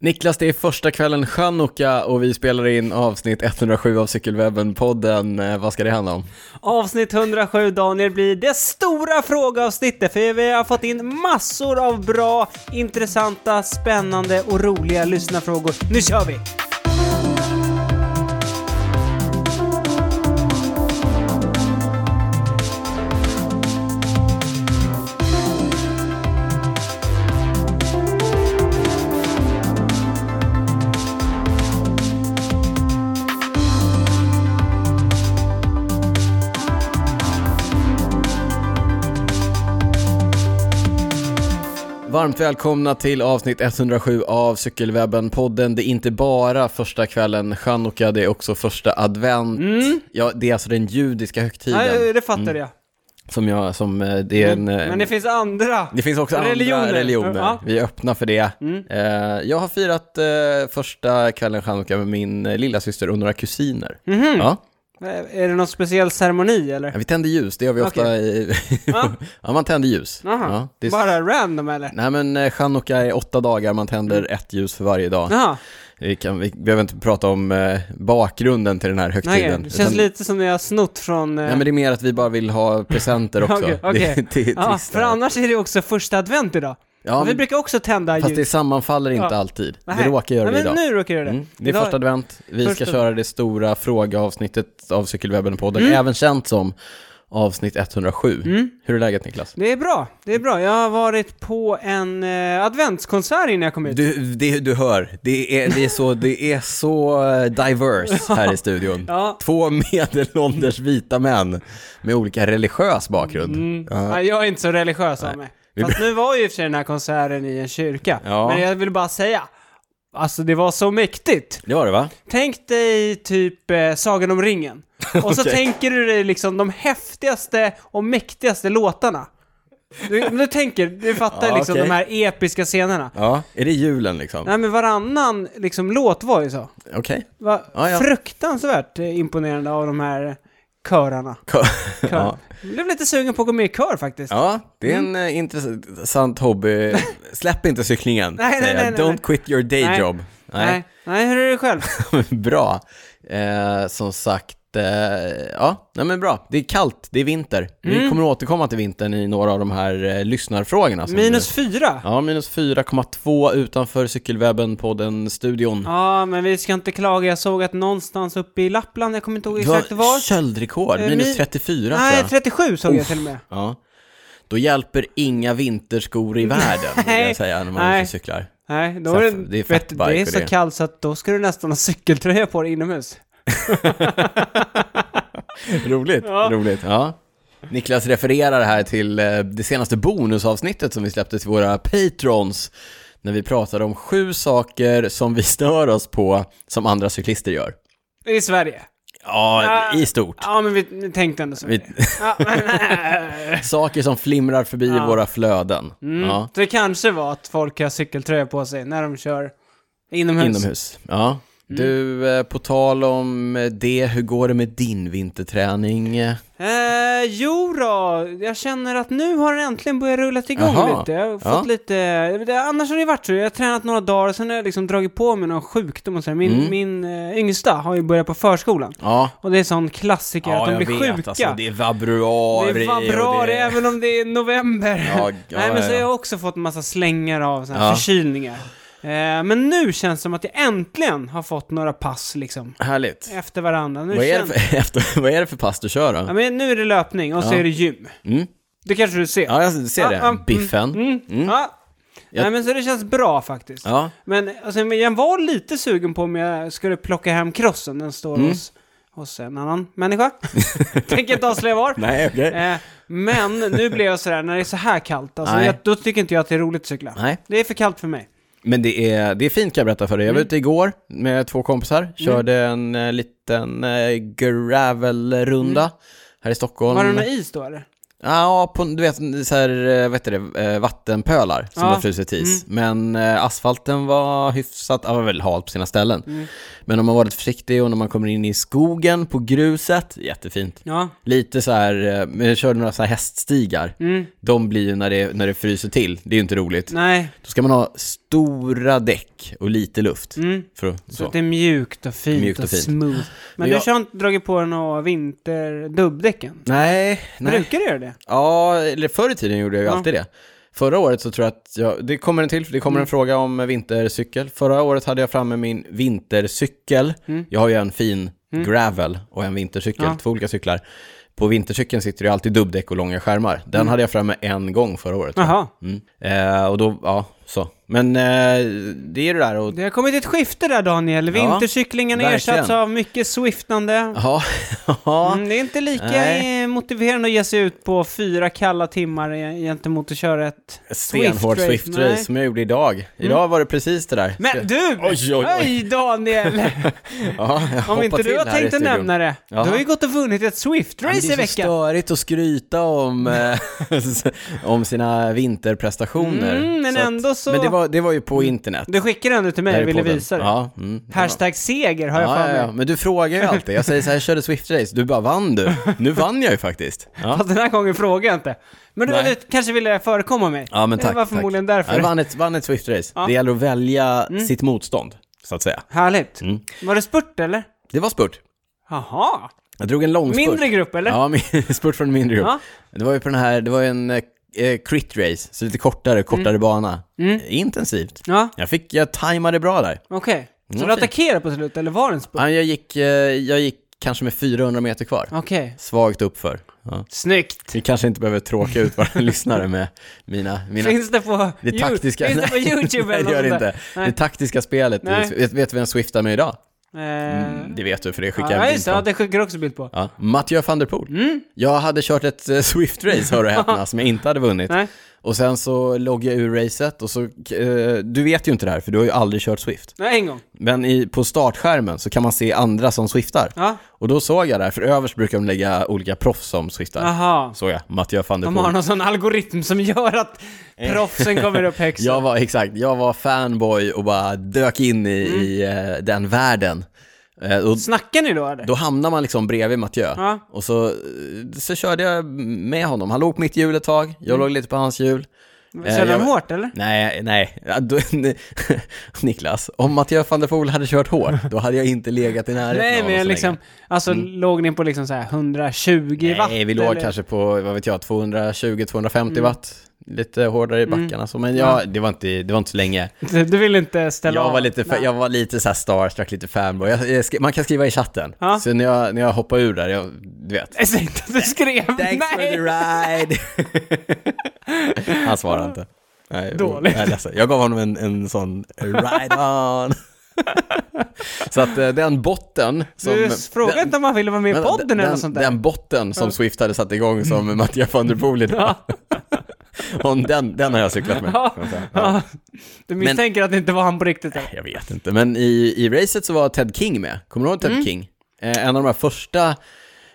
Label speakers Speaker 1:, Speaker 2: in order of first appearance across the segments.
Speaker 1: Niklas, det är första kvällen chanukka och vi spelar in avsnitt 107 av Cykelwebben-podden. Eh, Vad ska det handla om?
Speaker 2: Avsnitt 107 Daniel blir det stora frågeavsnittet för vi har fått in massor av bra, intressanta, spännande och roliga lyssnarfrågor. Nu kör vi!
Speaker 1: Varmt välkomna till avsnitt 107 av Cykelwebben-podden. Det är inte bara första kvällen chanukka, det är också första advent. Ja, det är alltså den judiska högtiden
Speaker 2: Mm.
Speaker 1: Mm.
Speaker 2: Nej, det fattar jag. Mm.
Speaker 1: som jag, som eh, det är en... eh,
Speaker 2: Men det finns andra.
Speaker 1: Det finns också
Speaker 2: Religioner.
Speaker 1: andra religioner.
Speaker 2: Ja. Mm.
Speaker 1: Vi är öppna för det. Eh, jag har firat eh, första kvällen chanukka med min eh, lilla syster och några kusiner.
Speaker 2: Mhm.
Speaker 1: Ja.
Speaker 2: Eh, Är det någon speciell ceremoni
Speaker 1: Ja,
Speaker 2: eller?
Speaker 1: vi tänder ljus, det gör vi ofta i...
Speaker 2: Ja.
Speaker 1: ja, man tänder ljus.
Speaker 2: Aha.
Speaker 1: Ja, det är...
Speaker 2: Bara random eller?
Speaker 1: Nej men eh, chanukka är åtta dagar, man tänder
Speaker 2: Mm.
Speaker 1: ett ljus för varje dag.
Speaker 2: Jaha,
Speaker 1: Vi, kan, vi behöver inte prata om eh, bakgrunden till den här högtiden.
Speaker 2: nej, det känns
Speaker 1: utan-
Speaker 2: lite som när jag har snott från... eh,
Speaker 1: Nej men det är mer att vi bara vill ha presenter också.
Speaker 2: Okej,
Speaker 1: Det-
Speaker 2: okej.
Speaker 1: det, är
Speaker 2: ja,
Speaker 1: trist
Speaker 2: för
Speaker 1: det här.
Speaker 2: annars är det också första advent idag.
Speaker 1: Ja,
Speaker 2: Och vi
Speaker 1: men-
Speaker 2: brukar också tända
Speaker 1: Fast
Speaker 2: ljus.
Speaker 1: det sammanfaller inte
Speaker 2: Ja.
Speaker 1: alltid.
Speaker 2: Nej.
Speaker 1: Det råkar göra
Speaker 2: Nej,
Speaker 1: det
Speaker 2: men
Speaker 1: idag.
Speaker 2: nu råkar det
Speaker 1: Mm. Det är
Speaker 2: Idag-
Speaker 1: första advent, vi
Speaker 2: Första-
Speaker 1: ska köra det stora frågeavsnittet av Cykelwebben-podden,
Speaker 2: Mm.
Speaker 1: även känt som avsnitt 107. Hur är läget Niklas?
Speaker 2: Det är bra, det är bra. Jag har varit på en eh, adventskonsert innan jag kom hit.
Speaker 1: Du, det, du hör, det är, det, är så, det är så eh, diverse här i studion.
Speaker 2: Ja.
Speaker 1: Två medelålders vita män med olika religiös bakgrund.
Speaker 2: Mm.
Speaker 1: Ja.
Speaker 2: Nej, jag är inte så religiös av mig.
Speaker 1: Vi-
Speaker 2: Fast nu var ju i och för sig den här konserten i en kyrka.
Speaker 1: Ja.
Speaker 2: Men jag vill bara säga, alltså det var så mäktigt.
Speaker 1: Det var det va?
Speaker 2: Tänk dig typ eh, Sagan om ringen. Och så
Speaker 1: Okej.
Speaker 2: tänker du dig liksom de häftigaste och mäktigaste låtarna. Du, du tänker, du fattar
Speaker 1: Ja,
Speaker 2: liksom
Speaker 1: okej.
Speaker 2: de här episka scenerna.
Speaker 1: Ja. Är det julen liksom?
Speaker 2: Nej men varannan liksom låt var ju så.
Speaker 1: Okej.
Speaker 2: Va,
Speaker 1: Ja, ja.
Speaker 2: Fruktansvärt eh, imponerande av de här eh, körarna.
Speaker 1: Ko-
Speaker 2: Kör.
Speaker 1: Ja.
Speaker 2: Jag blev lite sugen på att gå med i kör faktiskt.
Speaker 1: ja, det är
Speaker 2: Mm.
Speaker 1: en eh, intressant hobby. Släpp inte cyklingen,
Speaker 2: Nej, nej,
Speaker 1: säger jag.
Speaker 2: nej, nej,
Speaker 1: Don't
Speaker 2: nej.
Speaker 1: quit your day
Speaker 2: Nej.
Speaker 1: job.
Speaker 2: Nej. Nej, hur är det själv?
Speaker 1: bra. Eh, som sagt, eh, ja, nej men bra. Det är kallt, det är vinter.
Speaker 2: Mm.
Speaker 1: Vi kommer att återkomma till vintern i några av de här eh, lyssnarfrågorna. som-
Speaker 2: Minus fyra? Ja.
Speaker 1: Ja, minus 4,2 utanför cykelwebben på den studion.
Speaker 2: men vi ska inte klaga. Jag såg att någonstans uppe i Lappland, jag kommer inte ihåg
Speaker 1: Det var
Speaker 2: exakt var.
Speaker 1: Köldrekord,
Speaker 2: Eh,
Speaker 1: minus
Speaker 2: min-
Speaker 1: 34 tror
Speaker 2: Nej,
Speaker 1: jag.
Speaker 2: 37 såg jag till och med.
Speaker 1: Ja. Då hjälper inga vinterskor i världen, vill jag
Speaker 2: Nej.
Speaker 1: säga, när man är
Speaker 2: Nej.
Speaker 1: ute och cyklar.
Speaker 2: Nej, då
Speaker 1: Så
Speaker 2: är det,
Speaker 1: att det är
Speaker 2: vet, du,
Speaker 1: fatbike
Speaker 2: det är
Speaker 1: och
Speaker 2: så
Speaker 1: det.
Speaker 2: kallt så att då ska du nästan ha cykeltröja på dig inomhus.
Speaker 1: Roligt, roligt. Ja. Niklas refererar här till eh, det senaste bonusavsnittet som vi släppte till våra patrons. När vi pratade om sju saker som vi stör oss på som andra cyklister gör.
Speaker 2: I Sverige.
Speaker 1: Ja, i stort.
Speaker 2: Ja, men vi, vi tänkte ändå så.
Speaker 1: Vi-
Speaker 2: Ja, men,
Speaker 1: Saker som flimrar förbi i våra flöden. Ja.
Speaker 2: det kanske var att folk har cykeltröja på sig när de kör inomhus.
Speaker 1: Inomhus.
Speaker 2: Mm.
Speaker 1: Ja. Du, eh, på tal om eh, det, hur går det med din vinterträning? Eh,
Speaker 2: Eh, jo då, jag känner att nu har den äntligen börjat rulla igång
Speaker 1: Jaha.
Speaker 2: lite. Jag har fått
Speaker 1: Ja.
Speaker 2: lite, det, annars har det varit så, jag har tränat några dagar och sen har jag liksom dragit på mig någon sjukdom och så. här. Min,
Speaker 1: Mm.
Speaker 2: min eh, yngsta har ju börjat på förskolan.
Speaker 1: Ja,
Speaker 2: Och det är sån klassiker att de
Speaker 1: jag
Speaker 2: blir
Speaker 1: vet.
Speaker 2: sjuka.
Speaker 1: Alltså, det är
Speaker 2: Det
Speaker 1: vabruari.
Speaker 2: är
Speaker 1: och
Speaker 2: februari även om det är november.
Speaker 1: Ja, ja,
Speaker 2: Nej men så
Speaker 1: ja.
Speaker 2: jag har också fått massa slängar av såna här
Speaker 1: Ja.
Speaker 2: förkylningar. Eh, men nu känns det som att jag äntligen har fått några pass liksom.
Speaker 1: Härligt.
Speaker 2: Efter varandra. Nu
Speaker 1: Vad är, det
Speaker 2: känns- Mm.
Speaker 1: för, efter, vad är det för pass du kör
Speaker 2: Ja,
Speaker 1: då?
Speaker 2: men nu är det löpning och så
Speaker 1: Ja.
Speaker 2: är det gym.
Speaker 1: Mm.
Speaker 2: Det kanske du ser.
Speaker 1: Ja, jag ser
Speaker 2: Ja, ja,
Speaker 1: det. Biffen.
Speaker 2: Mm. Ja. Nej men så det känns bra faktiskt.
Speaker 1: Ja,
Speaker 2: Men alltså, men jag var lite sugen på om jag skulle plocka hem krossen, den står
Speaker 1: Mm.
Speaker 2: hos, hos en annan människa. Tänker inte avslöja var.
Speaker 1: nej okej.
Speaker 2: Eh, men nu blev jag sådär, när det är så här kallt, alltså,
Speaker 1: Nej.
Speaker 2: jag, då tycker inte jag att det är roligt att cykla.
Speaker 1: Nej.
Speaker 2: Det är för kallt för mig.
Speaker 1: Men det är, det är fint kan jag berätta för dig. Jag var
Speaker 2: Mm.
Speaker 1: ute igår med två kompisar, körde en eh, liten eh, gravelrunda här i Stockholm.
Speaker 2: Mm. Var det någon is då eller?
Speaker 1: Ja, på, du vet, så här, eh, vad heter det, eh, vattenpölar som
Speaker 2: Ja. Mm.
Speaker 1: har frusit is. Men eh, asfalten var hyfsat, ja, var väl hal på sina ställen.
Speaker 2: Mm.
Speaker 1: Men om man var lite försiktig och när man kommer in i skogen på gruset, jättefint.
Speaker 2: Ja.
Speaker 1: Lite så här, eh, men jag körde några så här häststigar.
Speaker 2: Mm.
Speaker 1: De blir ju när det, när det fryser till, det är ju inte roligt.
Speaker 2: Nej.
Speaker 1: Då ska man ha stora däck däck och lite luft.
Speaker 2: Mm.
Speaker 1: För att,
Speaker 2: Så
Speaker 1: så.
Speaker 2: att det är mjukt och fint
Speaker 1: Mjukt
Speaker 2: och,
Speaker 1: och fint.
Speaker 2: smooth. Men,
Speaker 1: Men
Speaker 2: du
Speaker 1: jag-
Speaker 2: kör inte dragit på den av vinterdubbdäcken?
Speaker 1: Nej, nej.
Speaker 2: Brukar du göra det?
Speaker 1: Ja, eller förr i tiden gjorde jag ju
Speaker 2: Ja.
Speaker 1: alltid det. Förra året så tror jag att jag, det kommer en till, det
Speaker 2: Mm.
Speaker 1: kommer en fråga om eh, vintercykel. Förra året hade jag framme min vintercykel. Jag har ju en fin gravel och en vintercykel,
Speaker 2: Mm. Ja.
Speaker 1: två olika cyklar. På vintercykeln sitter det ju alltid dubbdäck och långa skärmar. Den
Speaker 2: Mm.
Speaker 1: hade jag framme en gång förra året. tror jag.
Speaker 2: Jaha.
Speaker 1: Mm. Eh, och då, ja, så. Men eh, det är det där och...
Speaker 2: Det har kommit ett skifte där Daniel. Vintercyklingen har
Speaker 1: verkligen.
Speaker 2: ersatts av mycket swiftande.
Speaker 1: Ja, ja.
Speaker 2: Mm, det är inte lika
Speaker 1: Nej.
Speaker 2: eh, motiverande att ge sig ut på fyra kalla timmar e- gentemot att köra ett
Speaker 1: stenhård
Speaker 2: Swift-race.
Speaker 1: Swift Race
Speaker 2: Nej. Mm.
Speaker 1: som jag gjorde idag. Idag var det precis det där.
Speaker 2: Men du!
Speaker 1: Oj, oj, oj.
Speaker 2: Hej Daniel!
Speaker 1: ja, jag
Speaker 2: Om
Speaker 1: hoppar
Speaker 2: inte du
Speaker 1: till
Speaker 2: har
Speaker 1: här i
Speaker 2: tänkt att
Speaker 1: studion.
Speaker 2: nämna det.
Speaker 1: Ja.
Speaker 2: Du har ju gått och vunnit ett
Speaker 1: Men
Speaker 2: Swift-race i
Speaker 1: det är så
Speaker 2: veckan. Mm.
Speaker 1: störigt att skryta om, eh, om sina vinterprestationer.
Speaker 2: Mm, men
Speaker 1: Så att-
Speaker 2: ändå så-
Speaker 1: Men det var, det var ju på internet.
Speaker 2: Du skickade den till mig,
Speaker 1: där
Speaker 2: jag
Speaker 1: i
Speaker 2: ville
Speaker 1: podden.
Speaker 2: visa det.
Speaker 1: Ja, mm, det var-
Speaker 2: Hashtag seger har jag
Speaker 1: Ja,
Speaker 2: för
Speaker 1: ja,
Speaker 2: mig.
Speaker 1: ja, men du frågar ju alltid. Jag säger så här, jag körde Swift-race, du bara vann du. Nu vann jag ju faktiskt. Ja,
Speaker 2: Fast den här gången frågade jag inte. Men du,
Speaker 1: Nej.
Speaker 2: du kanske ville förekomma mig?
Speaker 1: ja men tack.
Speaker 2: det var
Speaker 1: tack.
Speaker 2: förmodligen
Speaker 1: Ja,
Speaker 2: därför. Mm.
Speaker 1: Jag vann ett, vann ett Swift-race. Det gäller att välja sitt motstånd, så att säga.
Speaker 2: Härligt.
Speaker 1: Mm.
Speaker 2: Var det spurt eller?
Speaker 1: Det var spurt.
Speaker 2: Jaha.
Speaker 1: Jag drog en lång spurt.
Speaker 2: Mindre grupp eller?
Speaker 1: Ja, min, spurt från en mindre grupp.
Speaker 2: Ja.
Speaker 1: Det var ju på den här, det var ju en eh, crit race, så lite kortare,
Speaker 2: Mm.
Speaker 1: kortare bana. Eh, Intensivt.
Speaker 2: Ja,
Speaker 1: Jag fick, jag tajmade bra där.
Speaker 2: okej. Så
Speaker 1: Mm,
Speaker 2: du
Speaker 1: fint.
Speaker 2: attackerade på slutet, eller var det en spurt?
Speaker 1: Ja, Jag gick, eh, jag gick kanske med 400 meter kvar.
Speaker 2: Okej.
Speaker 1: Svagt uppför. Ja.
Speaker 2: Snyggt!
Speaker 1: Vi kanske inte behöver tråka ut våra lyssnare med mina, mina
Speaker 2: Finns det på,
Speaker 1: det
Speaker 2: Ju-
Speaker 1: taktiska...
Speaker 2: finns det på YouTube
Speaker 1: Nej,
Speaker 2: eller
Speaker 1: det gör det
Speaker 2: något
Speaker 1: inte. Det taktiska spelet,
Speaker 2: Nej.
Speaker 1: vet, vet du vem Swiftar med idag?
Speaker 2: Eh,
Speaker 1: Det vet du, för det Mm, skickar jag
Speaker 2: ja,
Speaker 1: en bild
Speaker 2: just det. Mm. Ja,
Speaker 1: på.
Speaker 2: det skickar jag också bild på.
Speaker 1: Ja, Mathieu van der Poel. Jag hade kört ett eh, Swift-race, hör och häpna, som jag inte hade vunnit.
Speaker 2: Nej.
Speaker 1: Och sen så loggade jag ur racet och så, eh, du vet ju inte det här för du har ju aldrig kört Swift.
Speaker 2: Nej, en gång.
Speaker 1: Men i, på startskärmen så kan man se andra som Swiftar.
Speaker 2: Ja.
Speaker 1: Och då såg jag där, för överst brukar de lägga olika proffs som Swiftar.
Speaker 2: Aha.
Speaker 1: Såg jag, Mattias van der
Speaker 2: De har
Speaker 1: Poel.
Speaker 2: någon sån algoritm som gör att proffsen kommer upp högst.
Speaker 1: Eh. Jag var, exakt, jag var fanboy och bara dök in i,
Speaker 2: Mm.
Speaker 1: i eh, den världen. Eh, och
Speaker 2: Snackar ni då eller?
Speaker 1: då hamnar man liksom bredvid Mathieu.
Speaker 2: Ja.
Speaker 1: Och så, eh, så körde jag med honom. Han låg på mitt hjul ett tag, jag
Speaker 2: Mm.
Speaker 1: låg lite på hans hjul. Eh,
Speaker 2: Körde
Speaker 1: jag-
Speaker 2: de hårt eller?
Speaker 1: Nej, nej. Ja, då, Niklas, om Mattias van der Poel hade kört hårt, då hade jag inte legat i närheten av
Speaker 2: Nej,
Speaker 1: honom
Speaker 2: men
Speaker 1: så
Speaker 2: liksom,
Speaker 1: länge. Mm.
Speaker 2: alltså låg ni på liksom så här 120 watt?
Speaker 1: Nej, vi låg
Speaker 2: eller? Mm.
Speaker 1: kanske på, vad vet jag, 220-250 watt. Lite hårdare i backarna så, men ja, det var inte, det var inte så länge.
Speaker 2: Du, du vill inte ställa
Speaker 1: Jag
Speaker 2: av?
Speaker 1: var lite, fa-
Speaker 2: Nej.
Speaker 1: jag var lite så här starstruck, lite fanboy. Jag, jag, skri- man kan skriva i chatten.
Speaker 2: Ja.
Speaker 1: Så när jag, när jag hoppar ur där, jag, du vet.
Speaker 2: Jag säger inte att du skrev
Speaker 1: Thanks for the
Speaker 2: nej!
Speaker 1: ride! Han svarar inte. Nej,
Speaker 2: Dåligt.
Speaker 1: Jag, är ledsen. jag gav honom en, en sån ride on. Så att eh, den botten som...
Speaker 2: Du frågade
Speaker 1: den-
Speaker 2: inte om han ville vara med i
Speaker 1: vänta,
Speaker 2: podden
Speaker 1: den,
Speaker 2: eller något sånt där?
Speaker 1: Den botten som Swift hade satt igång som Mattias van der Poel idag. Om den, den har jag cyklat med.
Speaker 2: Ja. Ja. Du
Speaker 1: Men-
Speaker 2: misstänker att det inte var han på riktigt? eller?
Speaker 1: Jag vet inte, men i, i racet så var Ted King med. Kommer du ihåg Ted
Speaker 2: Mm.
Speaker 1: King? Eh, en av de här första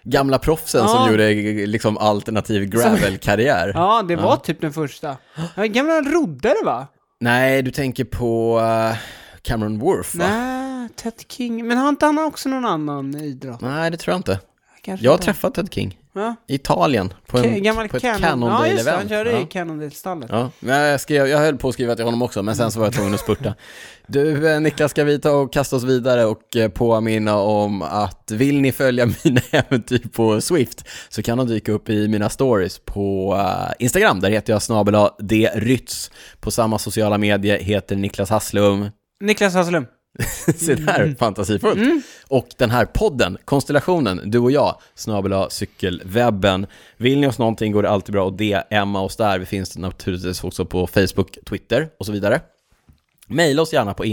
Speaker 1: gamla proffsen
Speaker 2: Ja.
Speaker 1: som gjorde eh, liksom alternativ gravel-karriär.
Speaker 2: Ja, det var typ den första. Ja, gamla roddare va?
Speaker 1: Nej, du tänker på eh, Cameron Worth va? Nej.
Speaker 2: Nej, Ted King. Men har inte han också någon annan idrott?
Speaker 1: det tror jag inte.
Speaker 2: Kanske
Speaker 1: Jag har
Speaker 2: inte.
Speaker 1: träffat Ted King
Speaker 2: Ja.
Speaker 1: i Italien på, en,
Speaker 2: Ke- gammal
Speaker 1: på ett
Speaker 2: Canon- Ja, just det. Han
Speaker 1: Cannondale-event.
Speaker 2: körde i
Speaker 1: ja.
Speaker 2: Cannondale-stallet.
Speaker 1: Ja, men jag, skrev, jag höll på att skriva till honom också, men sen så var jag tvungen att spurta. Du, eh, Niklas, ska vi ta och kasta oss vidare och eh, påminna om att vill ni följa mina äventyr på Swift så kan de dyka upp i mina stories på eh, Instagram. Där heter jag snabel drytz. På samma sociala medier heter Niklas Hasslum.
Speaker 2: Niklas Hasselum.
Speaker 1: Se
Speaker 2: Mm.
Speaker 1: där, fantasifullt. Och den här podden, Konstellationen, du och jag, snabel cykelwebben. Vill ni oss någonting går det alltid bra att DMa oss där. Vi finns naturligtvis också på Facebook, Twitter och så vidare. Maila oss gärna på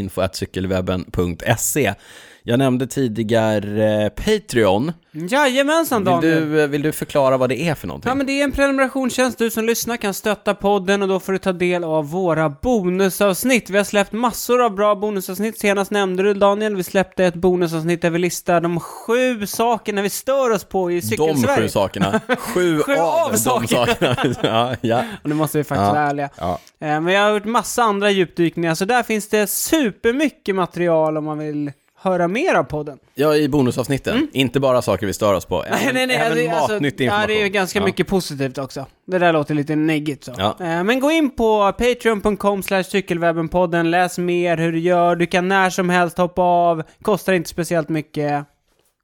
Speaker 1: info.cykelwebben.se. Jag nämnde tidigare eh, Patreon.
Speaker 2: Jajamensan
Speaker 1: Vill
Speaker 2: Daniel.
Speaker 1: du, eh, vill du förklara vad det är för någonting?
Speaker 2: Ja, men det är en prenumerationstjänst. Du som lyssnar kan stötta podden och då får du ta del av våra bonusavsnitt. Vi har släppt massor av bra bonusavsnitt. Senast nämnde du Daniel, vi släppte ett bonusavsnitt där vi listar de sju sakerna vi stör oss på i
Speaker 1: de
Speaker 2: cykelsverige.
Speaker 1: sju sakerna. Sju,
Speaker 2: Sju av
Speaker 1: av, de
Speaker 2: sakerna.
Speaker 1: sakerna. ja, ja.
Speaker 2: Och nu måste vi faktiskt
Speaker 1: Ja.
Speaker 2: vara ärliga.
Speaker 1: Ja.
Speaker 2: Eh, Men jag har gjort massa andra djupdykningar, så där finns det supermycket material om man vill höra mer av podden.
Speaker 1: Ja, i bonusavsnitten.
Speaker 2: Mm.
Speaker 1: Inte bara saker vi stör oss på. Även, även
Speaker 2: alltså,
Speaker 1: matnyttig
Speaker 2: ja,
Speaker 1: information.
Speaker 2: det är ju ganska
Speaker 1: Ja.
Speaker 2: mycket positivt också. Det där låter lite neggigt så.
Speaker 1: Ja.
Speaker 2: Eh, Men gå in på patreon.com slash cykelwebbenpodden, läs mer hur du gör, du kan när som helst hoppa av, kostar inte speciellt mycket.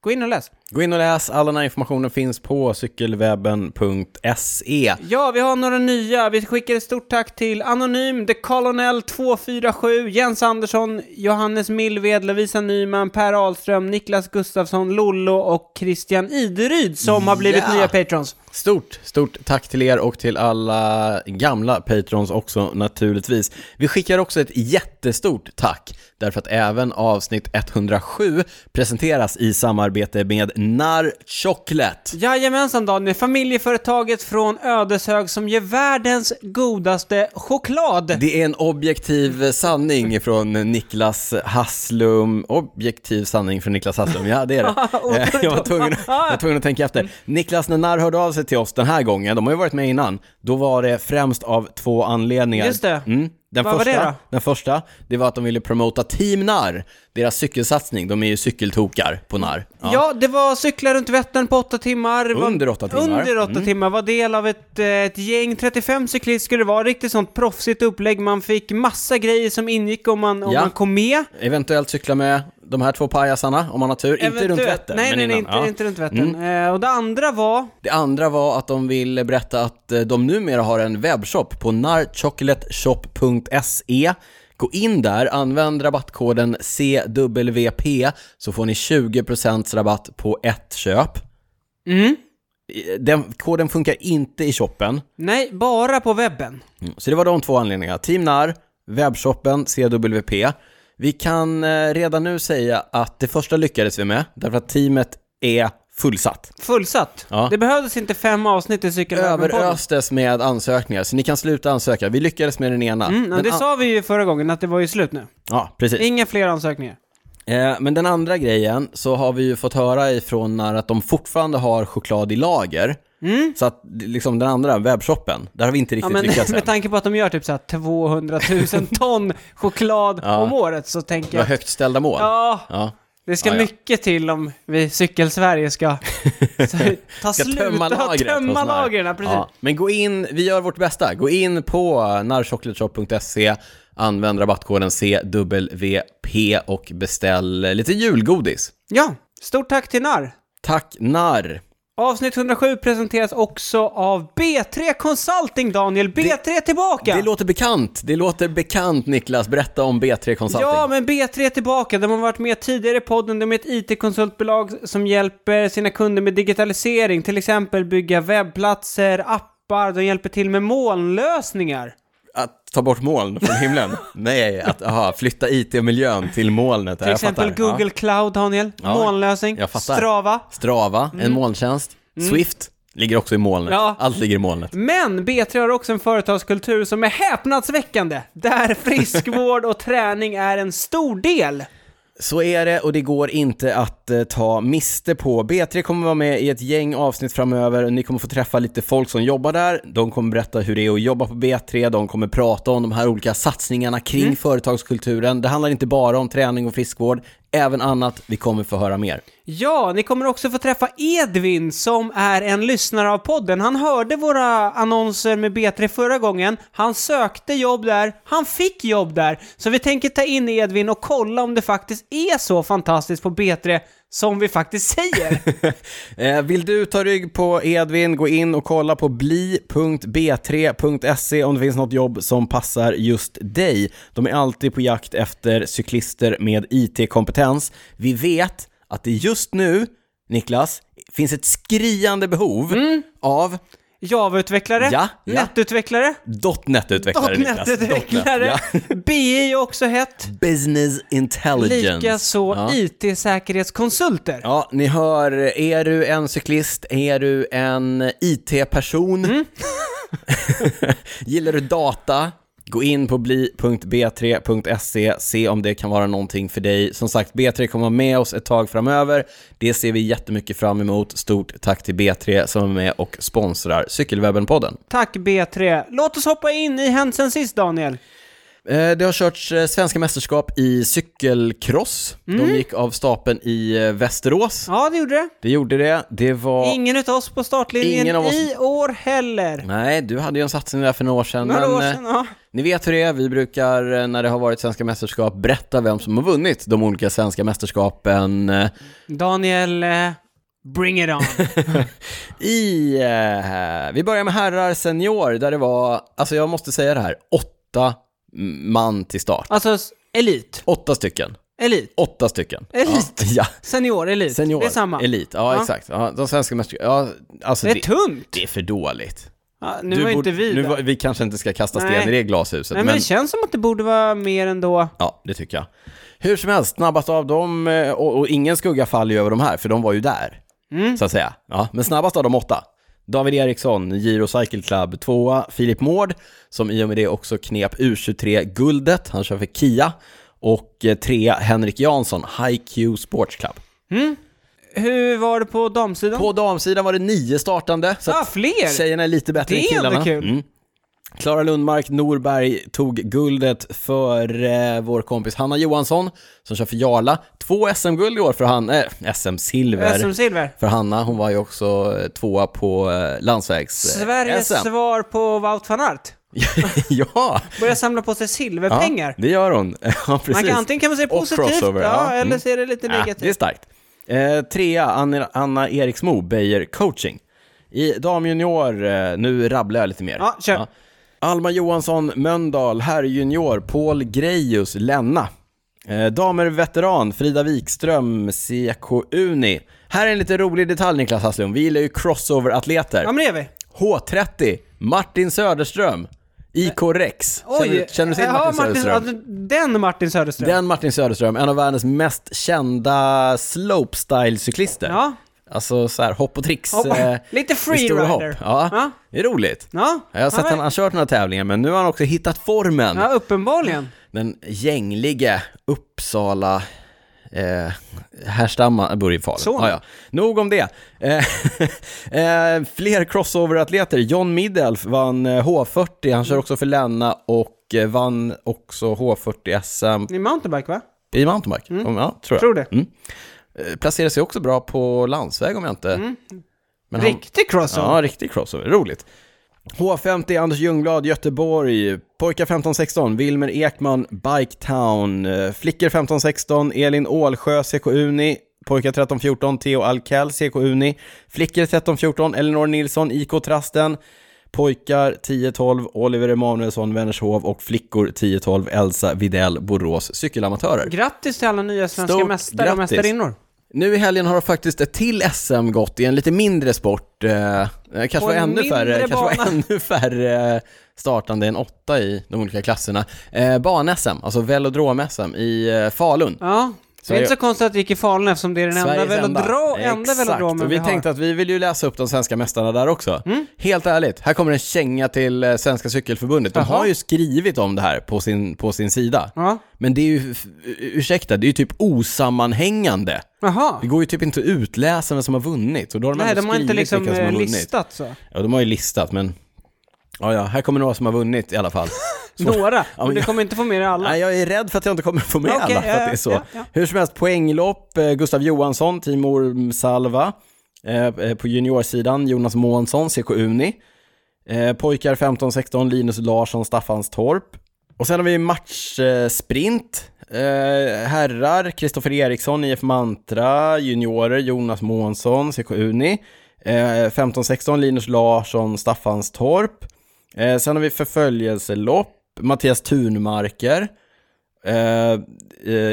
Speaker 2: Gå in och läs.
Speaker 1: Gå in och läs, all den här informationen finns på cykelwebben.se.
Speaker 2: Ja, vi har några nya. Vi skickar ett stort tack till Anonym, The Colonel 247, Jens Andersson, Johannes Millved, Lovisa Nyman, Per Ahlström, Niklas Gustafsson, Lollo och Christian Ideryd som har blivit
Speaker 1: Ja.
Speaker 2: nya patrons.
Speaker 1: Stort, stort tack till er och till alla gamla patrons också naturligtvis. Vi skickar också ett jättestort tack, därför att även avsnitt 107 presenteras i samarbete med Narr Chocolate.
Speaker 2: Jajamensan Daniel, familjeföretaget från Ödeshög som ger världens godaste choklad.
Speaker 1: Det är en objektiv sanning från Niklas Hasslum. Objektiv sanning från Niklas Hasslum, ja det är det. Eh, jag, var tvungen, jag var tvungen att tänka efter. Niklas, när Narr hörde av sig till oss den här gången, de har ju varit med innan, då var det främst av två anledningar.
Speaker 2: Just det.
Speaker 1: Mm. Den,
Speaker 2: Vad var
Speaker 1: första,
Speaker 2: det då?
Speaker 1: den första, det var att de ville promota Team Narr, deras cykelsatsning. De är ju cykeltokar på Narr. Ja.
Speaker 2: Ja, det var cykla runt Vättern på åtta timmar. Var-
Speaker 1: Under åtta timmar. Mm.
Speaker 2: Under åtta timmar. Var del av ett, eh, ett gäng, 35 cyklister skulle det vara. Riktigt sånt proffsigt upplägg. Man fick massa grejer som ingick om man, om
Speaker 1: Ja.
Speaker 2: man kom med.
Speaker 1: Eventuellt cykla med de här två pajasarna, om man har tur. Inte runt
Speaker 2: Eventuellt-
Speaker 1: Vättern,
Speaker 2: Nej,
Speaker 1: men
Speaker 2: nej, nej, inte,
Speaker 1: innan. Ja. Mm.
Speaker 2: inte runt Vättern. Eh, och det andra var...
Speaker 1: Det andra var att de ville berätta att eh, de numera har en webbshop på narchocolateshop.se. E. Gå in där, använd rabattkoden CWP så får ni 20% rabatt på ett köp.
Speaker 2: Mm.
Speaker 1: Eh, Den, koden funkar inte i shoppen. Mm.
Speaker 2: Nej, bara på webben.
Speaker 1: Så det var de två anledningarna. Team Narr, webbshoppen CWP. Vi kan eh, redan nu säga att det första lyckades vi med, därför att teamet är fullsatt.
Speaker 2: Fullsatt.
Speaker 1: Ja.
Speaker 2: Det behövdes inte fem avsnitt i cykelwebben.
Speaker 1: överöstes med ansökningar, så ni kan sluta ansöka. Vi lyckades med den ena.
Speaker 2: Mm, ja,
Speaker 1: Den
Speaker 2: det
Speaker 1: an-
Speaker 2: sa vi ju förra gången, att det var ju slut nu.
Speaker 1: ja, precis.
Speaker 2: Inga fler ansökningar.
Speaker 1: Eh, men den andra grejen så har vi ju fått höra ifrån när att de fortfarande har choklad i lager. Så att liksom den andra, webbshoppen, där har vi inte
Speaker 2: Mm. Ja,
Speaker 1: riktigt
Speaker 2: men
Speaker 1: lyckats än.
Speaker 2: med tanke på att de gör typ så här 200 000 ton choklad om året så tänker
Speaker 1: Det var
Speaker 2: jag...
Speaker 1: högt ställda mål.
Speaker 2: Ja,
Speaker 1: Ja.
Speaker 2: det ska
Speaker 1: Ja, ja.
Speaker 2: mycket till om vi Cykelsverige ska så här, ta
Speaker 1: Ska
Speaker 2: slut
Speaker 1: tömma
Speaker 2: och
Speaker 1: lagret. hos
Speaker 2: tömma
Speaker 1: Narr.
Speaker 2: lagren. ja, Precis.
Speaker 1: Ja, men gå in, vi gör vårt bästa. Gå in på narrchocolateshop.se, använd rabattkoden CWP och beställ eh, lite julgodis.
Speaker 2: Ja, stort tack till Narr.
Speaker 1: Tack narr!
Speaker 2: Avsnitt 107 presenteras också av B3 Consulting, Daniel. B3 tillbaka!
Speaker 1: Det låter bekant. Det låter bekant, Niklas. Berätta om B3 Consulting.
Speaker 2: Ja, men B3 är tillbaka. De har varit med tidigare i podden. De är ett IT-konsultbolag som hjälper sina kunder med digitalisering, till exempel bygga webbplatser, appar, de hjälper till med molnlösningar.
Speaker 1: Att ta bort moln från himlen? Nej, att aha, flytta IT och miljön till molnet.
Speaker 2: Till exempel Google Cloud, Daniel.
Speaker 1: Ja,
Speaker 2: molnlösning.
Speaker 1: jag fattar.
Speaker 2: Strava. Mm.
Speaker 1: Strava, en molntjänst. Swift ligger också i molnet.
Speaker 2: Ja.
Speaker 1: Allt ligger i molnet.
Speaker 2: Men B3 har också en företagskultur som är häpnadsväckande, där friskvård och träning är en stor del.
Speaker 1: Så är det och det går inte att eh, ta miste på. B3 kommer vara med i ett gäng avsnitt framöver och ni kommer få träffa lite folk som jobbar där. De kommer berätta hur det är att jobba på B3, de kommer prata om de här olika satsningarna kring företagskulturen. Det handlar inte bara om träning och friskvård, även annat. Vi kommer få höra mer.
Speaker 2: Ja, ni kommer också få träffa Edvin som är en lyssnare av podden. Han hörde våra annonser med B3 förra gången. Han sökte jobb där, han fick jobb där. Så vi tänker ta in Edvin och kolla om det faktiskt är så fantastiskt på B3 som vi faktiskt säger.
Speaker 1: Eh, Vill du ta rygg på Edvin, gå in och kolla på bli.b3.se om det finns något jobb som passar just dig. De är alltid på jakt efter cyklister med IT-kompetens. Vi vet att det just nu, Niklas, finns ett skriande behov av
Speaker 2: Java-utvecklare,
Speaker 1: Ja, ja.
Speaker 2: nätutvecklare,
Speaker 1: .NET-utvecklare, Niklas.
Speaker 2: .NET-utvecklare,
Speaker 1: ja.
Speaker 2: BI E är också hett,
Speaker 1: Business Intelligence.
Speaker 2: likaså
Speaker 1: Ja.
Speaker 2: IT-säkerhetskonsulter.
Speaker 1: Ja, ni hör, är du en cyklist, är du en IT-person? Gillar du data? Gå in på bli.b3.se, se om det kan vara någonting för dig. Som sagt, B3 kommer vara med oss ett tag framöver. Det ser vi jättemycket fram emot. Stort tack till B3 som är med och sponsrar Cykelwebben-podden.
Speaker 2: Tack B3. Låt oss hoppa in i Hänt sen sist Daniel.
Speaker 1: Eh, Det har körts eh, svenska mästerskap i cykelcross. De gick av stapeln i eh, Västerås.
Speaker 2: Ja, det gjorde det.
Speaker 1: Det gjorde det. Det var...
Speaker 2: Ingen utav oss på startlinjen
Speaker 1: Ingen av oss.
Speaker 2: i år heller.
Speaker 1: Nej, du hade ju en satsning där för några år sedan.
Speaker 2: Några
Speaker 1: men,
Speaker 2: år
Speaker 1: eh,
Speaker 2: sedan, ja.
Speaker 1: Ni vet hur det är, vi brukar eh, när det har varit svenska mästerskap berätta vem som har vunnit de olika svenska mästerskapen eh,
Speaker 2: Daniel, eh, bring it on.
Speaker 1: i... Eh, vi börjar med herrar senior, där det var, alltså jag måste säga det här, åtta mm, man till start.
Speaker 2: Alltså, s- elit.
Speaker 1: Åtta stycken.
Speaker 2: Elit.
Speaker 1: Åtta stycken.
Speaker 2: Elit.
Speaker 1: Ja.
Speaker 2: Senior, elit.
Speaker 1: Senior.
Speaker 2: Det är samma.
Speaker 1: Elit, ja,
Speaker 2: Ja.
Speaker 1: exakt. Ja, de svenska mästerskapen, ja, alltså
Speaker 2: Det är tungt.
Speaker 1: det är för dåligt.
Speaker 2: Ja, nu
Speaker 1: Du
Speaker 2: var
Speaker 1: borde-
Speaker 2: inte vi
Speaker 1: nu
Speaker 2: där.
Speaker 1: var, Vi kanske inte ska kasta
Speaker 2: Nej.
Speaker 1: sten i det glashuset,
Speaker 2: Nej, men,
Speaker 1: men,
Speaker 2: det känns som att det borde vara mer ändå.
Speaker 1: ja, det tycker jag. Hur som helst, snabbast av dem, eh, och, och ingen skugga faller ju över de här, för de var ju där,
Speaker 2: Mm.
Speaker 1: så att säga. Ja, men snabbast av de åtta, David Eriksson, Giro Cycle Club, tvåa Filip Mård, som i och med det också knep U23-guldet, han kör för Kia, och eh, trea Henrik Jansson, HiQ Sports Club.
Speaker 2: Hur var det på damsidan?
Speaker 1: På damsidan var det nio startande, så
Speaker 2: ah,
Speaker 1: att
Speaker 2: fler!
Speaker 1: Tjejerna är lite bättre
Speaker 2: Det
Speaker 1: än
Speaker 2: är ändå
Speaker 1: killarna.
Speaker 2: kul.
Speaker 1: Mm. Klara Lundmark Norberg tog guldet för eh, vår kompis Hanna Johansson, som kör för Jarla. Två SM-guld i år för han, eh, SM-silver
Speaker 2: SM-silver.
Speaker 1: för Hanna. Hon var ju också eh, tvåa på eh, landsvägs-SM.
Speaker 2: Sveriges svar på Wout van Aert.
Speaker 1: ja,
Speaker 2: Börjar samla på sig silverpengar.
Speaker 1: ja, det gör hon. ja,
Speaker 2: man
Speaker 1: precis.
Speaker 2: kan, antingen kan man se
Speaker 1: Och
Speaker 2: positivt, ja,
Speaker 1: crossover, ja. Mm.
Speaker 2: eller se det lite
Speaker 1: Ja, det är
Speaker 2: negativt.
Speaker 1: starkt. Eh, trea, Anna, Anna Eriksmo, Beijer Coaching. I damjunior, eh, nu rabblar jag lite mer.
Speaker 2: Ja, kör.
Speaker 1: Alma Johansson, Mölndal, herrjunior, Paul Grejus, Lenna. Eh, damer veteran, Frida Wikström, Seko Uni. Här är en lite rolig detalj Niklas Hasslum, vi gillar ju crossover-atleter.
Speaker 2: Ja, men det är vi.
Speaker 1: H30, Martin Söderström, IK Rex. Känner, du- känner du till
Speaker 2: Ja,
Speaker 1: Martin Söderström?
Speaker 2: Söderström? Den Martin Söderström.
Speaker 1: Den Martin Söderström, en av världens mest kända slopestyle-cyklister.
Speaker 2: Ja.
Speaker 1: Alltså så här hopp och tricks.
Speaker 2: Hoppa.
Speaker 1: eh,
Speaker 2: Lite
Speaker 1: i stora hopp.
Speaker 2: freerider.
Speaker 1: Ja,
Speaker 2: Ja.
Speaker 1: det är roligt.
Speaker 2: Ja,
Speaker 1: Jag har sett att han har kört några tävlingar, men nu har han också hittat formen.
Speaker 2: ja, uppenbarligen.
Speaker 1: Den gänglige Uppsala eh, härstamma eh, Börjefalen.
Speaker 2: Så.
Speaker 1: Ja, ja. Nog om det. Eh, eh, fler crossover-atleter. John Middelf vann eh, H40, han kör också för Länna och eh, vann också H40 SM
Speaker 2: Ni är mountainbike, va?
Speaker 1: i mountainbike. Om- Ja, tror jag.
Speaker 2: Mm. Tror det.
Speaker 1: Eh, Placerade sig också bra på landsväg om jag inte...
Speaker 2: Mm.
Speaker 1: Men han-
Speaker 2: Riktig crossover.
Speaker 1: Ja, riktig crossover. Roligt. H50, Anders Ljungblad, Göteborg. Pojkar 15-16, Wilmer Ekman, Biketown. Eh, Flickor 15-16, Elin Ålsjö, CK Uni. Pojkar 13-14, Theo Alkell, CK Uni. Flickor 13-14, Elinor Nilsson, IK Trasten. Pojkar 10-12, Oliver Emanuelsson, Vänershov och flickor 10-12, Elsa Videll, Borås, cykelamatörer.
Speaker 2: Grattis till alla nya svenska
Speaker 1: Stort
Speaker 2: mästare och
Speaker 1: grattis.
Speaker 2: mästarinnor.
Speaker 1: Nu i helgen har faktiskt ett till SM gått i en lite mindre sport. Eh, eh, kanske
Speaker 2: På
Speaker 1: var
Speaker 2: en
Speaker 1: ännu
Speaker 2: mindre
Speaker 1: färre, kanske var
Speaker 2: bana.
Speaker 1: ännu färre eh, startande än åtta i de olika klasserna. Eh, Ban-SM, alltså velodrom-SM i eh, Falun.
Speaker 2: Ja, det
Speaker 1: Sverige-
Speaker 2: är inte så konstigt att det gick i Falun eftersom det är den enda, velodra, enda
Speaker 1: Exakt.
Speaker 2: velodromen
Speaker 1: och
Speaker 2: vi
Speaker 1: vi
Speaker 2: har. Mm.
Speaker 1: tänkte att vi vill ju läsa upp de svenska mästarna där också. Helt ärligt, här kommer en känga till eh, Svenska Cykelförbundet. De
Speaker 2: Jaha.
Speaker 1: har ju skrivit om det här på sin, på sin sida.
Speaker 2: Ja.
Speaker 1: Men det är ju, f- ursäkta, det är ju typ osammanhängande.
Speaker 2: Jaha.
Speaker 1: Det går ju typ inte att utläsa vem som har vunnit, och då har de
Speaker 2: Nej,
Speaker 1: ändå
Speaker 2: de har inte
Speaker 1: skrivit
Speaker 2: liksom
Speaker 1: vilka som har
Speaker 2: eh,
Speaker 1: vunnit.
Speaker 2: listat så.
Speaker 1: Ja, de har ju listat, men... Ja, ja, här kommer några som har vunnit i alla fall.
Speaker 2: Några,
Speaker 1: men
Speaker 2: men du
Speaker 1: jag-
Speaker 2: kommer inte få med dig alla.
Speaker 1: Nej, jag är rädd för att jag inte kommer få med
Speaker 2: Okej,
Speaker 1: alla, för
Speaker 2: ja,
Speaker 1: att det är
Speaker 2: ja,
Speaker 1: så.
Speaker 2: ja, ja.
Speaker 1: Hur som helst, poänglopp, eh, Gustav Johansson, Timor Salva. Eh, eh, på juniorsidan, Jonas Månsson, CK Uni. Eh, pojkar 15-16, Linus Larsson, Staffanstorp. Och sen har vi matchsprint. Eh, herrar, Kristoffer Eriksson, IF Mantra, juniorer, Jonas Månsson, CK Uni. Eh, 15-16, Linus Larsson, Staffanstorp. Eh, sen har vi förföljelselopp, Mattias Thunmarker. Eh, eh,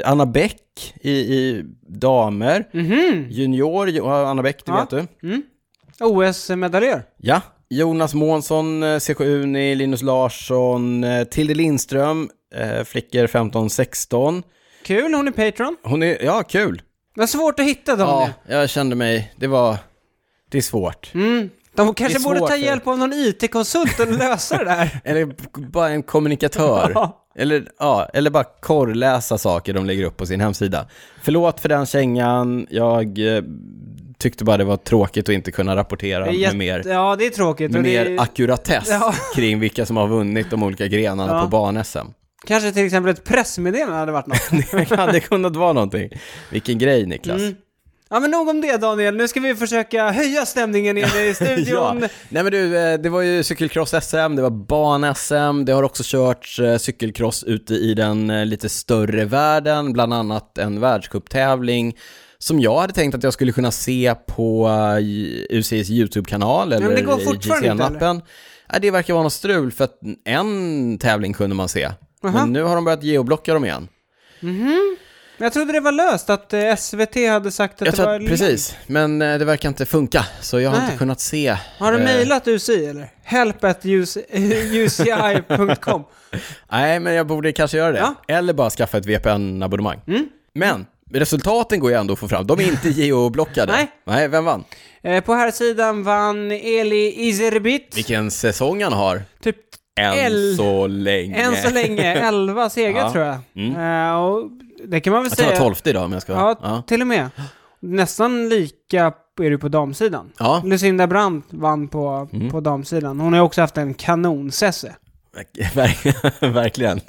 Speaker 1: Anna Bäck i, i damer. Junior, Jo- Anna Bäck, det
Speaker 2: Ja.
Speaker 1: vet du.
Speaker 2: OS-medaljör.
Speaker 1: Ja, Jonas Månsson, eh, CK Uni, Linus Larsson, eh, Tilde Lindström, eh, flickor 15-16.
Speaker 2: Kul, hon är Patreon.
Speaker 1: Hon är, ja kul.
Speaker 2: Det var svårt att hitta dem
Speaker 1: Ja,
Speaker 2: nu.
Speaker 1: jag kände mig, det var, det är svårt.
Speaker 2: Mm. De kanske
Speaker 1: Det är
Speaker 2: borde ta
Speaker 1: svårt för-
Speaker 2: hjälp av någon IT-konsult och lösa det där.
Speaker 1: Eller b- bara en kommunikatör.
Speaker 2: Ja.
Speaker 1: eller, ja, eller bara korrläsa saker de lägger upp på sin hemsida. Förlåt för den kängan, jag eh, tyckte bara det var tråkigt att inte kunna rapportera
Speaker 2: Det är
Speaker 1: med
Speaker 2: jätte-
Speaker 1: mer
Speaker 2: Ja, det är tråkigt.
Speaker 1: med
Speaker 2: och det
Speaker 1: mer
Speaker 2: är...
Speaker 1: ackuratess
Speaker 2: Ja.
Speaker 1: kring vilka som har vunnit de olika grenarna
Speaker 2: Ja.
Speaker 1: på barn-SM.
Speaker 2: Kanske till exempel ett pressmeddelande hade varit något.
Speaker 1: Det hade kunnat vara någonting. Vilken grej Niklas.
Speaker 2: Ja men nog om det Daniel, nu ska vi försöka höja stämningen inne i
Speaker 1: Ja.
Speaker 2: studion.
Speaker 1: Nej men du, eh, det var ju cykelcross-SM, det var ban-SM, det har också körts eh, cykelcross ute i den eh, lite större världen, bland annat en världscuptävling som jag hade tänkt att jag skulle kunna se på eh, i UCIs YouTube-kanal eller
Speaker 2: men det går
Speaker 1: i
Speaker 2: fortfarande inte,
Speaker 1: GCN-appen. Nej, det verkar vara något strul för att en tävling kunde man se.
Speaker 2: Aha.
Speaker 1: Men nu har de börjat geoblocka dem igen.
Speaker 2: Men Jag trodde det var löst att eh, SVT hade sagt att
Speaker 1: Jag
Speaker 2: det
Speaker 1: tror
Speaker 2: var
Speaker 1: att, precis, men eh, det verkar inte funka, så jag har
Speaker 2: Nej.
Speaker 1: inte kunnat se.
Speaker 2: Har du
Speaker 1: eh,
Speaker 2: mejlat UCI eller? Help at uci.com
Speaker 1: Nej, men jag borde kanske göra det.
Speaker 2: Ja. Mm.
Speaker 1: Eller bara skaffa ett VPN-abonnemang. Men resultaten går ju ändå att få fram. De är inte geoblockade.
Speaker 2: Nej.
Speaker 1: Nej, vem vann?
Speaker 2: eh, På här sidan vann Eli Izerbit.
Speaker 1: Vilken säsong han har.
Speaker 2: Typ
Speaker 1: Än
Speaker 2: El-
Speaker 1: så länge.
Speaker 2: än så länge 11 segrar
Speaker 1: Ja. Mm.
Speaker 2: tror jag. Eh, och det kan man väl
Speaker 1: Jag tror
Speaker 2: säga.
Speaker 1: han var tolfte idag om jag ska...
Speaker 2: Ja,
Speaker 1: Ja.
Speaker 2: till och med. Nästan lika är det på damsidan.
Speaker 1: Ja. Mm.
Speaker 2: Lucinda Brandt vann på, på damsidan. Hon har ju också haft en kanonsesse.
Speaker 1: Verk- Verkligen.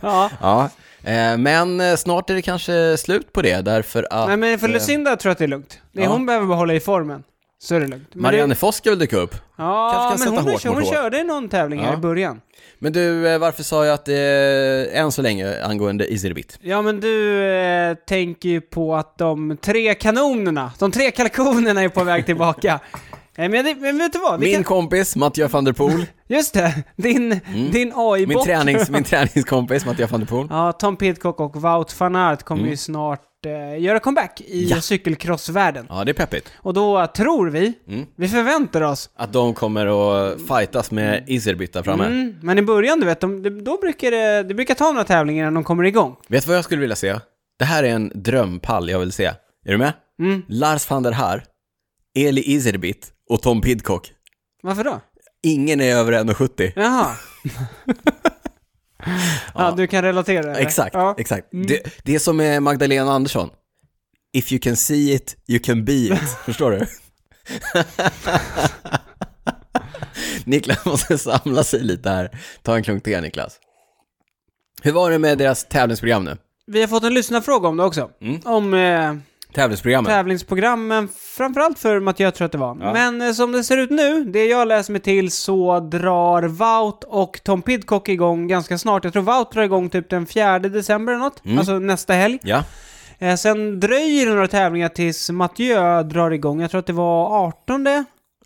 Speaker 2: Ja.
Speaker 1: Ja. Eh, Men eh, snart är det kanske slut på det, därför att...
Speaker 2: Nej men för Lucinda tror jag att det är lugnt. Det
Speaker 1: Eh. Ja.
Speaker 2: hon behöver bara hålla i formen. Så är det lugnt. Men
Speaker 1: Marianne
Speaker 2: det,
Speaker 1: Foss ska väl dyka upp? kanske
Speaker 2: ja,
Speaker 1: kan
Speaker 2: men
Speaker 1: sätta
Speaker 2: hon,
Speaker 1: hårt
Speaker 2: hon,
Speaker 1: mot
Speaker 2: hon
Speaker 1: hårt.
Speaker 2: körde någon tävling här
Speaker 1: Ja.
Speaker 2: i början.
Speaker 1: Men du, eh, varför sa jag att det eh, än så länge angående Izerbit?
Speaker 2: Ja men du eh, tänker ju på att de tre kanonerna, de tre kalkonerna är på väg tillbaka. Eh, men, det, men vet du vad? Vi
Speaker 1: Min
Speaker 2: kan,
Speaker 1: kompis Mattias van der Poel,
Speaker 2: just det, din, din
Speaker 1: Mm. min,
Speaker 2: AI-bock.
Speaker 1: tränings, min träningskompis Mattias van der Poel.
Speaker 2: Ja, Tom Pidcock och Wout van Aert kommer ju snart eh, göra comeback i
Speaker 1: Mm. Ja.
Speaker 2: cykelcrossvärlden.
Speaker 1: Ja, det är peppigt.
Speaker 2: Och då tror vi,
Speaker 1: Mm.
Speaker 2: vi förväntar oss,
Speaker 1: Att de kommer att fightas med Izerbit där framme.
Speaker 2: mm, men i början du vet, de, de, då brukar det, det brukar ta några tävlingar innan de kommer igång.
Speaker 1: Vet du vad jag skulle vilja se? Det här är en drömpall jag vill se. Är du med?
Speaker 2: Mm.
Speaker 1: Lars van der Haar, Eli Izerbit och Tom Pidcock.
Speaker 2: Varför då?
Speaker 1: Ingen är över 1,70.
Speaker 2: Jaha. ja, du kan relatera det? eller?
Speaker 1: Exakt,
Speaker 2: Ja.
Speaker 1: exakt. Det, det är som med Magdalena Andersson. If you can see it, you can be it. Förstår du? Niklas måste samla sig lite här. Ta en klunk te, Niklas. Hur var det med deras tävlingsprogram nu?
Speaker 2: Vi har fått en lyssnarfråga om det också.
Speaker 1: Mm.
Speaker 2: Om eh,
Speaker 1: Tävlingsprogrammet?
Speaker 2: tävlingsprogrammen, framförallt för Mathieu tror jag att det var. Men eh, som det ser ut nu, det jag läser mig till, så drar Wout och Tom Pidcock igång ganska snart. Jag tror Wout drar igång typ den 4 december eller något,
Speaker 1: Mm.
Speaker 2: alltså nästa helg.
Speaker 1: Ja.
Speaker 2: Eh, sen dröjer det några tävlingar tills Mathieu drar igång. Jag tror att det var 18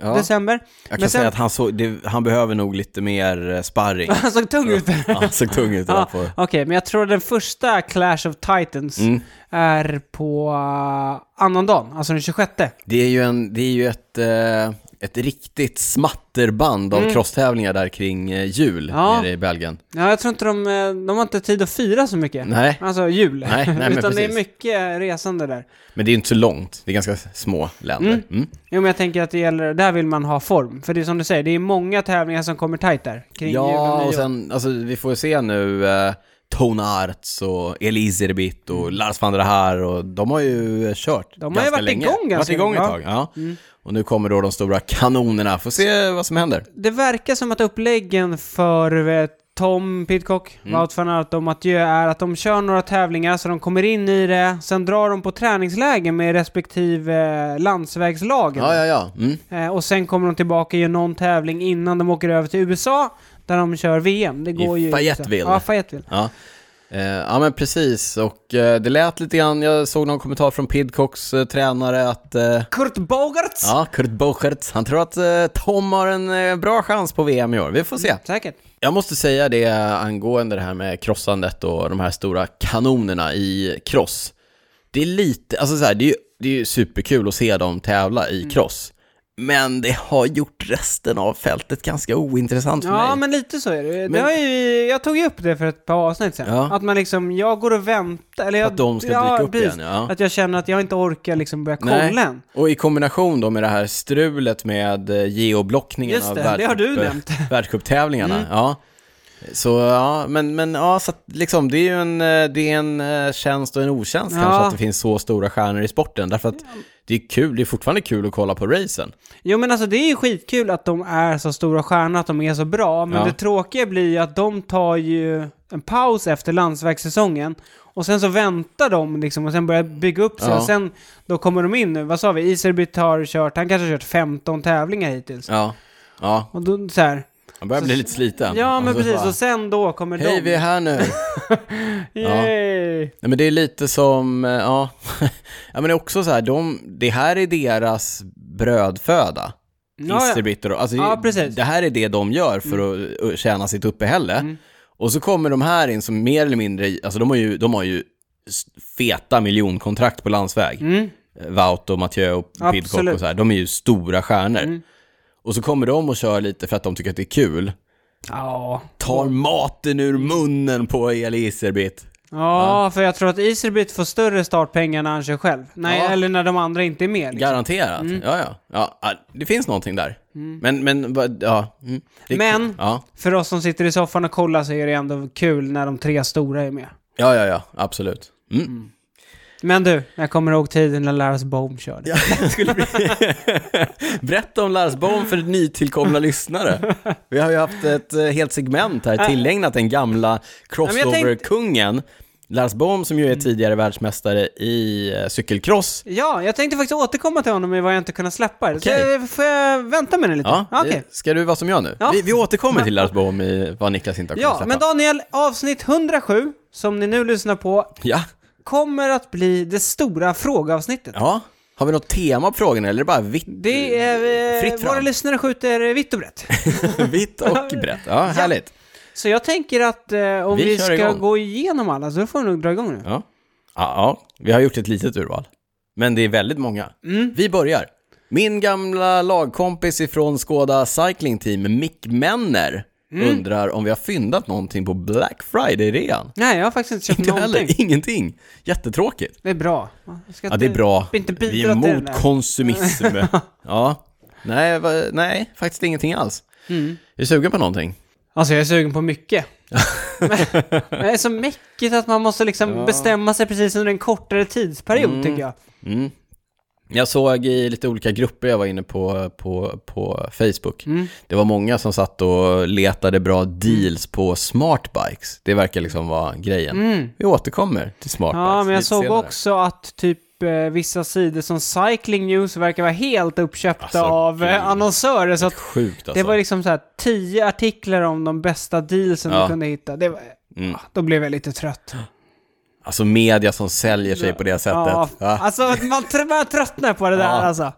Speaker 1: Ja.
Speaker 2: december.
Speaker 1: Jag kan
Speaker 2: Men
Speaker 1: säga
Speaker 2: sen,
Speaker 1: att han, såg, det, han behöver nog lite mer eh, sparring.
Speaker 2: han såg tung ut.
Speaker 1: Han såg tung ut idag
Speaker 2: Ja,
Speaker 1: på...
Speaker 2: Okej, men jag tror den första Clash of Titans
Speaker 1: Mm.
Speaker 2: är på uh, annandagen, alltså den 26.
Speaker 1: Det är ju, en, det är ju ett, eh, ett riktigt smatterband av crosstävlingar där kring eh, jul
Speaker 2: Mm. Ja.
Speaker 1: nere i Belgien.
Speaker 2: Ja, jag tror inte de, eh, de har inte tid att fira så mycket.
Speaker 1: Nej.
Speaker 2: Alltså jul.
Speaker 1: Nej, nej, men
Speaker 2: Utan det är
Speaker 1: precis.
Speaker 2: mycket resande där.
Speaker 1: Men det är ju inte så långt, det är ganska små länder. Mm.
Speaker 2: Jo, men jag tänker att det gäller, där vill man ha form. För det är som du säger, det är många tävlingar som kommer tajt där. Kring jul
Speaker 1: Ja,
Speaker 2: och,
Speaker 1: och
Speaker 2: nyår.
Speaker 1: sen, alltså vi får ju se nu eh, Tone Arts och Eliserbit och Lars van der Haar och de har ju eh, kört
Speaker 2: Mm. De har ju
Speaker 1: ganska
Speaker 2: varit
Speaker 1: länge.
Speaker 2: igång
Speaker 1: De har varit
Speaker 2: ganska
Speaker 1: igång
Speaker 2: länge,
Speaker 1: ett
Speaker 2: ja.
Speaker 1: tag.
Speaker 2: Mm.
Speaker 1: Ja. Och nu kommer då de stora kanonerna, får se vad som händer.
Speaker 2: Det verkar som att uppläggen för eh, Tom Pidcock,
Speaker 1: Mm.
Speaker 2: Wout van Aert och Mathieu är att de kör några tävlingar så de kommer in i det, sen drar de på träningsläger med respektive eh, landsvägslagen.
Speaker 1: Ja, ja, ja. Mm.
Speaker 2: Eh, och sen kommer de tillbaka och gör någon tävling innan de åker över till USA där de kör VM. Det går ju i
Speaker 1: Fayetteville.
Speaker 2: USA. Ja, Fayetteville.
Speaker 1: Ja. Eh, ja men precis, och eh, det lät lite grann, jag såg någon kommentar från Pidcocks eh, tränare att eh,
Speaker 2: Kurt Bogarts!
Speaker 1: Ja, Kurt Bochert, han tror att eh, Tom har en eh, bra chans på VM i år, vi får se.
Speaker 2: Säkert.
Speaker 1: Jag måste säga det angående det här med krossandet och de här stora kanonerna i cross. Det är lite, alltså så här, det är ju det är ju superkul att se dem tävla i
Speaker 2: Mm.
Speaker 1: cross. Men det har gjort resten av fältet ganska ointressant för
Speaker 2: Ja,
Speaker 1: mig.
Speaker 2: men lite så är det. det
Speaker 1: Men-
Speaker 2: har ju, jag tog ju upp det för ett par avsnitt sedan.
Speaker 1: Ja.
Speaker 2: Att man liksom, jag går och väntar. Eller jag,
Speaker 1: Att de ska dyka upp igen, ja.
Speaker 2: Att jag känner att jag inte orkar liksom börja kolla än.
Speaker 1: Och i kombination då med det här strulet med eh, geoblockningen
Speaker 2: Just
Speaker 1: av
Speaker 2: det, det har du
Speaker 1: världscup-
Speaker 2: nämnt. Mm.
Speaker 1: världscuptävlingarna. Ja. Så ja, men, men ja, så att, liksom, det är ju en, eh, det är en eh, tjänst och en otjänst
Speaker 2: Ja.
Speaker 1: kanske att det finns så stora stjärnor i sporten. Därför att det är kul, det är fortfarande kul att kolla på racen.
Speaker 2: Jo men alltså det är ju skitkul att de är så stora stjärnor, att de är så bra. Men
Speaker 1: Ja.
Speaker 2: det tråkiga blir ju att de tar ju en paus efter landsvägssäsongen. Och sen så väntar de liksom och sen börjar bygga upp sig.
Speaker 1: Ja.
Speaker 2: Och sen då kommer de in nu, vad sa vi, Iserbyt har kört, han kanske har kört 15 tävlingar hittills.
Speaker 1: Ja. Ja,
Speaker 2: Och då så här,
Speaker 1: man börjar
Speaker 2: Så-
Speaker 1: bli lite sliten.
Speaker 2: ja
Speaker 1: Och
Speaker 2: men
Speaker 1: så
Speaker 2: precis,
Speaker 1: alltså, bara,
Speaker 2: och sen då kommer
Speaker 1: Hej, vi
Speaker 2: de.
Speaker 1: är här nu. Ja.
Speaker 2: Yay!
Speaker 1: Nej, men det är lite som, eh, ja, ja men det är också så här, de, det här är deras brödföda.
Speaker 2: Ja, ja.
Speaker 1: Isterbit och alltså,
Speaker 2: Ja,
Speaker 1: det-
Speaker 2: precis. Mm.
Speaker 1: det här är det de gör för att uh, tjäna sitt uppehälle. Och så kommer de här in som mer eller mindre, alltså de har ju, de har ju s- feta miljonkontrakt på landsväg.
Speaker 2: Mm.
Speaker 1: Eh, Wout och Mathieu och Pidcock
Speaker 2: Absolut. Mm.
Speaker 1: och så här, de är ju stora stjärnor. Och så kommer de och kör lite för att de tycker att det är kul.
Speaker 2: Ja.
Speaker 1: Tar maten ur munnen på Eli Isterbit.
Speaker 2: Ja, för jag tror att Iserbyt får större startpengar när han kör själv. Nej,
Speaker 1: Ja.
Speaker 2: eller när de andra inte är med. Liksom.
Speaker 1: Garanterat. Ja, ja, ja. ja, Det finns någonting där. Men, men, vad- ja. Mm. Det är
Speaker 2: Mm. Men-
Speaker 1: kul. Ja.
Speaker 2: För oss som sitter i soffan och kollar så är det ändå kul när de tre stora är med.
Speaker 1: ja, ja, ja. Absolut. Mm.
Speaker 2: Men du, jag kommer ihåg tiden när Lars Bohm körde.
Speaker 1: Ja, jag skulle bli... Berätta om Lars Bohm för nytillkomna lyssnare. Vi har ju haft ett eh, helt segment här tillägnat den gamla
Speaker 2: Äh. men jag tänkte- Mm.
Speaker 1: crossover-kungen. Lars Bohm som ju är tidigare världsmästare i eh, cykelcross.
Speaker 2: Ja, jag tänkte faktiskt återkomma till honom i vad jag inte kunnat släppa.
Speaker 1: Okej.
Speaker 2: Så eh, får jag vänta med det lite?
Speaker 1: Ja,
Speaker 2: Ah, okej.
Speaker 1: det- ska du vara som jag nu?
Speaker 2: Ja.
Speaker 1: Vi, vi återkommer till Lars Bohm i vad Niklas inte har kunnat
Speaker 2: Ja,
Speaker 1: släppa.
Speaker 2: men Daniel, avsnitt 107, som ni nu lyssnar på,
Speaker 1: Ja,
Speaker 2: kommer att bli det stora frågeavsnittet.
Speaker 1: ja. Har vi något tema på frågan eller är det bara vitt,
Speaker 2: Det är... Eh,
Speaker 1: Mm. Fritt fram.
Speaker 2: våra lyssnare skjuter vitt och brett.
Speaker 1: vitt och brett? Ja, härligt.
Speaker 2: Så jag tänker att eh, om vi,
Speaker 1: Vi kör
Speaker 2: ska
Speaker 1: igång.
Speaker 2: gå igenom alla så får vi nog dra igång nu.
Speaker 1: Ja. Ja, ja, vi har gjort ett litet urval. Men det är väldigt många. Vi börjar. Min gamla lagkompis ifrån Skåda Cycling Team, Mick Menner, undrar om vi har fyndat någonting på Black Friday-rean.
Speaker 2: Nej, jag har faktiskt inte köpt
Speaker 1: Inte
Speaker 2: någonting.
Speaker 1: heller, ingenting. Jättetråkigt.
Speaker 2: Det är bra. Jag ska
Speaker 1: Ja, det är
Speaker 2: inte-
Speaker 1: bra.
Speaker 2: inte bidra
Speaker 1: Vi är
Speaker 2: till den där.
Speaker 1: mot konsumism. ja. Nej, va, nej, faktiskt ingenting alls. Mm. Är du sugen på någonting?
Speaker 2: Alltså jag är sugen på mycket. Men det är så mäckigt att man måste liksom bestämma sig precis under en kortare tidsperiod
Speaker 1: Mm.
Speaker 2: tycker jag.
Speaker 1: Jag såg i lite olika grupper jag var inne på på, på Facebook.
Speaker 2: Mm.
Speaker 1: Det var många som satt och letade bra deals på smartbikes. Det verkar liksom vara grejen. Vi återkommer till smartbikes
Speaker 2: Mm. Ja, men jag
Speaker 1: lite
Speaker 2: såg
Speaker 1: senare.
Speaker 2: också att typ eh, vissa sidor som Cycling News verkar vara helt uppköpta
Speaker 1: Alltså,
Speaker 2: av eh,
Speaker 1: gud.
Speaker 2: annonsörer. Så att
Speaker 1: Sjukt alltså.
Speaker 2: det var liksom så här tio artiklar om de bästa dealsen
Speaker 1: Ja.
Speaker 2: du kunde hitta. Det var,
Speaker 1: Mm.
Speaker 2: Då blev jag lite trött.
Speaker 1: Alltså media som säljer sig på det sättet.
Speaker 2: Ja,
Speaker 1: Ja.
Speaker 2: alltså man tr- börjar tröttna på det där
Speaker 1: Ja.
Speaker 2: alltså.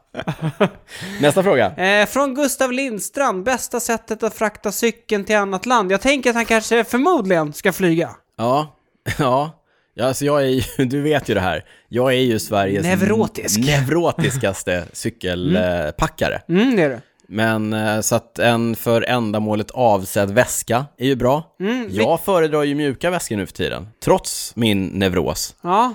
Speaker 1: Nästa fråga.
Speaker 2: Eh, från Gustav Lindstrand, bästa sättet att frakta cykeln till annat land. Jag tänker att han kanske förmodligen ska flyga.
Speaker 1: Ja, ja. ja alltså jag är ju, du vet ju det här. Jag är ju Sveriges
Speaker 2: Neurotisk.
Speaker 1: neurotiskaste cykelpackare.
Speaker 2: Mm, det är det.
Speaker 1: Men eh, så att en för ändamålet avsedd väska är ju bra. jag föredrar ju mjuka väskor nu för tiden, trots min neuros.
Speaker 2: Ja.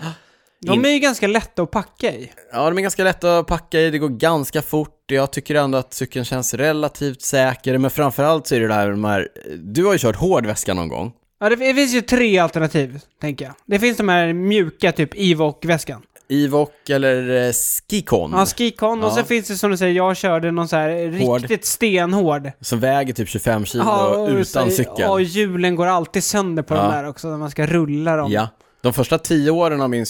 Speaker 2: De
Speaker 1: In-
Speaker 2: är ju ganska lätta att packa i.
Speaker 1: Ja, de är ganska lätta att packa i, det går ganska fort. Jag tycker ändå att cykeln känns relativt säker, men framförallt så är det det här med de här... Du har ju kört hård väska någon gång.
Speaker 2: Ja, det, det finns ju tre alternativ, tänker jag. Det finns de här mjuka, typ Evoc-väskan.
Speaker 1: Mm. Ivoc eller eh, Skicon,
Speaker 2: Ja, Skicon. Och
Speaker 1: Ja.
Speaker 2: sen finns det som du säger, jag körde någon så här
Speaker 1: Hård.
Speaker 2: riktigt stenhård.
Speaker 1: som väger typ 25 kilo
Speaker 2: och
Speaker 1: utan
Speaker 2: så-
Speaker 1: cykel.
Speaker 2: Ja, hjulen går alltid sönder på de
Speaker 1: Ja.
Speaker 2: där också, när man ska rulla dem.
Speaker 1: Ja. De första tio åren av min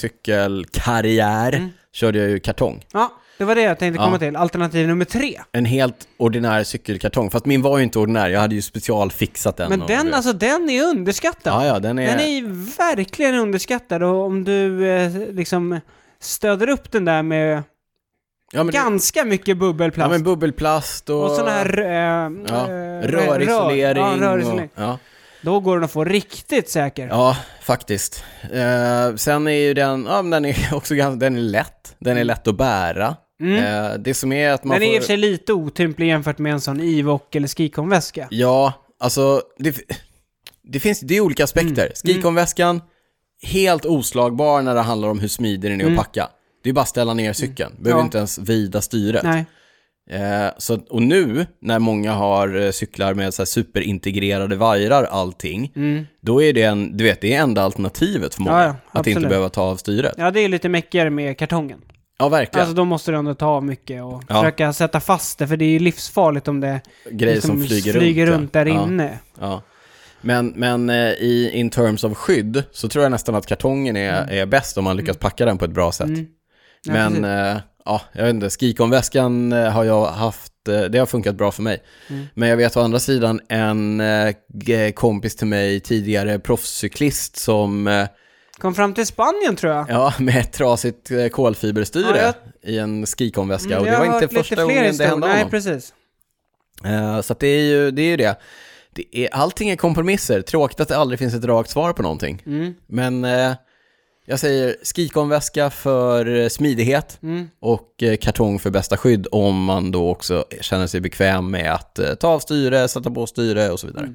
Speaker 1: cykelkarriär körde jag ju kartong.
Speaker 2: Ja, det var det jag tänkte
Speaker 1: Ja.
Speaker 2: komma till. Alternativ nummer tre.
Speaker 1: en helt ordinär cykelkartong. Fast min var ju inte ordinär, jag hade ju specialfixat den.
Speaker 2: Men
Speaker 1: och-
Speaker 2: den, alltså den är underskattad.
Speaker 1: Ja, ja, den är...
Speaker 2: Den är ju verkligen underskattad och om du eh, liksom stöder upp den där med
Speaker 1: ja, men,
Speaker 2: ganska mycket
Speaker 1: ja,
Speaker 2: bubbelplast.
Speaker 1: men bubbelplast och...
Speaker 2: alltså. och sån här eh,
Speaker 1: Ja,
Speaker 2: eh,
Speaker 1: rörisolering.
Speaker 2: rör, ja, rörisolering.
Speaker 1: Och, ja,
Speaker 2: Då går den att få riktigt säker.
Speaker 1: ja, faktiskt. Eh, sen är ju den, ja, men den är också ganska, den är lätt. Den är lätt att bära. Eh, det som är att man
Speaker 2: Mm. den är i och
Speaker 1: får...
Speaker 2: för sig lite otymplig jämfört med en sån Evoc eller Skicon-väska.
Speaker 1: Ja, alltså det, f- det finns, det är olika aspekter.
Speaker 2: Mm.
Speaker 1: Skikonväskan, helt oslagbar när det handlar om hur smidig den är att packa. Det är bara att ställa ner cykeln, behöver
Speaker 2: Mm. Ja.
Speaker 1: inte ens vrida styret.
Speaker 2: Nej.
Speaker 1: Eh, så, att- och nu när många har eh, cyklar med så här superintegrerade vajrar, allting, då är det, en, du vet, det är enda alternativet för många.
Speaker 2: Mm. Ja, ja,
Speaker 1: att inte
Speaker 2: absolut.
Speaker 1: behöva ta av styret. Ja,
Speaker 2: Ja, det är lite mäckigare med kartongen.
Speaker 1: verkligen.
Speaker 2: Alltså då måste du ändå ta av mycket och
Speaker 1: Ja.
Speaker 2: försöka sätta fast det, för det är ju livsfarligt om det
Speaker 1: Grejer som flyger,
Speaker 2: liksom runt,
Speaker 1: ja.
Speaker 2: där
Speaker 1: Ja.
Speaker 2: inne.
Speaker 1: Ja. Men, men eh, i in terms of skydd så tror jag nästan att kartongen är, är bäst om man lyckas packa den på ett bra sätt.
Speaker 2: Mm. Ja,
Speaker 1: men
Speaker 2: precis.
Speaker 1: eh, ja, jag vet inte, skikonväskan eh, har jag haft, eh, det har funkat bra för mig.
Speaker 2: Mm.
Speaker 1: Men jag vet å andra sidan en eh, g- kompis till mig, tidigare proffscyklist som, eh,
Speaker 2: Kom fram till Spanien tror jag.
Speaker 1: ja, med ett trasigt eh, kolfiberstyre
Speaker 2: Ja,
Speaker 1: i en skikonväska.
Speaker 2: Mm,
Speaker 1: och
Speaker 2: jag
Speaker 1: det
Speaker 2: har
Speaker 1: var
Speaker 2: hört
Speaker 1: inte
Speaker 2: lite
Speaker 1: första
Speaker 2: fler
Speaker 1: gången det
Speaker 2: historier.
Speaker 1: hände
Speaker 2: Nej,
Speaker 1: honom.
Speaker 2: precis.
Speaker 1: Eh, Så att det är ju det. Är ju det. Det är, allting är kompromisser. Tråkigt att det aldrig finns ett rakt svar på någonting. Men eh, jag säger skikonväska för eh, smidighet och eh, kartong för bästa skydd om man då också känner sig bekväm med att eh, ta av styre, sätta på styre och så vidare.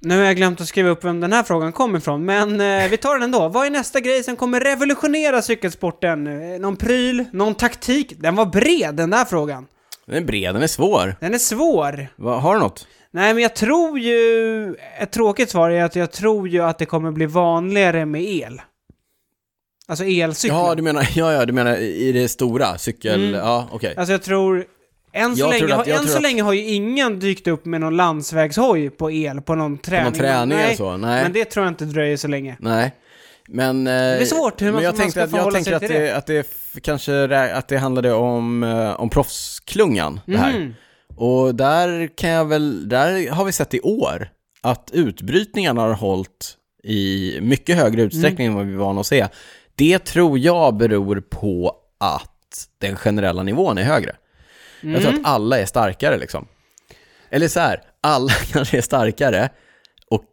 Speaker 2: Nu har jag glömt att skriva upp vem den här frågan kommer ifrån, men eh, vi tar den ändå. Vad är nästa grej som kommer revolutionera cykelsporten? Eh, Någon pryl? Någon taktik? Den var bred, den där frågan.
Speaker 1: Den är bred, den är svår.
Speaker 2: Den är svår.
Speaker 1: Va, har du något?
Speaker 2: Nej, men jag tror ju... Ett tråkigt svar är att jag tror ju att det kommer bli vanligare med el. Alltså elcyklar.
Speaker 1: Ja, du menar, ja, ja, du menar i det stora, cykel, ja, okej.
Speaker 2: Alltså jag tror... Än så,
Speaker 1: Jag
Speaker 2: länge,
Speaker 1: tror att- jag
Speaker 2: än
Speaker 1: tror
Speaker 2: så
Speaker 1: att-
Speaker 2: länge har ju ingen dykt upp med någon landsvägshoj på el på någon träning.
Speaker 1: träning eller så, nej.
Speaker 2: Men det tror jag inte dröjer så länge.
Speaker 1: Nej, men... Det
Speaker 2: är svårt hur man-
Speaker 1: men jag
Speaker 2: man ska
Speaker 1: tänkte att, jag
Speaker 2: förhålla
Speaker 1: tänkte
Speaker 2: sig
Speaker 1: att
Speaker 2: till
Speaker 1: det, att det f- kanske rä- att det handlade om, eh, om proffsklungan, det här.
Speaker 2: Mm.
Speaker 1: Och där kan jag väl, där har vi sett i år att utbrytningarna har hållit i mycket högre
Speaker 2: Mm.
Speaker 1: utsträckning än vad vi är vana att se. Det tror jag beror på att den generella nivån är högre. Jag tror
Speaker 2: Mm.
Speaker 1: att alla är starkare liksom. Eller så här, alla kanske är starkare och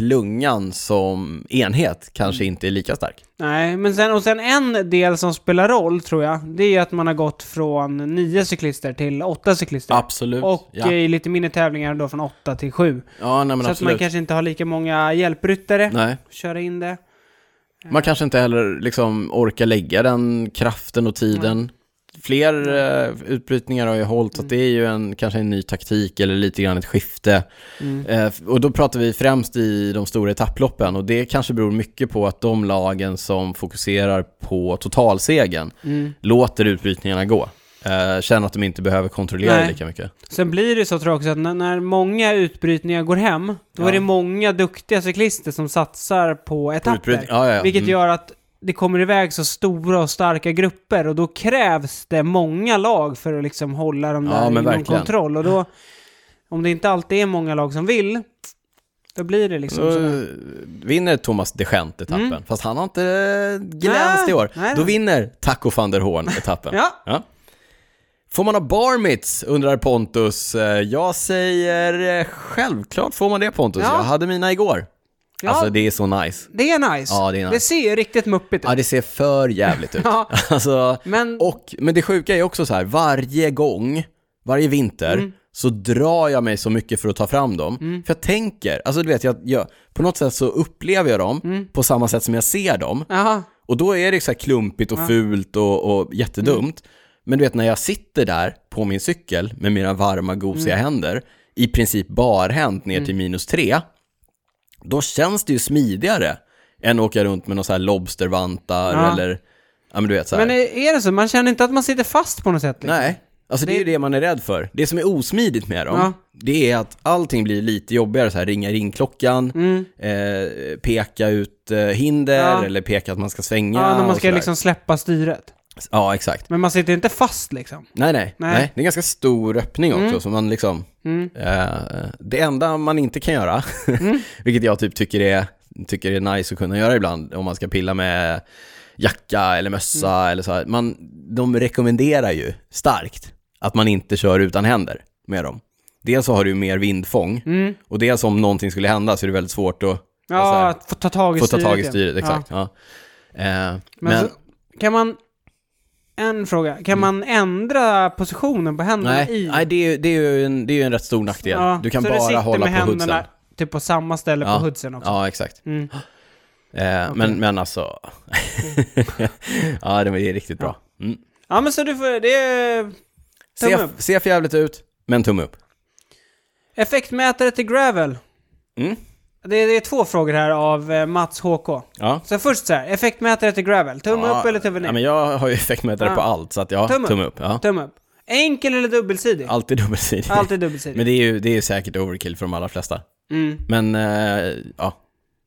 Speaker 1: klungan som enhet kanske inte är lika stark.
Speaker 2: Nej, men sen, och sen en del som spelar roll tror jag, det är att man har gått från nio cyklister till åtta cyklister.
Speaker 1: Absolut.
Speaker 2: Och eh,
Speaker 1: ja.
Speaker 2: i lite mindre tävlingar då från åtta till sju.
Speaker 1: ja, nej men
Speaker 2: så att man
Speaker 1: absolut.
Speaker 2: kanske inte har lika många hjälpryttare.
Speaker 1: Nej.
Speaker 2: Köra in det.
Speaker 1: Man kanske inte heller liksom orkar lägga den kraften och tiden. Fler eh, utbrytningar har ju hållit,
Speaker 2: Mm.
Speaker 1: så att det är ju en, kanske en ny taktik eller lite grann ett skifte. Eh, f- och då pratar vi främst i de stora etapploppen och det kanske beror mycket på att de lagen som fokuserar på totalsegen
Speaker 2: Mm.
Speaker 1: låter utbrytningarna gå. Eh, känner att de inte behöver kontrollera
Speaker 2: Nej.
Speaker 1: lika mycket.
Speaker 2: Sen blir det så tror jag också att när, när många utbrytningar går hem, då är det många duktiga cyklister som satsar på etapper.
Speaker 1: utbrytning- ja, ja, ja.
Speaker 2: Vilket
Speaker 1: Mm.
Speaker 2: gör att det kommer iväg så stora och starka grupper och då krävs det många lag för att liksom hålla dem
Speaker 1: Ja,
Speaker 2: där
Speaker 1: men
Speaker 2: inom
Speaker 1: verkligen.
Speaker 2: kontroll. Och då, om det inte alltid är många lag som vill, då blir det liksom
Speaker 1: Så
Speaker 2: sådär.
Speaker 1: vinner Thomas Degent etappen, fast han har inte eh, glänst
Speaker 2: Nej,
Speaker 1: i år.
Speaker 2: Mm. Ah, nej,
Speaker 1: Då
Speaker 2: nej.
Speaker 1: vinner Taco van der Hoorn etappen.
Speaker 2: Ja.
Speaker 1: Får man ha bar mitts, undrar Pontus. Eh, Jag säger eh, självklart får man det Pontus.
Speaker 2: Ja.
Speaker 1: Jag hade mina igår.
Speaker 2: Ja,
Speaker 1: Alltså
Speaker 2: det...
Speaker 1: det är så nice.
Speaker 2: är nice.
Speaker 1: Ja, det är nice.
Speaker 2: ser ju riktigt muppigt ut.
Speaker 1: Ja, det ser för jävligt ut.
Speaker 2: Ja.
Speaker 1: Alltså,
Speaker 2: Men
Speaker 1: och, men det sjuka är också så här, varje gång, varje vinter,
Speaker 2: Mm.
Speaker 1: så drar jag mig så mycket för att ta fram dem. För jag tänker, alltså du vet, jag, jag, på något sätt så upplever jag dem
Speaker 2: Mm.
Speaker 1: på samma sätt som jag ser dem.
Speaker 2: Jaha.
Speaker 1: Och då är det så här klumpigt och fult och, och jättedumt.
Speaker 2: Mm.
Speaker 1: Men du vet, när jag sitter där på min cykel med mina varma, gosiga
Speaker 2: Mm.
Speaker 1: händer, i princip barhänt ner till minus tre, då känns det ju smidigare än att åka runt med några så här lobstervantar
Speaker 2: Ja.
Speaker 1: eller, ja men du vet så här.
Speaker 2: men är, är det så? Man känner inte att man sitter fast på något sätt? Liksom.
Speaker 1: Nej, alltså det är ju det man är rädd för. Det som är osmidigt med dem,
Speaker 2: Ja.
Speaker 1: det är att allting blir lite jobbigare. Så här, ringa ringklockan, eh, peka ut eh, hinder
Speaker 2: Mm. Ja.
Speaker 1: eller peka att man ska svänga.
Speaker 2: Ja, när man
Speaker 1: och
Speaker 2: ska
Speaker 1: sådär.
Speaker 2: liksom släppa styret.
Speaker 1: Ja, exakt.
Speaker 2: Men man sitter inte fast liksom.
Speaker 1: Nej, nej,
Speaker 2: Nej. Mm.
Speaker 1: nej, Det är en ganska stor öppning också, så man liksom... Eh, det enda man inte kan göra,
Speaker 2: Mm.
Speaker 1: vilket jag typ tycker är, tycker är nice att kunna göra ibland, om man ska pilla med jacka eller mössa
Speaker 2: Mm.
Speaker 1: eller så här. Man, de rekommenderar ju starkt att man inte kör utan händer med dem. Dels så har du ju mer vindfång, och dels om någonting skulle hända så är det väldigt svårt att alltså
Speaker 2: Mm. Ja,
Speaker 1: här,
Speaker 2: att få ta tag i
Speaker 1: få ta
Speaker 2: styret.
Speaker 1: tag i
Speaker 2: igen.
Speaker 1: styret.
Speaker 2: Ja.
Speaker 1: Exakt. Ja. Eh,
Speaker 2: Men,
Speaker 1: men, Mm.
Speaker 2: så, kan man... En fråga. Kan man ändra positionen på händerna
Speaker 1: Nej,
Speaker 2: Mm, i...
Speaker 1: nej det, är ju, det, är ju en, det är ju en rätt stor nackdel.
Speaker 2: Ja,
Speaker 1: du kan
Speaker 2: så du
Speaker 1: bara
Speaker 2: sitter
Speaker 1: hålla
Speaker 2: med
Speaker 1: på
Speaker 2: händerna
Speaker 1: hoodsen.
Speaker 2: typ på samma ställe
Speaker 1: Ja,
Speaker 2: på hoodsen också.
Speaker 1: Ja, exakt.
Speaker 2: Mm.
Speaker 1: Eh, men, men alltså... ja, det är riktigt bra. Mm.
Speaker 2: Ja, men så du får... Det är...
Speaker 1: Se,
Speaker 2: Tumme upp.
Speaker 1: se för jävligt ut, men tumme upp.
Speaker 2: Effektmätare till gravel.
Speaker 1: Mm.
Speaker 2: Det, det är två frågor här av eh, Mats HK.
Speaker 1: Ja.
Speaker 2: Så först så här, effektmätare till gravel. Tumme
Speaker 1: Ja,
Speaker 2: upp eller tumme ner?
Speaker 1: Ja, men jag har ju effektmätare
Speaker 2: Ja.
Speaker 1: på allt, så att ja,
Speaker 2: Tumme
Speaker 1: tumme,
Speaker 2: upp.
Speaker 1: upp. Ja.
Speaker 2: Tumme upp. Enkel eller dubbelsidig?
Speaker 1: Alltid dubbelsidig.
Speaker 2: Alltid dubbelsidig.
Speaker 1: Men det är ju det är ju säkert overkill för de allra flesta.
Speaker 2: Mm.
Speaker 1: Men eh, ja,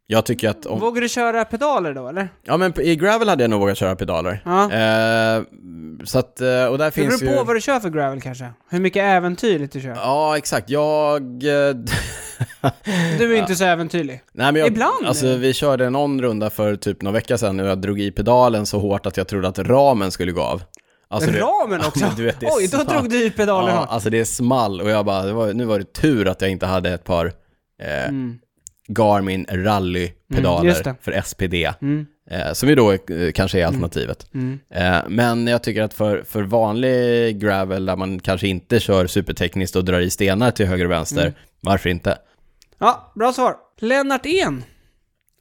Speaker 1: jag tycker att om...
Speaker 2: Vågar du köra pedaler då eller?
Speaker 1: Ja men i Gravel hade jag nog vågat köra pedaler.
Speaker 2: Ja.
Speaker 1: Eh, så att, eh, och där
Speaker 2: Det
Speaker 1: finns
Speaker 2: beror på
Speaker 1: ju...
Speaker 2: vad du kör för gravel kanske. Hur mycket äventyrligt du kör.
Speaker 1: Ja, exakt. Jag... eh,
Speaker 2: Du är inte så äventyrlig.
Speaker 1: Nej, men jag,
Speaker 2: Ibland.
Speaker 1: Alltså, vi körde någon runda för typ några veckor sedan och jag drog i pedalen så hårt att jag trodde att ramen skulle gå av. Alltså, det-
Speaker 2: Ramen
Speaker 1: Ja,
Speaker 2: också!
Speaker 1: men du vet, det är
Speaker 2: Oj, då
Speaker 1: smart.
Speaker 2: drog du i pedalen
Speaker 1: Ja,
Speaker 2: ja.
Speaker 1: alltså det är small och jag bara, det var, nu var det tur att jag inte hade ett par eh, Garmin
Speaker 2: Mm,
Speaker 1: rally-pedaler
Speaker 2: just det.
Speaker 1: för SPD,
Speaker 2: Mm.
Speaker 1: eh, som ju då eh, kanske är alternativet.
Speaker 2: Mm.
Speaker 1: Eh, men jag tycker att för, för vanlig gravel, där man kanske inte kör supertekniskt och drar i stenar till höger och vänster,
Speaker 2: Mm.
Speaker 1: varför inte?
Speaker 2: ja, bra svar. Lennart En.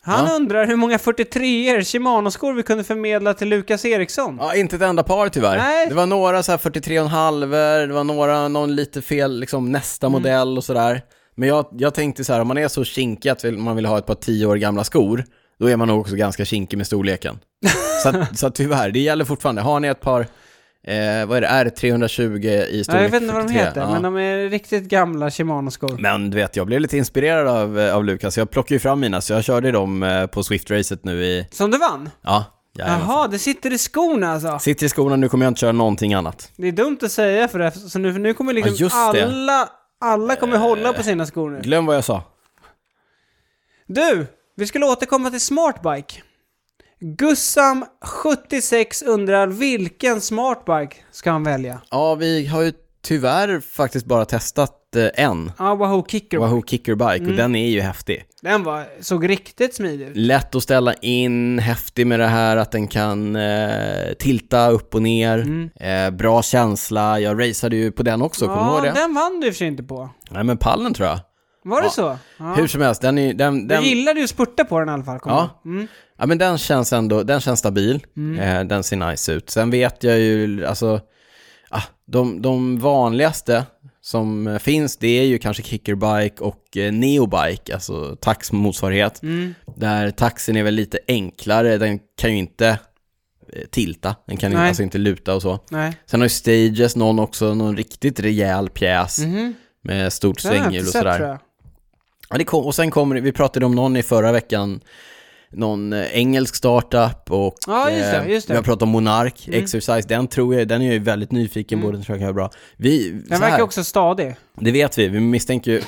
Speaker 2: Han
Speaker 1: Ja.
Speaker 2: undrar hur många 43er Shimano-skor vi kunde förmedla till Lukas Eriksson.
Speaker 1: Ja, inte ett enda par tyvärr.
Speaker 2: Nej.
Speaker 1: Det var några så här 43,5, det var några, någon lite fel, liksom nästa
Speaker 2: Mm.
Speaker 1: modell och sådär. Men jag, jag tänkte så här, om man är så kinkig att vill- man vill ha ett par 10 år gamla skor, då är man nog också ganska kinkig med storleken. så, att, så att tyvärr, det gäller fortfarande. Har ni ett par, eh, vad är det, R320 i storlek
Speaker 2: Ja, jag vet inte vad de
Speaker 1: 43?
Speaker 2: heter,
Speaker 1: Ja.
Speaker 2: men de är riktigt gamla Shimano-skor.
Speaker 1: Men du vet, jag blev lite inspirerad av, eh, av Lukas. Jag plockade ju fram mina, så jag körde dem eh, på Swift-racet nu i...
Speaker 2: Som du vann?
Speaker 1: Ja, jajamensan.
Speaker 2: Jaha, det sitter i skorna alltså.
Speaker 1: Sitter i skorna, nu kommer jag inte köra någonting annat.
Speaker 2: Det är dumt att säga för det, så nu, för nu kommer liksom
Speaker 1: Ja, just det. Eh,
Speaker 2: alla, alla kommer hålla på sina skor nu.
Speaker 1: Glöm vad jag sa.
Speaker 2: Du, vi skulle återkomma till Smartbike. Gussam76 undrar vilken Smartbike ska han välja?
Speaker 1: Ja, vi har ju tyvärr faktiskt bara testat eh, en.
Speaker 2: Ja, Wahoo Kicker. Mm.
Speaker 1: Wahoo Kickerbike och den är ju häftig.
Speaker 2: Den var, såg riktigt smidig ut.
Speaker 1: Lätt att ställa in, häftig med det här att den kan eh, tilta upp och ner.
Speaker 2: Mm.
Speaker 1: Eh, bra känsla, jag raceade ju på den också, kommer du
Speaker 2: Ja,
Speaker 1: ihåg det?
Speaker 2: den vann du i och för sig inte på.
Speaker 1: Nej men pallen tror jag.
Speaker 2: Var det
Speaker 1: Ja.
Speaker 2: så? Ja.
Speaker 1: Hur som helst, den är den, den,
Speaker 2: Du gillade ju att spurta på den i alla fall, kommer
Speaker 1: Ja.
Speaker 2: jag ihåg. mm.
Speaker 1: ja, men den känns ändå, den känns stabil, eh, den ser nice ut. Sen vet jag ju, alltså, ah, de, de vanligaste som eh, finns, det är ju kanske kickerbike och eh, neobike, alltså tax motsvarighet.
Speaker 2: Mm.
Speaker 1: Där taxen är väl lite enklare, den kan ju inte eh, tilta, den kan ju,
Speaker 2: Nej.
Speaker 1: alltså inte luta och så.
Speaker 2: Nej.
Speaker 1: Sen har ju Stages någon också, någon riktigt rejäl pjäs
Speaker 2: Mhm.
Speaker 1: med stort
Speaker 2: Den har jag
Speaker 1: svänghjul
Speaker 2: inte
Speaker 1: och
Speaker 2: sett
Speaker 1: sådär.
Speaker 2: tror jag.
Speaker 1: Ja, det kom, och sen kommer det- vi pratade om någon i förra veckan, någon eh, engelsk startup och
Speaker 2: Ja, just det,
Speaker 1: eh,
Speaker 2: just det. Mm.
Speaker 1: vi har pratat om Monark, Exercise, den tror jag, den är jag ju väldigt nyfiken på, den tror jag kan vara bra. Vi, så
Speaker 2: Den
Speaker 1: här,
Speaker 2: verkar också stadig.
Speaker 1: det vet vi, vi misstänker ju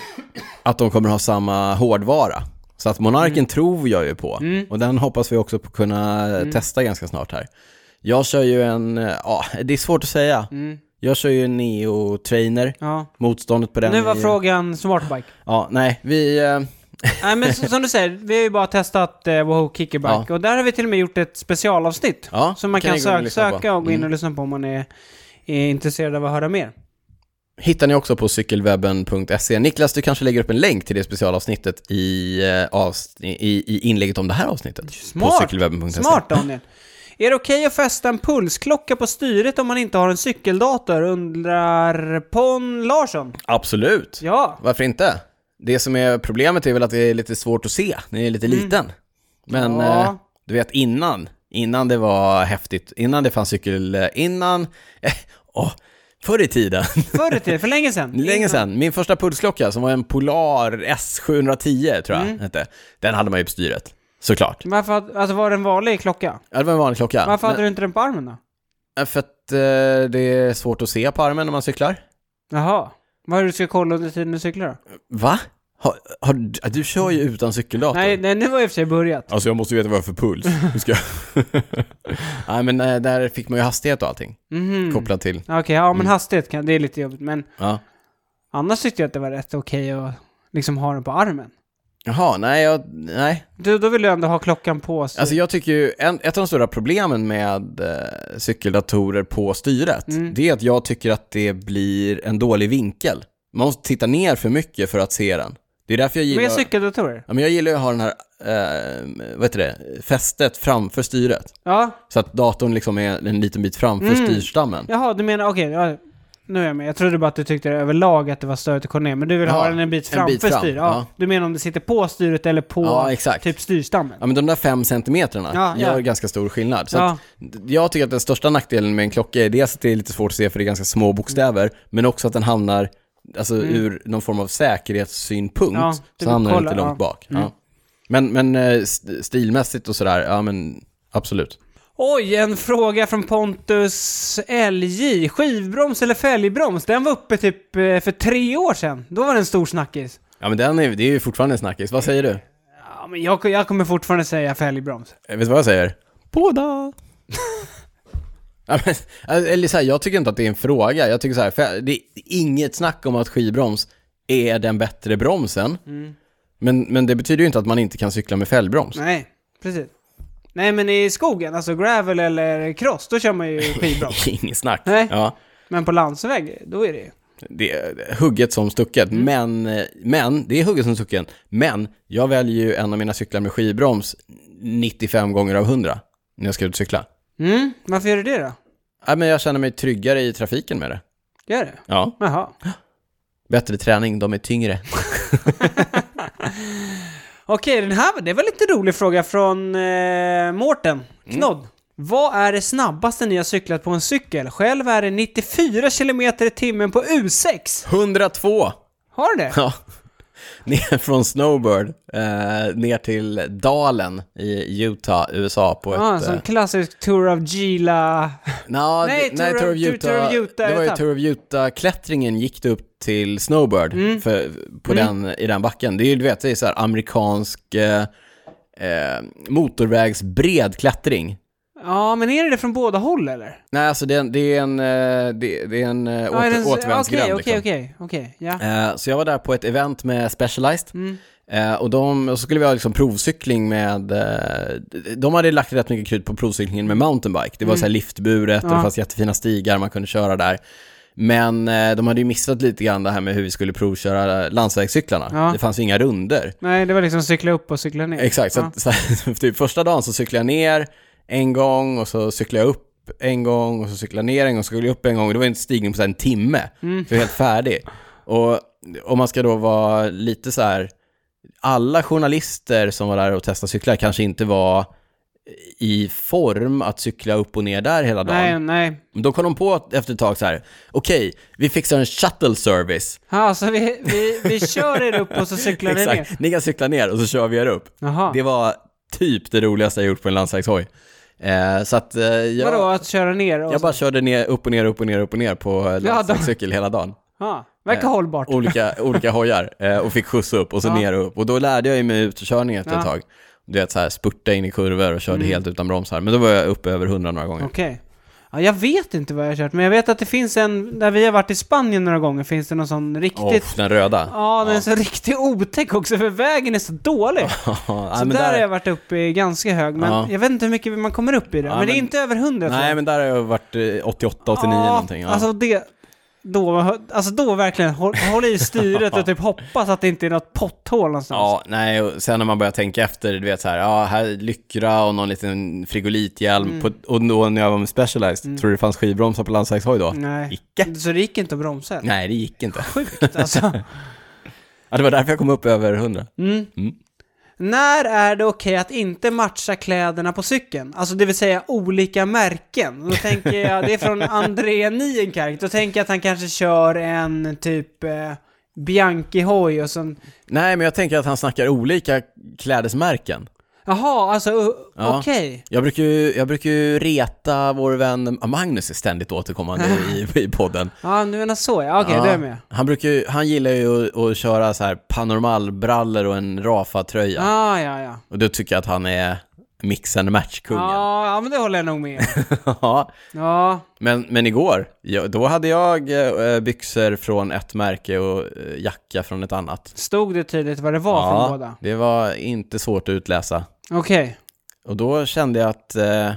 Speaker 1: att de kommer ha samma hårdvara. Så att Monarken
Speaker 2: Mm.
Speaker 1: tror jag ju på, och den hoppas vi också på kunna
Speaker 2: Mm.
Speaker 1: eh, testa ganska snart här. Jag kör ju en, eh, ja, det är svårt att säga.
Speaker 2: Mm.
Speaker 1: Jag kör ju en Neo-trainer,
Speaker 2: Ja.
Speaker 1: motståndet på den
Speaker 2: Nu var
Speaker 1: är ju-
Speaker 2: frågan Smartbike.
Speaker 1: Ja, nej, vi... eh,
Speaker 2: Nej men s- som du säger, vi har ju bara testat eh, Wahoo Kickerbike och där har vi till och med gjort ett specialavsnitt.
Speaker 1: Ja,
Speaker 2: som man
Speaker 1: kan
Speaker 2: kan,
Speaker 1: ni gå in och
Speaker 2: sök,
Speaker 1: lyssna på. Mm.
Speaker 2: söka och gå in och lyssna på om man är, är intresserad av att höra mer.
Speaker 1: hittar ni också på cykelwebben.se. Niklas, du kanske lägger upp en länk till det specialavsnittet i, eh, avs- i, i inlägget om det här avsnittet. På
Speaker 2: Smart!
Speaker 1: cykelwebben.se.
Speaker 2: Smart Daniel! Är det okej att fästa en pulsklocka på styret om man inte har en cykeldator? Undrar Pon Larsson.
Speaker 1: Absolut.
Speaker 2: Ja,
Speaker 1: Varför inte? Det som är problemet är väl att det är lite svårt att se. Den är lite liten. Men
Speaker 2: Mm. Ja.
Speaker 1: eh, du vet innan, innan det var häftigt, innan det fanns cykel, eh, innan, eh, åh, förr i tiden,
Speaker 2: förr i tiden, för länge sedan.
Speaker 1: länge sedan, min första pulsklocka som var en Polar S710 tror
Speaker 2: Mm.
Speaker 1: jag hette, den hade man ju på styret, såklart.
Speaker 2: Varför, hade- alltså var det en vanlig klocka?
Speaker 1: Ja, det var en vanlig klocka.
Speaker 2: Varför
Speaker 1: Men-
Speaker 2: hade du inte den på armen då?
Speaker 1: Ja, För att eh, det är svårt att se på armen när man cyklar.
Speaker 2: Jaha. Vad är det du ska kolla under tiden du cyklar då?
Speaker 1: Va? Har, har, du- du kör ju utan cykeldator.
Speaker 2: Nej, nej, nu har jag i och för sig börjat.
Speaker 1: Alltså jag måste veta vad jag har för puls. Hur ska jag... Nej men eh, där fick man ju hastighet och allting
Speaker 2: Mhm.
Speaker 1: kopplat till.
Speaker 2: Okej, ja
Speaker 1: Mm.
Speaker 2: men hastighet kan, det är lite jobbigt. Men
Speaker 1: Ja.
Speaker 2: annars tyckte jag att det var rätt okej att liksom ha den på armen.
Speaker 1: Jaha, nej, jag, nej.
Speaker 2: Du, då vill du ändå ha klockan på sig.
Speaker 1: Alltså jag tycker ju, en, ett av de stora problemen med eh, cykeldatorer på styret,
Speaker 2: Mm.
Speaker 1: det är att jag tycker att det blir en dålig vinkel. Man måste titta ner för mycket för att se den. Det är därför jag gillar...
Speaker 2: Med cykeldatorer?
Speaker 1: Ja, men jag gillar ju att ha den här, eh, vad heter det, fästet framför styret.
Speaker 2: Ja, Mm.
Speaker 1: Så att datorn liksom är en liten bit framför styrstammen.
Speaker 2: jaha, du menar okej. ja. Nu är jag med. Jag trodde bara att du tyckte överlag att det var störigt att kolla ner, men du vill
Speaker 1: Ja,
Speaker 2: ha den en bit
Speaker 1: en
Speaker 2: framför
Speaker 1: bit fram,
Speaker 2: styret. Ja.
Speaker 1: ja.
Speaker 2: Du menar om det sitter på styret eller på
Speaker 1: Ja, exakt.
Speaker 2: typ styrstammen?
Speaker 1: Ja men de där fem centimeterna
Speaker 2: Ja,
Speaker 1: gör
Speaker 2: ja.
Speaker 1: ganska stor skillnad. Så
Speaker 2: Ja.
Speaker 1: att jag tycker att den största nackdelen med en klocka är dels att det är lite svårt att se för det är ganska
Speaker 2: Mm.
Speaker 1: små bokstäver, men också att den hamnar, alltså ur någon form av säkerhetssynpunkt,
Speaker 2: Ja, det
Speaker 1: så hamnar den
Speaker 2: kollar,
Speaker 1: lite långt
Speaker 2: ja. Mm.
Speaker 1: bak. Ja. Men, men eh, st- stilmässigt och sådär, ja men absolut.
Speaker 2: Oj, en fråga från Pontus LJ. Skivbroms eller fälgbroms? Den var uppe typ eh, för tre år sedan. Då var det en stor snackis.
Speaker 1: Ja men den är, det är ju fortfarande en snackis, vad säger du?
Speaker 2: Ja, men jag, jag kommer fortfarande säga fälgbroms.
Speaker 1: Eh, Vet du vad jag säger? Båda! ja, men, alltså, eller så här, jag tycker inte att det är en fråga. Jag tycker så här, för det är inget snack om att skivbroms är den bättre bromsen. Men, men det betyder ju inte att man inte kan cykla med fällbroms.
Speaker 2: Mm. Nej, precis. Nej, men i skogen, alltså gravel eller cross, då kör man ju skivbroms.
Speaker 1: Inget snack.
Speaker 2: Nej.
Speaker 1: Ja,
Speaker 2: men på landsväg, då är det ju...
Speaker 1: det är hugget som stucket,
Speaker 2: Mm.
Speaker 1: men, eh, men, det är hugget som stucket, men jag väljer ju en av mina cyklar med skivbroms 95 gånger av 100 när jag ska ut och cykla.
Speaker 2: Mm, varför gör du det då?
Speaker 1: Ja, men jag känner mig tryggare i trafiken med det.
Speaker 2: Gör det?
Speaker 1: Ja.
Speaker 2: Jaha.
Speaker 1: Bättre träning, de är tyngre.
Speaker 2: Okej, den här det var en lite rolig fråga från eh, Mårten Knodd. Vad är det snabbaste ni har cyklat på en cykel? Själv är det 94 km i timmen på U6.
Speaker 1: 102!
Speaker 2: Har du det?
Speaker 1: Ja. Ner från Snowbird, eh, ner till Dalen i Utah, USA på
Speaker 2: Ja, en
Speaker 1: ett...
Speaker 2: sån
Speaker 1: Eh,
Speaker 2: klassisk Tour of Gila.
Speaker 1: na,
Speaker 2: Nej,
Speaker 1: det-
Speaker 2: Tour of-
Speaker 1: Tour of
Speaker 2: Tour-
Speaker 1: Utah.
Speaker 2: Tour of Utah
Speaker 1: det var ju
Speaker 2: etapp.
Speaker 1: Tour of Utah-klättringen gick det upp till Snowbird
Speaker 2: Mm.
Speaker 1: för, på den, i den backen. Det är ju, du vet, det är så här amerikansk eh, eh, motorvägsbred klättring.
Speaker 2: Ja, men är det det från båda håll eller?
Speaker 1: Nej, alltså det är en, det är en, eh, det, det är en eh,
Speaker 2: Ja, är det
Speaker 1: åter,
Speaker 2: en-
Speaker 1: återvändsgränd.
Speaker 2: Okej,
Speaker 1: liksom.
Speaker 2: okej, okej, okej. Ja. Mm.
Speaker 1: Eh, Så jag var där på ett event med Specialized. Eh, Och, de, och så skulle vi ha liksom provcykling med... eh, De hade lagt rätt mycket krut på provcyklingen med mountainbike. Det var så här liftburet och det
Speaker 2: Mm. Ja.
Speaker 1: fanns jättefina stigar man kunde köra där. Men eh, de hade ju missat lite grann det här med hur vi skulle provköra landsvägscyklarna.
Speaker 2: Ja.
Speaker 1: Det fanns ju inga runder.
Speaker 2: Nej, det var liksom cykla upp och cykla ner.
Speaker 1: Exakt, så,
Speaker 2: Ja.
Speaker 1: att, så här, typ första dagen så cyklade jag ner en gång och så cyklade jag upp en gång och så cyklade jag ner en gång och så cyklade jag upp en gång. Det var en stigning på så här, en timme,
Speaker 2: Mm.
Speaker 1: så jag var helt färdig. Och om man ska då vara lite så här, alla journalister som var där och testade cyklar kanske inte var i form att cykla upp och ner där hela dagen.
Speaker 2: Nej, nej.
Speaker 1: Men Då kom de på att- efter ett tag så här, okej, vi fixar en shuttle service.
Speaker 2: Ja, så vi, vi, vi kör er upp och så cyklar ni ner.
Speaker 1: Exakt, ni kan cykla ner och så kör vi er upp.
Speaker 2: Jaha.
Speaker 1: Det var typ det roligaste jag gjort på en landsvägshoj. Eh, så att eh, jag,
Speaker 2: Vadå, att köra ner? Och
Speaker 1: jag
Speaker 2: så?
Speaker 1: bara körde ner, upp och ner, upp och ner, upp och ner på eh, landsvägscykel hela dagen.
Speaker 2: Ja,
Speaker 1: Eh,
Speaker 2: verkar hållbart.
Speaker 1: Olika, olika hojar eh, och fick skjuts upp och så
Speaker 2: Ja.
Speaker 1: ner och upp. Och då lärde jag ju mig utkörning efter
Speaker 2: Ja. Mm.
Speaker 1: ett tag. Du vet så här, spurta in i kurvor och körde helt utan bromsar. Men då var jag uppe över 100 några gånger.
Speaker 2: Okej. Ja, jag vet inte vad jag har kört, men jag vet att det finns en, där vi har varit i Spanien några gånger, finns det någon sån riktigt...
Speaker 1: Åh, den röda.
Speaker 2: Ja, den är så riktigt otäck också, för vägen är så dålig.
Speaker 1: Ja,
Speaker 2: Så
Speaker 1: men
Speaker 2: där, har jag varit uppe i ganska hög, men
Speaker 1: Ja.
Speaker 2: jag vet inte hur mycket man kommer upp i det. men, det är
Speaker 1: men-
Speaker 2: inte över 100 tror
Speaker 1: Nej,
Speaker 2: jag.
Speaker 1: men där har jag varit eh, 88, 89
Speaker 2: Ja,
Speaker 1: någonting. Ja.
Speaker 2: Alltså det... Då, alltså då verkligen, håll, håll i styret och typ hoppas att det inte är något potthål någonstans.
Speaker 1: Ja, nej, och sen när man börjar tänka efter, du vet så här, ja, här är lyckra och någon liten frigolithjälm.
Speaker 2: Mm.
Speaker 1: På, och då när jag var med Specialized, tror du det fanns skivbromsar på landsvägshoj då?
Speaker 2: Nej.
Speaker 1: Icke.
Speaker 2: Så det gick inte att bromsa? eller?
Speaker 1: Nej, det gick inte.
Speaker 2: Sjukt alltså.
Speaker 1: Ja, det var därför jag kom upp över 100.
Speaker 2: Mm. När är det okej att inte matcha kläderna på cykeln? Alltså det vill säga olika märken. Då tänker jag, det är från André Nienkark. Då tänker jag att han kanske kör en typ eh, Bianchi-hoj och sen...
Speaker 1: Nej, men jag tänker att han snackar olika klädesmärken.
Speaker 2: Jaha, alltså uh,
Speaker 1: Ja.
Speaker 2: okej.
Speaker 1: Jag brukar, ju, jag brukar ju reta vår vän, ja, Magnus är ständigt återkommande i, i podden.
Speaker 2: Ja, du menar så ja. Okej, då är jag med.
Speaker 1: han, brukar ju, han gillar ju att, att köra så här panormalbrallor och en Rafa-tröja.
Speaker 2: Ah, ja, ja.
Speaker 1: Och då tycker jag att han är mix and match-kungen.
Speaker 2: Ja, ja, men det håller jag nog med om.
Speaker 1: Ja,
Speaker 2: Ja,
Speaker 1: men, men igår, ja, då hade jag eh, byxor från ett märke och eh, jacka från ett annat.
Speaker 2: stod det tydligt vad det var från båda?
Speaker 1: det var inte svårt att utläsa.
Speaker 2: Okej,
Speaker 1: Och då kände jag att eh,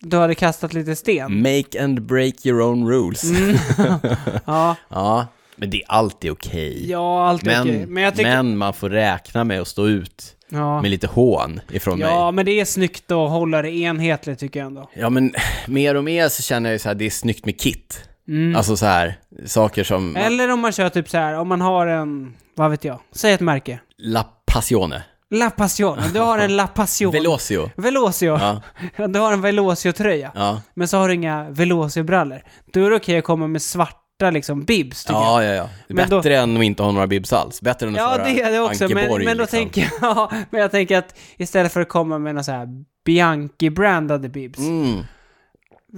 Speaker 2: du hade kastat lite sten.
Speaker 1: make and break your own rules.
Speaker 2: Mm. Ja,
Speaker 1: Ja, men det är alltid okej.
Speaker 2: ja allt är
Speaker 1: men,
Speaker 2: okej. Men jag tycker...
Speaker 1: men man får räkna med att stå ut
Speaker 2: ja.
Speaker 1: med lite hån ifrån mig.
Speaker 2: Ja, men det är snyggt att hålla det enhetligt tycker jag ändå.
Speaker 1: Ja, men mer och mer så känner jag ju så här, det är snyggt med kit. Alltså så här, saker som
Speaker 2: Mm. Eller om man kör typ så här, om man har en, vad vet jag, säg ett märke.
Speaker 1: La Passione,
Speaker 2: La Passion. Du har en La Passion.
Speaker 1: Velocio.
Speaker 2: Velocio.
Speaker 1: Ja.
Speaker 2: Du har en Velocio-tröja.
Speaker 1: Ja.
Speaker 2: Men så har du inga Velocio-brallor. Då är det okej att komma med svarta liksom bibs, tycker jag.
Speaker 1: Ja, ja, ja. Det är
Speaker 2: Men då-
Speaker 1: Bättre än att inte ha några bibs alls. Bättre än att
Speaker 2: Ja,
Speaker 1: föra
Speaker 2: det är det också. Men,
Speaker 1: Ankeborg,
Speaker 2: men då
Speaker 1: liksom.
Speaker 2: tänker jag, ja, men jag tänker att istället för att komma med några så här Bianchi-brandade bibs,
Speaker 1: Mm.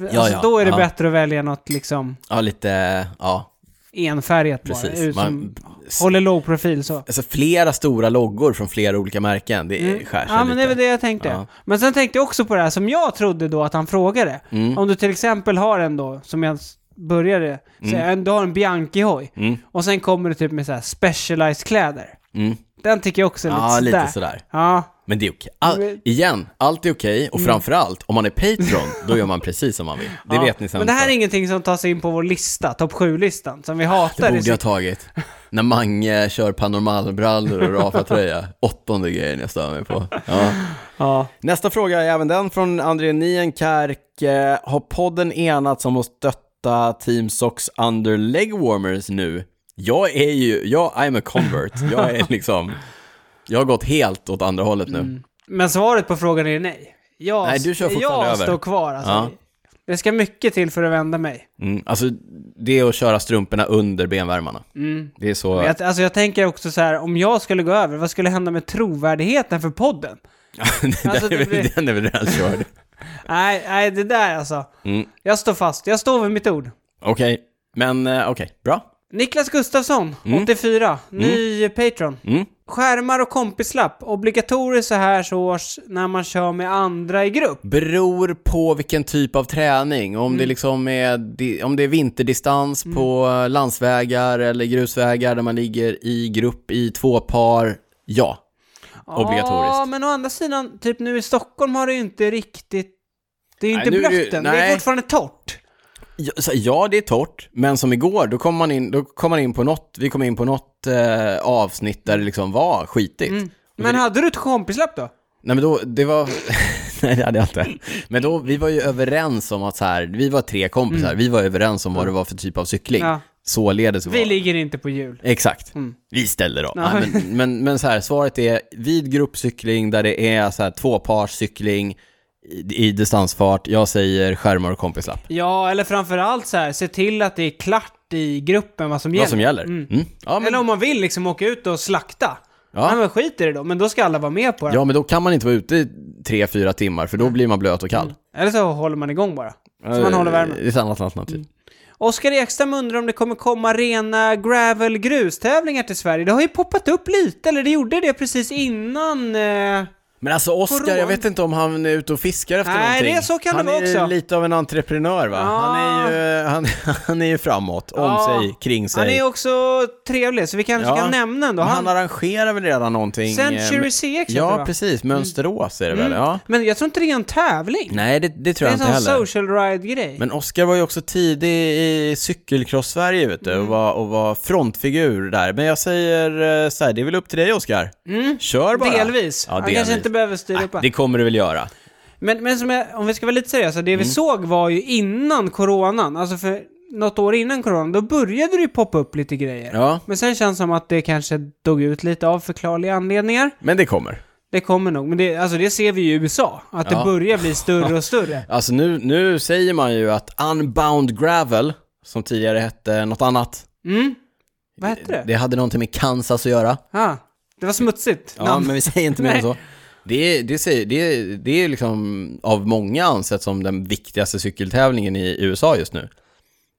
Speaker 2: alltså,
Speaker 1: ja,
Speaker 2: då är det
Speaker 1: ja.
Speaker 2: bättre att välja något liksom
Speaker 1: Ja, lite, ja,
Speaker 2: enfärgat bara.
Speaker 1: precis.
Speaker 2: ut
Speaker 1: Man,
Speaker 2: Som håller låg profil så.
Speaker 1: alltså flera stora loggor från flera olika märken, det skär sig
Speaker 2: Mm. Ja, men
Speaker 1: lite.
Speaker 2: det är väl det jag tänkte.
Speaker 1: Ja.
Speaker 2: Men sen tänkte jag också på det här som jag trodde då att han frågade.
Speaker 1: Mm.
Speaker 2: Om du till exempel har en då, som jag s- började
Speaker 1: Mm.
Speaker 2: säga, en- du har en Bianchi-hoj. Och sen kommer du typ med så här specialized-kläder.
Speaker 1: Mm.
Speaker 2: Den tycker jag också är lite
Speaker 1: Ja,
Speaker 2: sådär. Mm.
Speaker 1: lite sådär.
Speaker 2: Ja,
Speaker 1: Men det är okej. All,
Speaker 2: Men-
Speaker 1: igen, allt är okej och framförallt, om man är Patreon, då gör man precis som man vill. Det
Speaker 2: Mm. ja.
Speaker 1: vet ni sen.
Speaker 2: Men det här
Speaker 1: för.
Speaker 2: är ingenting som tas in på vår lista, topp 7-listan, som vi hatar.
Speaker 1: det
Speaker 2: i
Speaker 1: borde jag ha
Speaker 2: sitt-
Speaker 1: tagit. När Mange kör panormalbrallor och Rafa-tröja. Åttonde grejen jag stör mig på. Ja.
Speaker 2: ja.
Speaker 1: Nästa fråga är även den från André Nienkerk. Eh, Har podden enats om att stötta Team Socks Under Leg Warmers nu? Jag är ju, jag, I'm a convert. Jag är liksom, jag har gått helt åt andra hållet nu.
Speaker 2: Mm. Men svaret på frågan är nej. Jag,
Speaker 1: Nej, du kör fortfarande
Speaker 2: jag
Speaker 1: över.
Speaker 2: står kvar alltså.
Speaker 1: Ja.
Speaker 2: Det ska mycket till för att vända mig.
Speaker 1: Mm. Alltså, det är att köra strumporna under benvärmarna. Det är så...
Speaker 2: Men Jag, alltså jag tänker också så här, om jag skulle gå över, vad skulle hända med trovärdigheten för podden?
Speaker 1: den,
Speaker 2: alltså, det
Speaker 1: är väl,
Speaker 2: blir-
Speaker 1: den är väl redan körd.
Speaker 2: Nej, nej, det där alltså.
Speaker 1: Mm.
Speaker 2: Jag står fast, jag står vid mitt ord.
Speaker 1: Okej, men eh, okej, bra.
Speaker 2: Niklas Gustafsson, 84, ny Patreon.
Speaker 1: Mm.
Speaker 2: Skärmar och kompislapp, obligatoriskt så här så års när man kör med andra i grupp.
Speaker 1: Beror på vilken typ av träning. Om,
Speaker 2: Mm.
Speaker 1: det liksom är, di- om det är vinterdistans på eh, landsvägar eller grusvägar där man ligger i grupp i två par, ja. Obligatoriskt.
Speaker 2: Ja, men å andra sidan, typ nu i Stockholm har det ju inte riktigt... Det är ju
Speaker 1: Nej,
Speaker 2: inte
Speaker 1: nu är det ju-
Speaker 2: blött än, det är
Speaker 1: nej.
Speaker 2: fortfarande torrt.
Speaker 1: Ja, så- ja, det är torrt, men som igår, då kom man in, då kom man in på något, vi kom in på något eh, avsnitt där det liksom var skitigt.
Speaker 2: Men hade du ett kompislapp då?
Speaker 1: Nej men då, det var, nej det hade jag inte. Men då, vi var ju överens om att så här, vi var tre kompisar, vi var överens om vad det var för typ av cykling.
Speaker 2: Mm. Ja.
Speaker 1: Således var
Speaker 2: Vi
Speaker 1: det.
Speaker 2: ligger inte på jul.
Speaker 1: Exakt. Vi ställer dem.
Speaker 2: Mm. Ja.
Speaker 1: Nej, men, men, men så här, svaret är vid gruppcykling där det är så här tvåparscykling i, i distansfart. Jag säger skärmar och kompislapp.
Speaker 2: Ja, eller framförallt så här, se till att det är klart i gruppen vad som gäller.
Speaker 1: Vad som gäller. Mm. Ja, men,
Speaker 2: Eller om man vill liksom åka ut och slakta.
Speaker 1: Ja.
Speaker 2: Ja. Nej, men skit i det då, men då ska alla vara med på det.
Speaker 1: ja, men då kan man inte vara ute i tre, fyra timmar för då blir man blöt och kall.
Speaker 2: Eller så håller man igång bara. Mm. Så man håller
Speaker 1: Eh,
Speaker 2: värmen. Mm.
Speaker 1: Det är ett annat alternativ.
Speaker 2: Oskar Ekström undrar om det kommer komma rena gravel-grustävlingar till Sverige. Det har ju poppat upp lite, eller det gjorde det precis innan... Eh...
Speaker 1: Men alltså Oskar,
Speaker 2: Corona.
Speaker 1: jag vet inte om han är ute och fiskar efter
Speaker 2: Nej,
Speaker 1: någonting.
Speaker 2: det är- så kan det
Speaker 1: han
Speaker 2: vara
Speaker 1: är ju
Speaker 2: också.
Speaker 1: lite av en entreprenör va?
Speaker 2: Ja.
Speaker 1: Han, är ju, han, han är ju framåt, om
Speaker 2: Ja.
Speaker 1: sig, kring sig.
Speaker 2: Han är ju också trevlig, så vi kanske
Speaker 1: Ja.
Speaker 2: kan nämna ändå.
Speaker 1: Men han,
Speaker 2: Han...
Speaker 1: arrangerar väl redan någonting? eh,
Speaker 2: Century
Speaker 1: med-
Speaker 2: CX heter det,
Speaker 1: Ja,
Speaker 2: va? Mm.
Speaker 1: precis. Mönsterås är det väl? Ja.
Speaker 2: Men jag tror inte det är en tävling.
Speaker 1: Nej, det, det
Speaker 2: det
Speaker 1: tror
Speaker 2: är
Speaker 1: jag
Speaker 2: en
Speaker 1: inte
Speaker 2: sån
Speaker 1: heller.
Speaker 2: social ride-grej.
Speaker 1: Men Oskar var ju också tidig i cykelcross-Sverige vet du,
Speaker 2: Mm.
Speaker 1: och, var, och var frontfigur där. Men jag säger eh, så här, det är väl upp till dig Oskar. Kör bara.
Speaker 2: Mm. Delvis.
Speaker 1: Ja,
Speaker 2: han
Speaker 1: delvis.
Speaker 2: kanske inte behöver styra upp
Speaker 1: Nej,
Speaker 2: allt.
Speaker 1: det kommer du väl göra.
Speaker 2: Men, men som jag, om vi ska vara lite seriösa,
Speaker 1: Mm.
Speaker 2: det vi såg var ju innan coronan, alltså för något år innan coronan, då började det ju poppa upp lite grejer.
Speaker 1: Ja,
Speaker 2: Men sen känns det som att det kanske dog ut lite av förklarliga anledningar.
Speaker 1: men det kommer.
Speaker 2: Det kommer nog, men det, alltså det ser vi ju i USA, att
Speaker 1: Ja.
Speaker 2: det börjar bli större och större.
Speaker 1: Alltså nu, nu säger man ju att Unbound Gravel, som tidigare hette något annat,
Speaker 2: Mm. Vad hette det?
Speaker 1: det hade någonting med Kansas att göra.
Speaker 2: Ah, det var smutsigt
Speaker 1: Ja,
Speaker 2: namn.
Speaker 1: men vi säger inte mer än
Speaker 2: Nej.
Speaker 1: så. Det, det, säger, det, det är liksom av många ansett som den viktigaste cykeltävlingen i USA just nu.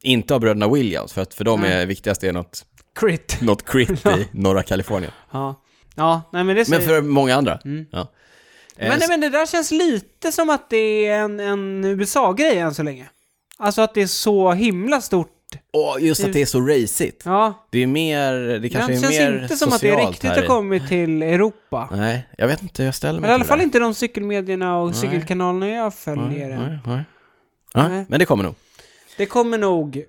Speaker 1: Inte av bröderna Williams, för, att för dem är viktigast är något,
Speaker 2: Crit.
Speaker 1: något crit i norra Kalifornien.
Speaker 2: Ja. Ja, nej men det
Speaker 1: Men
Speaker 2: säger... Mm.
Speaker 1: för många andra. Ja. Eh,
Speaker 2: Men, nej, men det där känns lite som att det är en, en USA-grej än så länge. Alltså att det är så himla stort.
Speaker 1: och just att det är så racigt.
Speaker 2: Ja,
Speaker 1: Det är mer, det kanske
Speaker 2: det
Speaker 1: är
Speaker 2: känns
Speaker 1: mer
Speaker 2: inte som att det
Speaker 1: socialt
Speaker 2: riktigt
Speaker 1: här
Speaker 2: har
Speaker 1: i-
Speaker 2: kommit till Europa.
Speaker 1: Nej, jag vet inte hur jag ställer mig
Speaker 2: Men i alla
Speaker 1: till
Speaker 2: fall
Speaker 1: det.
Speaker 2: inte de cykelmedierna och cykelkanalerna jag följer än.
Speaker 1: Nej, nej. Ja,
Speaker 2: Nej.
Speaker 1: men det kommer nog.
Speaker 2: Det kommer nog...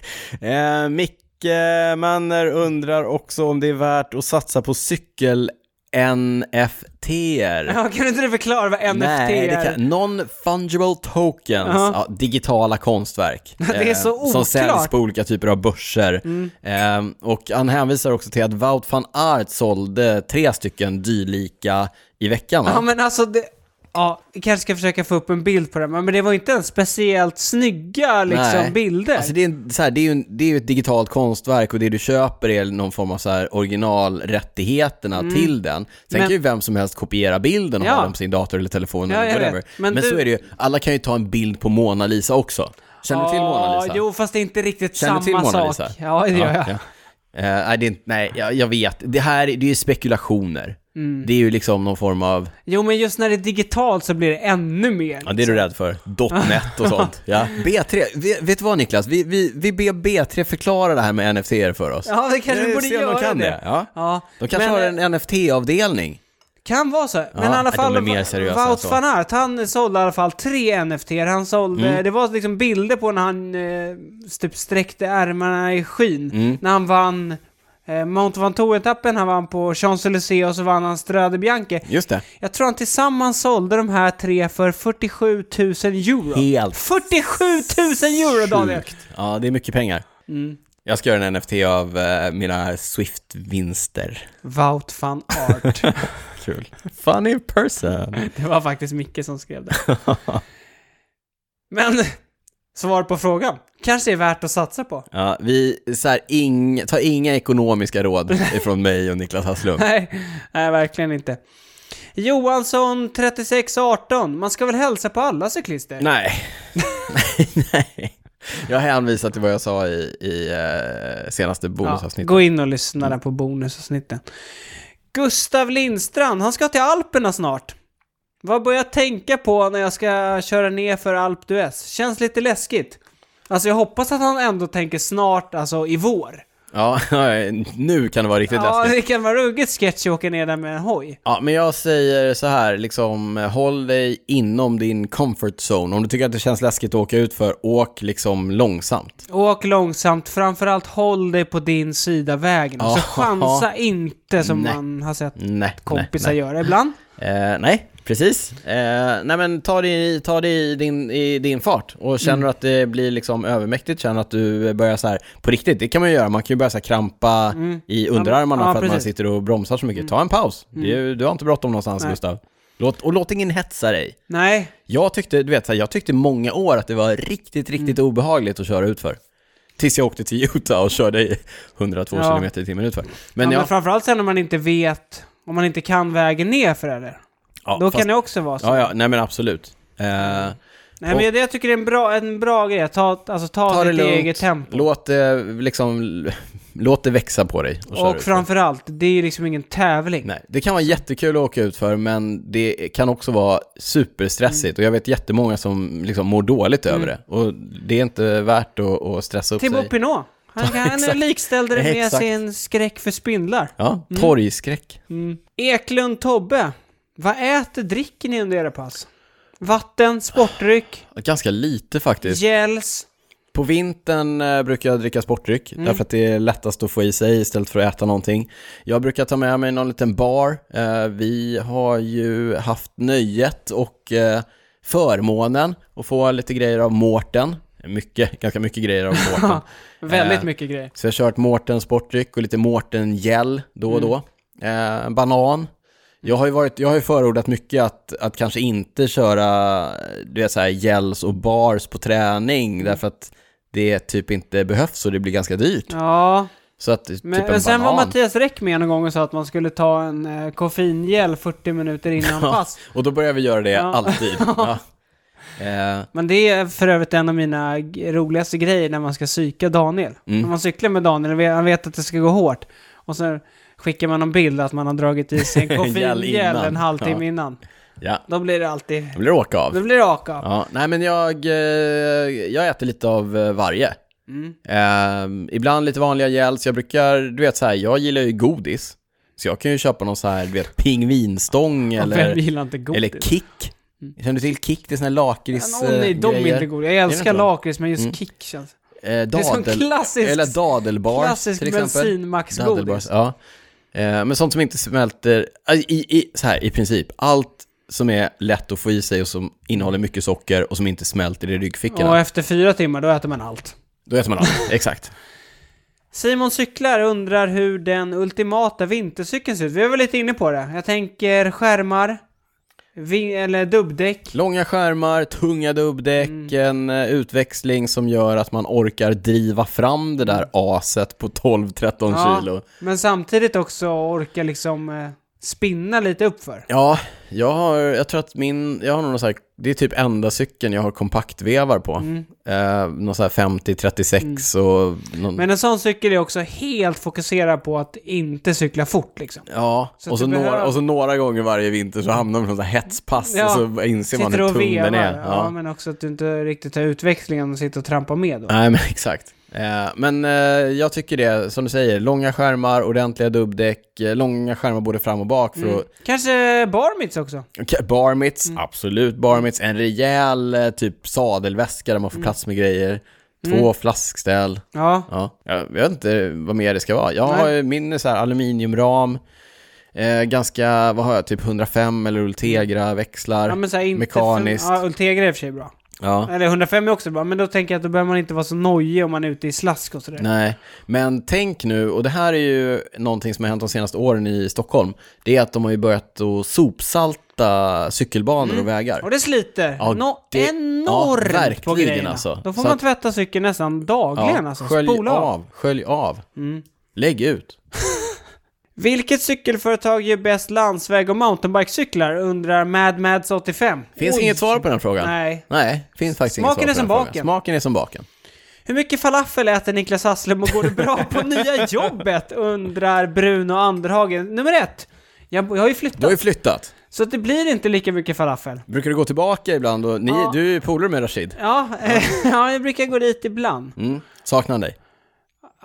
Speaker 1: Eh, Micke Manner undrar också om det är värt att satsa på cykel NFT. -er.
Speaker 2: Ja, kan du inte förklara vad NFT
Speaker 1: Nej, det
Speaker 2: är?
Speaker 1: kan, non-fungible tokens,
Speaker 2: Ja.
Speaker 1: ja, digitala konstverk.
Speaker 2: Det är så
Speaker 1: eh, Som säljs
Speaker 2: oklart. Mm.
Speaker 1: på olika typer av börser. Eh, och han hänvisar också till att Wout van Aert sålde tre stycken dylika i veckan. Va?
Speaker 2: Ja, men alltså det... Ja, vi kanske ska försöka få upp en bild på det, men men det var ju inte ens speciellt snygga liksom,
Speaker 1: Nej.
Speaker 2: bilder.
Speaker 1: Alltså det, är en, så här, det, är ju en, det är ju ett digitalt konstverk och det du köper är någon form av så här originalrättigheterna till den. Sen
Speaker 2: Mm. Men-
Speaker 1: kan ju vem som helst kopiera bilden och
Speaker 2: Ja.
Speaker 1: ha den på sin dator eller telefon
Speaker 2: Ja,
Speaker 1: eller
Speaker 2: jag vet.
Speaker 1: whatever. Men,
Speaker 2: Men du-
Speaker 1: så är det ju, alla kan ju ta en bild på Mona Lisa också. Känner du till Mona
Speaker 2: Ja,
Speaker 1: Lisa?
Speaker 2: Jo, fast det är inte riktigt
Speaker 1: Känner
Speaker 2: samma
Speaker 1: du till Mona
Speaker 2: sak.
Speaker 1: Lisa?
Speaker 2: Ja, det gör jag.
Speaker 1: ja. Eh, nej, det är inte, nej jag, jag vet. Det här det är ju spekulationer.
Speaker 2: Mm.
Speaker 1: Det är ju liksom någon form av,
Speaker 2: Jo, men just när det är digitalt så blir det ännu mer.
Speaker 1: ja, det är du rädd för, .net och sånt. Ja. B3, vet, vet du vad Niklas? Vi, vi, vi ber B3 förklara det här med NFT för oss.
Speaker 2: Ja, vi kanske
Speaker 1: Nu
Speaker 2: borde
Speaker 1: ser om de
Speaker 2: göra
Speaker 1: kan
Speaker 2: det.
Speaker 1: det, ja.
Speaker 2: ja.
Speaker 1: De kanske
Speaker 2: men,
Speaker 1: har
Speaker 2: eh,
Speaker 1: en NFT-avdelning.
Speaker 2: Kan vara så. Men
Speaker 1: Ja,
Speaker 2: i alla
Speaker 1: nej, de
Speaker 2: fall,
Speaker 1: är mer seriösa än
Speaker 2: Wout
Speaker 1: så.
Speaker 2: van Aert, han sålde i alla fall tre NFT. Han sålde,
Speaker 1: Mm.
Speaker 2: det var liksom bilder på när han eh, typ sträckte ärmarna i
Speaker 1: Mm.
Speaker 2: skyn. När han vann eh, Mount Ventoux-etappen, han vann på Champs-Élysées och så vann han Strade Bianche.
Speaker 1: Just det.
Speaker 2: Jag tror han tillsammans sålde de här tre för 47 000 euro.
Speaker 1: Helt
Speaker 2: 47 000 euro Daniel!
Speaker 1: Sjukt. Ja, det är mycket pengar.
Speaker 2: Mm.
Speaker 1: Jag ska göra en NFT av eh, mina Swift-vinster.
Speaker 2: Wout van Aert.
Speaker 1: Kul. Funny person.
Speaker 2: det var faktiskt Micke som skrev det. Men, svar på frågan. Kanske är värt att satsa på.
Speaker 1: Ja, vi, så här, ing, ta inga ekonomiska råd ifrån mig och Niklas Hasslum.
Speaker 2: Nej, nej verkligen inte. Johansson 3618. Man ska väl hälsa på alla cyklister?
Speaker 1: Nej. nej, nej. Jag hänvisar till vad jag sa i, i eh, senaste
Speaker 2: ja,
Speaker 1: bonusavsnittet. Mm.
Speaker 2: gå in och lyssna där på bonusavsnitten. Gustav Lindstrand, han ska till Alperna snart. Vad bör jag tänka på när jag ska köra ner för Alp d'Huez? Känns lite läskigt. Alltså jag hoppas att han ändå tänker snart, alltså i vår.
Speaker 1: Ja, nu kan det vara riktigt
Speaker 2: Ja,
Speaker 1: läskigt.
Speaker 2: det kan vara ruggigt sketch att åka ner där med en hoj.
Speaker 1: Ja, men jag säger så här, liksom, håll dig inom din comfort zone. Om du tycker att det känns läskigt att åka ut för, åk liksom långsamt.
Speaker 2: Åk långsamt, framförallt håll dig på din sida vägen.
Speaker 1: Ja.
Speaker 2: Så chansa inte som
Speaker 1: Nej.
Speaker 2: man har sett
Speaker 1: Nej,
Speaker 2: kompisar
Speaker 1: nej,
Speaker 2: göra ibland.
Speaker 1: nej. Eh, nej precis. Eh, nej, men ta det, i- ta det i, din, i din fart. Och
Speaker 2: Mm.
Speaker 1: känner du att det blir liksom övermäktigt, känner att du börjar så här, på riktigt, det kan man ju göra, man kan ju börja så här krampa i underarmarna
Speaker 2: Mm. Ja,
Speaker 1: för att man
Speaker 2: precis. Mm.
Speaker 1: sitter och bromsar så mycket. Ta en paus. Du, du har inte bråttom någonstans,
Speaker 2: Nej.
Speaker 1: Gustav. Låt, och låt ingen hetsa dig.
Speaker 2: Nej,
Speaker 1: Jag tyckte, du vet, så här, jag tyckte många år att det var riktigt, riktigt
Speaker 2: Mm.
Speaker 1: obehagligt att köra utför. Tills jag åkte till Utah och körde i 102
Speaker 2: Ja.
Speaker 1: km i timmen utför. Men
Speaker 2: men,
Speaker 1: ja,
Speaker 2: men framförallt sen när man inte vet, om man inte kan vägen ner för det. där.
Speaker 1: ja,
Speaker 2: Då
Speaker 1: fast,
Speaker 2: kan det också vara så.
Speaker 1: ja, ja, nej men absolut. Eh,
Speaker 2: Nej, men jag, jag tycker det är en bra, en bra grej. Ta, alltså, ta,
Speaker 1: ta det
Speaker 2: ditt
Speaker 1: lugnt,
Speaker 2: eget tempo.
Speaker 1: låt det liksom, l- låt det växa på dig och, köra
Speaker 2: Och
Speaker 1: utför.
Speaker 2: framförallt, det är ju liksom ingen tävling.
Speaker 1: Nej, det kan vara jättekul att åka utför, men det kan också vara superstressigt. Och jag vet jättemånga som liksom mår dåligt
Speaker 2: Mm.
Speaker 1: över det. Och det är inte värt att, att stressa upp
Speaker 2: Thibaut
Speaker 1: sig.
Speaker 2: Pinot. Han, han
Speaker 1: exakt.
Speaker 2: likställde det med
Speaker 1: Exakt.
Speaker 2: sin skräck för spindlar.
Speaker 1: Ja, torgskräck.
Speaker 2: Mm. Eklund Tobbe. Vad äter, dricker ni under era pass? Vatten, sportdryck,
Speaker 1: Ganska lite faktiskt.
Speaker 2: gels.
Speaker 1: På vintern eh, brukar jag dricka sportdryck, därför att det är lättast att få i sig istället för att äta någonting. Jag brukar ta med mig någon liten bar. Eh, vi har ju haft nöjet och eh, förmånen att få lite grejer av Mårten. Mycket, ganska mycket grejer av Mårten.
Speaker 2: Väldigt
Speaker 1: Eh,
Speaker 2: mycket grejer.
Speaker 1: Så jag har kört Mårten sportdryck och lite Mårten gel då
Speaker 2: Mm.
Speaker 1: och då. Eh, banan. Jag har ju, varit, jag har ju förordat mycket att, att kanske inte köra du vet, så här, gels och bars på träning
Speaker 2: Mm.
Speaker 1: därför att det typ inte behövs och det blir ganska dyrt.
Speaker 2: Ja,
Speaker 1: Så att
Speaker 2: men,
Speaker 1: typ en
Speaker 2: men sen
Speaker 1: banan.
Speaker 2: var Mattias Räck med en gång och sa att man skulle ta en eh, koffeingel 40 minuter innan pass.
Speaker 1: Och då börjar vi göra det
Speaker 2: Ja.
Speaker 1: alltid. Ja. Eh,
Speaker 2: Men det är för övrigt en av mina g- roligaste grejer när man ska psyka Daniel.
Speaker 1: Mm.
Speaker 2: När man cyklar med Daniel, vet- han vet att det ska gå hårt. Och så skickar man en bild att man har dragit i sig en koffeingel
Speaker 1: innan.
Speaker 2: en halvtimme
Speaker 1: Ja.
Speaker 2: innan.
Speaker 1: ja,
Speaker 2: Då blir det alltid...
Speaker 1: jag blir åka av.
Speaker 2: Då blir det raka av.
Speaker 1: Ja, nej men jag, eh, jag äter lite av eh, varje.
Speaker 2: Mm.
Speaker 1: Eh, ibland lite vanliga gels, jag brukar, du vet så här, jag gillar ju godis. Så jag kan ju köpa någon så här, du vet, pingvinstång
Speaker 2: Vem
Speaker 1: eller,
Speaker 2: gillar inte godis?
Speaker 1: eller kick. Känner du till kick? Det är såna här lakrits eh,
Speaker 2: Åh nej, de är
Speaker 1: grejer.
Speaker 2: inte goda. Jag
Speaker 1: inte
Speaker 2: älskar
Speaker 1: bra?
Speaker 2: lakrits, men just kick känns...
Speaker 1: Eh,
Speaker 2: Det är som
Speaker 1: dadel,
Speaker 2: klassisk,
Speaker 1: eller dadelbars
Speaker 2: klassisk
Speaker 1: till exempel. Dadelbars,
Speaker 2: bensinmacksgodis.
Speaker 1: ja. Eh, men sånt som inte smälter, eh, i, i, så här, i princip, allt som är lätt att få i sig och som innehåller mycket socker och som inte smälter i ryggfickorna.
Speaker 2: Och efter fyra timmar, då äter man allt.
Speaker 1: Då äter man allt, exakt.
Speaker 2: Simon Cyklar undrar hur den ultimata vintercykeln ser ut. Vi var väl lite inne på det. Jag tänker skärmar, vi- eller dubbdäck.
Speaker 1: Långa skärmar, tunga dubbdäck, en
Speaker 2: Mm.
Speaker 1: eh, utväxling som gör att man orkar driva fram det
Speaker 2: Mm.
Speaker 1: där aset på 12-13 kilo.
Speaker 2: men samtidigt också orka liksom eh, spinna lite uppför.
Speaker 1: Ja, jag har, jag tror att min, jag har någon så här, det är typ enda cykeln jag har kompaktvevar på.
Speaker 2: Mm.
Speaker 1: Eh, någon så här 50-36 och någon,
Speaker 2: Men en sån cykel är också helt fokuserad på att inte cykla fort liksom.
Speaker 1: ja,
Speaker 2: så
Speaker 1: och, så
Speaker 2: du behöver-
Speaker 1: några, och så några gånger varje vinter så hamnar man på så här hetspass
Speaker 2: Ja.
Speaker 1: och så inser man
Speaker 2: Sitter
Speaker 1: hur
Speaker 2: och
Speaker 1: tung
Speaker 2: vevar.
Speaker 1: den är.
Speaker 2: Ja. men också att du inte riktigt tar utväxlingen och sitter och trampar med då.
Speaker 1: Nej, men exakt. Eh, Men eh, jag tycker det, som du säger, långa skärmar, ordentliga dubbdäck, eh, långa skärmar både fram och bak
Speaker 2: Mm.
Speaker 1: för att
Speaker 2: Kanske bar mitts också.
Speaker 1: Okej, Bar mitts,
Speaker 2: Mm.
Speaker 1: absolut bar mitts. En rejäl eh, typ sadelväska där man får
Speaker 2: Mm.
Speaker 1: plats med grejer. Två flaskställ.
Speaker 2: Ja.
Speaker 1: Ja. Jag vet inte vad mer det ska vara. Jag har
Speaker 2: Nej.
Speaker 1: ju min är så här aluminiumram, eh, ganska, vad har jag, typ 105 eller Ultegra växlar.
Speaker 2: Ja, men så här, inte
Speaker 1: Mekaniskt.
Speaker 2: För, ja, Ultegra är i och för sig bra.
Speaker 1: Ja.
Speaker 2: Eller 105 är också bra, men då tänker jag att då behöver man inte vara så nojig om man är ute i slask och sådär.
Speaker 1: Nej, men tänk nu, och det här är ju någonting som har hänt de senaste åren i Stockholm, det är att de har ju börjat att sopsalta cykelbanor
Speaker 2: Mm.
Speaker 1: och vägar.
Speaker 2: Och det sliter.
Speaker 1: Ja,
Speaker 2: Nå-
Speaker 1: det- ja,
Speaker 2: enormt på
Speaker 1: verkligen
Speaker 2: grejerna.
Speaker 1: alltså.
Speaker 2: Då får
Speaker 1: Så
Speaker 2: man
Speaker 1: att-
Speaker 2: tvätta cykeln nästan dagligen alltså.
Speaker 1: skölj
Speaker 2: Spola av. Mm.
Speaker 1: av, skölj av. Lägg ut.
Speaker 2: Vilket cykelföretag ger bäst landsväg och mountainbikecyklar? Undrar Mad Mads 85.
Speaker 1: Finns
Speaker 2: Oj.
Speaker 1: inget svar på den här frågan.
Speaker 2: Nej.
Speaker 1: Nej, finns faktiskt
Speaker 2: Smaken
Speaker 1: inget
Speaker 2: är
Speaker 1: svar
Speaker 2: som
Speaker 1: på den här
Speaker 2: baken.
Speaker 1: frågan. Smaken är som baken.
Speaker 2: Hur mycket falafel äter Niklas Hasslum och går det bra på nya jobbet? Undrar Bruno Anderhagen. Nummer ett. Jag, jag har ju flyttat,
Speaker 1: Du har ju flyttat.
Speaker 2: så att det blir inte lika mycket falafel.
Speaker 1: Brukar du gå tillbaka ibland? Och ni,
Speaker 2: Ja.
Speaker 1: Du är ju polare med Rashid.
Speaker 2: Ja, ja, jag brukar gå dit ibland.
Speaker 1: Mm. Saknar han dig?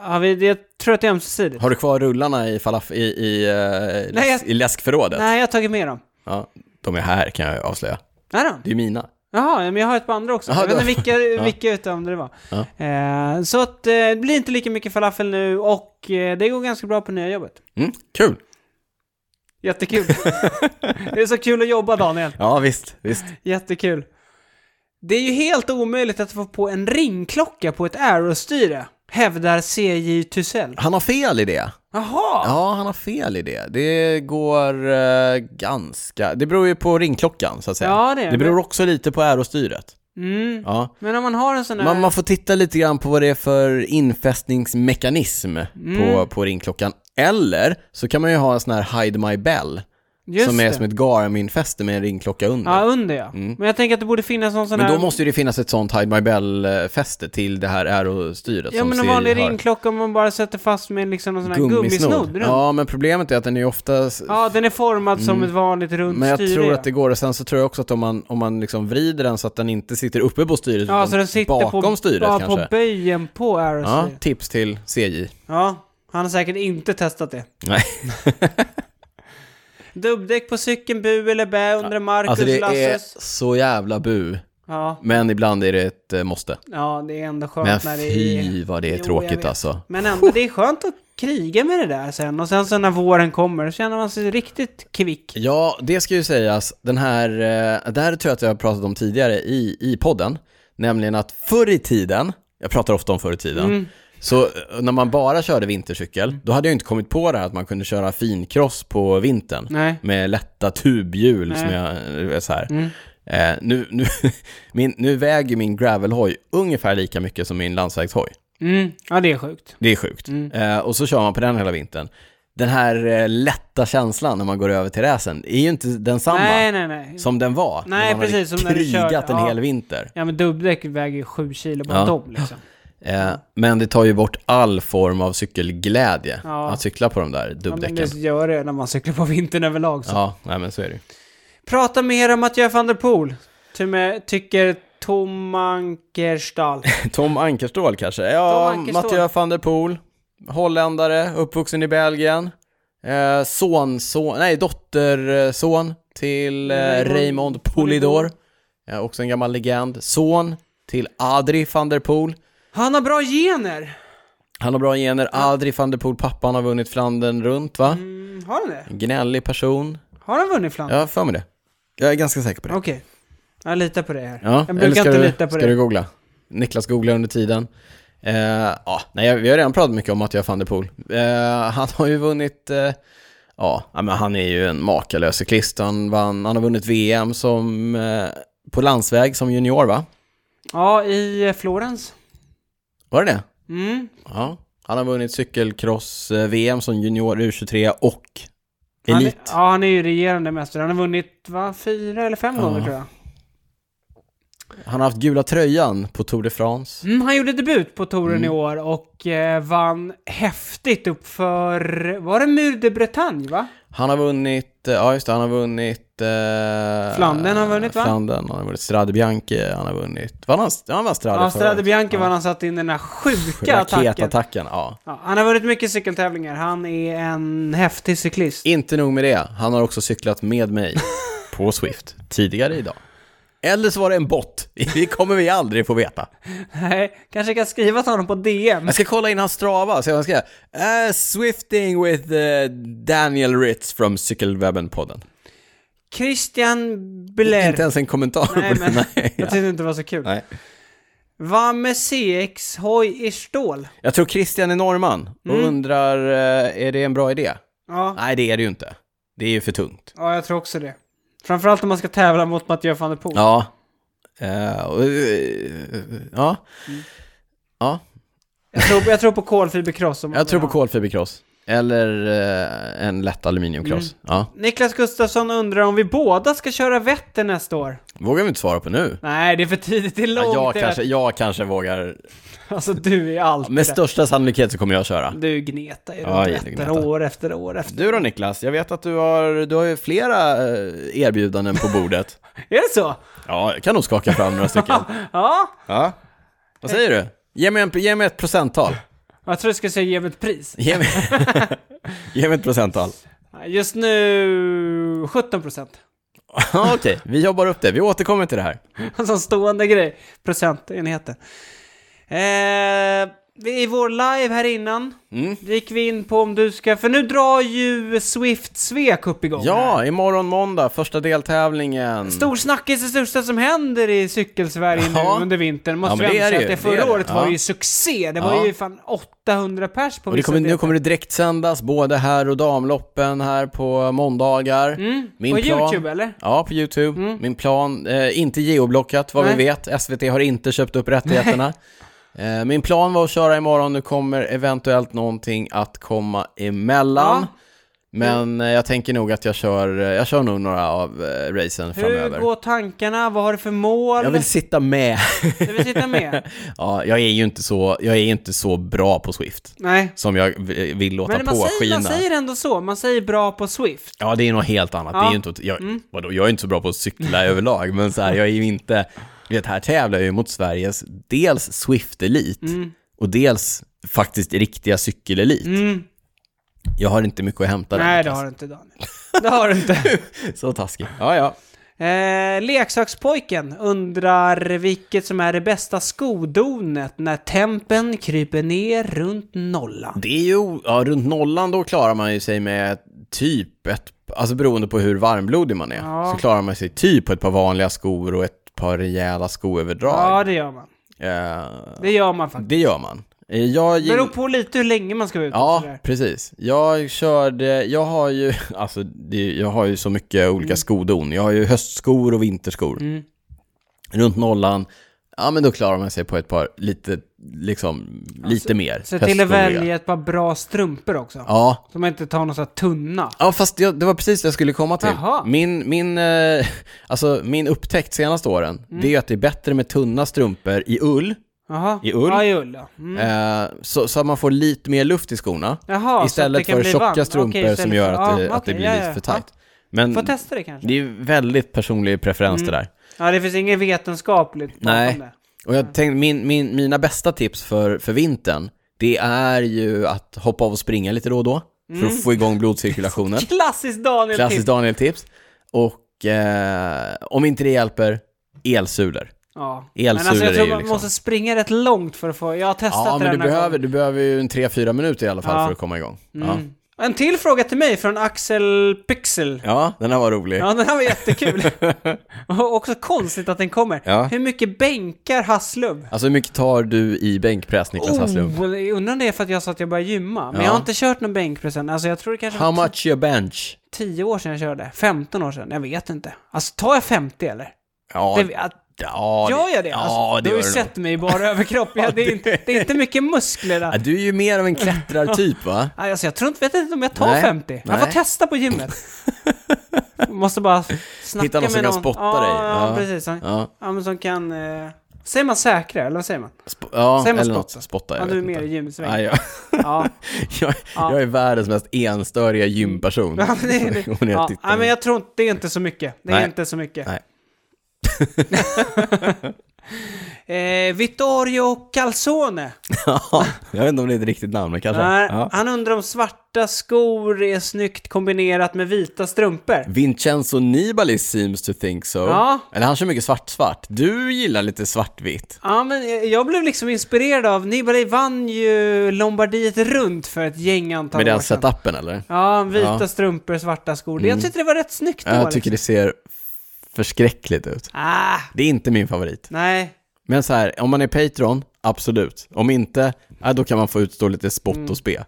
Speaker 2: Ja, vi, jag tror att det är ömsesidigt.
Speaker 1: Har du kvar rullarna i, falaf- i, i, eh,
Speaker 2: Nej,
Speaker 1: läsk,
Speaker 2: jag-
Speaker 1: i läskförrådet?
Speaker 2: Nej, jag har tagit med dem.
Speaker 1: Ja, de är här kan jag avslöja.
Speaker 2: Nej då.
Speaker 1: Det är mina.
Speaker 2: Jaha, men jag har ett på andra också.
Speaker 1: Jaha,
Speaker 2: jag vet
Speaker 1: du-
Speaker 2: inte vilka, vilka utav dem det var. Eh, så att eh, det blir inte lika mycket falafel nu och eh, det går ganska bra på nya jobbet.
Speaker 1: Mm. Kul.
Speaker 2: Jättekul. det är så kul att jobba Daniel.
Speaker 1: Ja, visst, visst.
Speaker 2: Jättekul. Det är ju helt omöjligt att få på en ringklocka på ett Aero-styre, hävdar CJ Tusell.
Speaker 1: Han har fel i det.
Speaker 2: Jaha!
Speaker 1: Ja, han har fel i det. Det går eh, ganska... Det beror ju på ringklockan, så att säga.
Speaker 2: Ja, det är
Speaker 1: det beror också lite på ärostyret.
Speaker 2: Mm.
Speaker 1: Ja.
Speaker 2: Men om man har en sån här...
Speaker 1: Man, man får titta lite grann på vad det är för infästningsmekanism
Speaker 2: Mm.
Speaker 1: på, på ringklockan. Eller så kan man ju ha en sån här Hide My Bell,
Speaker 2: Just
Speaker 1: som är
Speaker 2: det.
Speaker 1: som ett Garmin-fäste med en ringklocka under.
Speaker 2: Ja, under ja. Men jag tänker att det borde finnas någon sån
Speaker 1: men
Speaker 2: här...
Speaker 1: då måste ju det finnas ett sånt Hide My Bell-fäste till det här aerostyret
Speaker 2: Ja
Speaker 1: som
Speaker 2: men en
Speaker 1: Siri
Speaker 2: vanlig
Speaker 1: har.
Speaker 2: ringklocka om man bara sätter fast med liksom någon sån här gummisnodd runt. Ja.
Speaker 1: Ja, men problemet är att den är ju ofta...
Speaker 2: den är formad som ett vanligt runt
Speaker 1: Mm. Men jag
Speaker 2: styre.
Speaker 1: tror
Speaker 2: ja.
Speaker 1: att det går, och sen så tror jag också att om man, om man liksom vrider den så att den inte sitter uppe på styret,
Speaker 2: Ja,
Speaker 1: utan
Speaker 2: så den sitter
Speaker 1: bakom
Speaker 2: på,
Speaker 1: styret
Speaker 2: ja,
Speaker 1: kanske.
Speaker 2: på böjen på
Speaker 1: ja,
Speaker 2: Aerostyr. Ja.
Speaker 1: tips till CJ.
Speaker 2: han har säkert inte testat det.
Speaker 1: Nej.
Speaker 2: Dubbdäck på cykeln, bu eller bä, undrar Marcus
Speaker 1: Alltså det är
Speaker 2: Lasses.
Speaker 1: så jävla bu.
Speaker 2: Ja.
Speaker 1: Men ibland är det ett eh, måste.
Speaker 2: ja, det är ändå skönt
Speaker 1: Men
Speaker 2: när det är...
Speaker 1: fy vad det är
Speaker 2: Jo, jag
Speaker 1: tråkigt
Speaker 2: vet.
Speaker 1: alltså.
Speaker 2: Men ändå, det är skönt att kriga med det där sen. Och sen så när våren kommer, så känner man sig riktigt kvick.
Speaker 1: Ja, det ska ju sägas, den här, eh, det här tror jag att jag har pratat om tidigare i, i podden, nämligen att förr i tiden, jag pratar ofta om förr i tiden, så eh, när man bara körde vintercykel, då hade jag inte kommit på det här att man kunde köra finkross på vintern.
Speaker 2: Nej.
Speaker 1: Med lätta tubhjul som jag, eh, så här. Eh, nu, nu, min, nu väger min gravelhoj ungefär lika mycket som min landsvägshoj.
Speaker 2: Mm. Ja, det är sjukt.
Speaker 1: Det är sjukt.
Speaker 2: Mm.
Speaker 1: Eh, och så kör man på den hela vintern. Den här eh, lätta känslan när man går över till räsen är ju inte densamma
Speaker 2: Nej, nej, nej.
Speaker 1: som den var
Speaker 2: Nej,
Speaker 1: när man
Speaker 2: precis, som
Speaker 1: hade
Speaker 2: när du
Speaker 1: krigat
Speaker 2: körde,
Speaker 1: en
Speaker 2: ja.
Speaker 1: hel vinter.
Speaker 2: Ja men dubbdäck väger ju 7 kilo bara
Speaker 1: Ja.
Speaker 2: de liksom.
Speaker 1: Eh, men det tar ju bort all form av cykelglädje
Speaker 2: Ja.
Speaker 1: att cykla på de där
Speaker 2: Ja, men
Speaker 1: dubbdäcken. Ja,
Speaker 2: det gör det när man cyklar på vintern överlag. Så.
Speaker 1: nej, men så är det ju.
Speaker 2: Prata mer om Mathieu van der Poel. Ty med, tycker Tom Ankerstall.
Speaker 1: Tom Ankerstål kanske?
Speaker 2: Tom
Speaker 1: Ja,
Speaker 2: Ankerstål.
Speaker 1: Mathieu van der Poel, holländare, uppvuxen i Belgien. Eh, son, son, nej, dotterson till eh,
Speaker 2: Raymond
Speaker 1: Raymond Polidor. Eh, också en gammal legend. Son till Adri van der Poel.
Speaker 2: Han har bra gener!
Speaker 1: Han har bra gener, Adri van der Poel, pappan har vunnit Flandern runt va?
Speaker 2: Mm, har han det?
Speaker 1: Gnällig person.
Speaker 2: Har han vunnit Flandern?
Speaker 1: Jag har för mig det. Jag är ganska säker på det.
Speaker 2: Okej. Jag litar på det här.
Speaker 1: Ja,
Speaker 2: jag
Speaker 1: eller
Speaker 2: brukar
Speaker 1: ska
Speaker 2: inte
Speaker 1: du,
Speaker 2: lita på
Speaker 1: ska
Speaker 2: det.
Speaker 1: du googla? Niklas googlar under tiden. Eh, ja, nej, jag- vi har redan pratat mycket om att jag van der Poel. Eh, han har ju vunnit, eh, ja, ja, men han är ju en makalös cyklist. Han, vann, han har vunnit VM som, eh, på landsväg som junior va?
Speaker 2: Ja, i eh, Florens.
Speaker 1: Var det det?
Speaker 2: Mm.
Speaker 1: Ja. Han har vunnit cykelcross-VM som junior U23 och
Speaker 2: Han,
Speaker 1: elit.
Speaker 2: ja, han är ju regerande mästare. Han har vunnit, va, fyra eller fem
Speaker 1: Ja.
Speaker 2: gånger tror jag.
Speaker 1: Han har haft gula tröjan på Tour de France.
Speaker 2: Mm, han gjorde debut på touren
Speaker 1: Mm.
Speaker 2: i år och eh, vann häftigt uppför, var det Mur de Bretagne va?
Speaker 1: Han har vunnit, eh, ja just det, han har vunnit... Eh,
Speaker 2: Flandern har vunnit, va?
Speaker 1: Flandern, han har vunnit Strade Bianchi, han har vunnit... Vann han, han vann Strade
Speaker 2: Ja,
Speaker 1: förra
Speaker 2: Strade
Speaker 1: året.
Speaker 2: Bianchi
Speaker 1: Ja.
Speaker 2: var när han satte in den här sjuka attacken.
Speaker 1: Raketattacken, ja.
Speaker 2: Ja, han har vunnit mycket cykeltävlingar. Han är en häftig cyklist.
Speaker 1: Inte nog med det, han har också cyklat med mig på Swift tidigare idag. Eller så var det en bot, det kommer vi aldrig få veta.
Speaker 2: Nej, kanske kan skriva till honom på DM.
Speaker 1: Jag ska kolla in hans strava, se vad han skrev. Uh, Swifting with eh, Daniel Ritz from Cykelwebben-podden.
Speaker 2: Christian
Speaker 1: Inte
Speaker 2: Bler.
Speaker 1: ens en kommentar
Speaker 2: Nej,
Speaker 1: på det.
Speaker 2: men
Speaker 1: Nej,
Speaker 2: jag
Speaker 1: ja.
Speaker 2: tyckte inte det var så kul.
Speaker 1: Nej.
Speaker 2: Vad med CX Hoj i stål?
Speaker 1: Jag tror Christian är norrman och undrar, eh, är det en bra idé?
Speaker 2: Ja.
Speaker 1: Nej, det är det ju inte. Det är ju för tungt.
Speaker 2: ja, jag tror också det. Framförallt om man ska tävla mot Mathieu van der Poel.
Speaker 1: Ja. Eh, och, eh, ja. Ja,
Speaker 2: Jag, tror, jag tror på kolfibercross. om man
Speaker 1: jag tror på
Speaker 2: vill ha.
Speaker 1: kolfiberkross. Eller eh, en lätt aluminiumkross. Ja.
Speaker 2: Niklas Gustafsson undrar om vi båda ska köra Vättern nästa år?
Speaker 1: Vågar vi inte svara på nu?
Speaker 2: Nej, det är för tidigt. Det är långt.
Speaker 1: Ja, jag,
Speaker 2: det är-
Speaker 1: kanske, jag kanske vågar.
Speaker 2: Alltså, du är allt.
Speaker 1: Med
Speaker 2: rätt.
Speaker 1: största sannolikhet så kommer jag köra.
Speaker 2: Du gnetar ju
Speaker 1: Ja,
Speaker 2: runt
Speaker 1: jag
Speaker 2: Vättern
Speaker 1: gnetar.
Speaker 2: år efter år efter.
Speaker 1: Du då Niklas? Jag vet att du har, du har ju flera eh, erbjudanden på bordet.
Speaker 2: Är det så?
Speaker 1: Ja, jag kan nog skaka fram några stycken.
Speaker 2: Ja.
Speaker 1: Ja. Vad säger du? Ge mig, en, ge mig ett procenttal.
Speaker 2: Jag tror du skulle säga ge mig ett pris.
Speaker 1: Ge mig, ge mig ett procenttal.
Speaker 2: Just nu 17 procent.
Speaker 1: Ja, Okej, vi jobbar upp det. Vi återkommer till det här.
Speaker 2: Alltså en stående grej. Procentenheten. Eh, I vår live här innan
Speaker 1: Mm.
Speaker 2: gick vi in på om du ska... För nu drar ju Swift Svek upp igång. här.
Speaker 1: Ja, imorgon måndag, första deltävlingen.
Speaker 2: Stor snackis, det största som händer i cykelsverige
Speaker 1: Ja.
Speaker 2: nu under vintern.
Speaker 1: Ja,
Speaker 2: Måste
Speaker 1: men
Speaker 2: vi
Speaker 1: det
Speaker 2: ändå
Speaker 1: är det
Speaker 2: säga
Speaker 1: ju.
Speaker 2: att det
Speaker 1: Det är
Speaker 2: förra
Speaker 1: det.
Speaker 2: året var
Speaker 1: Ja.
Speaker 2: ju succé. Det var
Speaker 1: Ja.
Speaker 2: ju fan 800 pers på
Speaker 1: Och det
Speaker 2: vissa
Speaker 1: kommer, nu
Speaker 2: deltävlingar.
Speaker 1: kommer det direkt sändas både här och damloppen här på måndagar. Min
Speaker 2: Mm. På
Speaker 1: plan-
Speaker 2: YouTube eller?
Speaker 1: Ja, på YouTube. Min plan, eh, inte geoblockat vad
Speaker 2: Mm. Nej.
Speaker 1: vi vet. SVT har inte köpt upp rättigheterna. Eh, min plan var att köra imorgon, nu kommer eventuellt någonting att komma emellan.
Speaker 2: Ja.
Speaker 1: Men eh, jag tänker nog att jag kör, eh, jag kör nog några av eh, racen
Speaker 2: Hur
Speaker 1: framöver.
Speaker 2: går tankarna? Vad har du för mål?
Speaker 1: Jag vill sitta med.
Speaker 2: Du vill sitta med?
Speaker 1: ja, jag är ju inte så, jag är inte så bra på Swift
Speaker 2: Nej.
Speaker 1: som jag v- vill låta
Speaker 2: Men man säger,
Speaker 1: påskina.
Speaker 2: man säger ändå så. Man säger bra på Swift.
Speaker 1: Ja, det är något helt annat. Det är
Speaker 2: Ja. Mm.
Speaker 1: ju inte, jag, vadå, jag är inte så bra på att cykla överlag, men så här, jag är ju inte... Du vet, här tävlar jag ju mot Sveriges dels Swift-elit och dels faktiskt riktiga cykelelit.
Speaker 2: Mm.
Speaker 1: Jag har inte mycket att hämta där.
Speaker 2: Nej, det har du inte Daniel. Det har du inte.
Speaker 1: Så taskig. Ja, ja.
Speaker 2: Eh, leksakspojken undrar vilket som är det bästa skodonet när tempen kryper ner runt nollan.
Speaker 1: Det är ju, ja, runt nollan då klarar man ju sig med typ ett, alltså beroende på hur varmblodig man är,
Speaker 2: Ja.
Speaker 1: så klarar man sig typ på ett par vanliga skor och ett par rejäla skoöverdrag.
Speaker 2: Ja, det gör man.
Speaker 1: Eh,
Speaker 2: Det gör man faktiskt.
Speaker 1: det gör man. Eh, Jag
Speaker 2: Det
Speaker 1: gill-
Speaker 2: beror på lite hur länge man ska vara ute och
Speaker 1: Ja,
Speaker 2: sådär.
Speaker 1: precis. Jag körde, jag har ju, alltså det, jag har ju så mycket olika skodon. Jag har ju höstskor och vinterskor.
Speaker 2: Mm.
Speaker 1: Runt nollan, ja men då klarar man sig på ett par lite, liksom, lite mer.
Speaker 2: Se till att
Speaker 1: höstskoriga.
Speaker 2: välja ett par bra strumpor också.
Speaker 1: Ja.
Speaker 2: Så man inte tar någon sån här tunna.
Speaker 1: Ja, fast jag, det var precis det jag skulle komma till.
Speaker 2: Jaha.
Speaker 1: Min, min, eh, alltså, min upptäckt senaste åren,
Speaker 2: Mm.
Speaker 1: det är ju att det är bättre med tunna strumpor i ull,
Speaker 2: Jaha.
Speaker 1: I ull?
Speaker 2: Ja, i ull ja. Mm.
Speaker 1: eh, så, så att man får lite mer luft i skorna.
Speaker 2: Jaha,
Speaker 1: istället för tjocka strumpor som gör att, det, att det blir lite för Mm. tajt. Men
Speaker 2: Får testa Mm. det kanske.
Speaker 1: det är ju väldigt personlig preferens det där.
Speaker 2: Ja, det finns inget vetenskapligt bakom
Speaker 1: Nej.
Speaker 2: det.
Speaker 1: Och jag tänkte, min, min, mina bästa tips för, för vintern, det är ju att hoppa av och springa lite då och då,
Speaker 2: Mm.
Speaker 1: för att få igång blodcirkulationen.
Speaker 2: Klassiskt Daniel
Speaker 1: Klassiskt
Speaker 2: tips.
Speaker 1: Daniel-tips. Och eh, om inte det hjälper, elsulor.
Speaker 2: Ja.
Speaker 1: Elsulor
Speaker 2: men alltså jag
Speaker 1: är
Speaker 2: tror
Speaker 1: ju
Speaker 2: man
Speaker 1: liksom-
Speaker 2: måste springa rätt långt för att få... Jag har testat
Speaker 1: Ja, men
Speaker 2: det
Speaker 1: du
Speaker 2: den här
Speaker 1: behöver,
Speaker 2: gången.
Speaker 1: du behöver ju en 3-4 minuter i alla fall
Speaker 2: Ja.
Speaker 1: för att komma igång. Ja.
Speaker 2: Mm. En till fråga till mig från Axel Pixel.
Speaker 1: ja, den här var rolig.
Speaker 2: Ja, den här var jättekul. Och också konstigt att den kommer.
Speaker 1: Ja.
Speaker 2: Hur mycket bänkar Hasslum?
Speaker 1: Alltså hur mycket tar du i bänkpress, Niklas Hasslum?
Speaker 2: Oh, jag undrar om det är för att jag sa att jag började gymma. Men
Speaker 1: Ja.
Speaker 2: jag har inte kört någon bänkpress än. Alltså jag tror det kanske
Speaker 1: How
Speaker 2: var
Speaker 1: much your bench?
Speaker 2: 10 år sedan jag körde. 15 år sedan. Jag vet inte. Alltså tar jag 50 eller?
Speaker 1: Ja,
Speaker 2: Det, att,
Speaker 1: ja,
Speaker 2: gör jag det? Alltså,
Speaker 1: Ja, det
Speaker 2: du har
Speaker 1: gör
Speaker 2: ju
Speaker 1: du nog.
Speaker 2: sett mig i bara överkropp. Ja, det, är inte, det är inte mycket muskler
Speaker 1: Ja,
Speaker 2: där.
Speaker 1: du är ju mer av en klättrartyp va?
Speaker 2: Nej, Alltså jag tror inte, vet inte om jag tar
Speaker 1: Nej.
Speaker 2: 50. Jag får
Speaker 1: Nej.
Speaker 2: testa på gymmet. Måste bara snacka
Speaker 1: Hitta någon
Speaker 2: med
Speaker 1: som kan spotta dig.
Speaker 2: Ja,
Speaker 1: Ja.
Speaker 2: precis. Ja.
Speaker 1: Ja,
Speaker 2: Ja, men som kan... Eh, säger man säkra, eller vad säger man?
Speaker 1: Sp- ja
Speaker 2: Säger man
Speaker 1: eller något.
Speaker 2: spotta?
Speaker 1: Spotta,
Speaker 2: Ja,
Speaker 1: jag
Speaker 2: du är
Speaker 1: vet
Speaker 2: mer i
Speaker 1: inte.
Speaker 2: gymsväng.
Speaker 1: Ja, jag,
Speaker 2: Ja,
Speaker 1: jag, jag är världens mest enstöriga gymperson.
Speaker 2: ja, men det är det.
Speaker 1: Om ni
Speaker 2: Ja,
Speaker 1: tittar.
Speaker 2: nej, men jag tror inte, det är inte så mycket. Det är
Speaker 1: Nej.
Speaker 2: inte så mycket.
Speaker 1: Nej.
Speaker 2: eh, Vittorio Calzone.
Speaker 1: Ja, jag vet inte om det är ett riktigt namn, men kanske.
Speaker 2: Nej,
Speaker 1: Ja.
Speaker 2: Han undrar om svarta skor är snyggt kombinerat med vita strumpor.
Speaker 1: Vincenzo Nibali seems to think so.
Speaker 2: Ja.
Speaker 1: Eller han kör mycket svart-svart. Du gillar lite svartvitt.
Speaker 2: Ja, men eh, jag blev liksom inspirerad av... Nibali vann ju Lombardiet runt för ett gäng antal
Speaker 1: Med
Speaker 2: år
Speaker 1: den
Speaker 2: sedan.
Speaker 1: setupen eller?
Speaker 2: Ja, vita
Speaker 1: Ja. Mm.
Speaker 2: strumpor, svarta skor. Jag tyckte det var rätt snyggt då.
Speaker 1: Jag
Speaker 2: liksom.
Speaker 1: tycker det ser förskräckligt ut.
Speaker 2: Ah,
Speaker 1: Det är inte min favorit.
Speaker 2: nej.
Speaker 1: Men så här, om man är Patreon, absolut. Om inte, ja, då kan man få utstå lite spott och spe.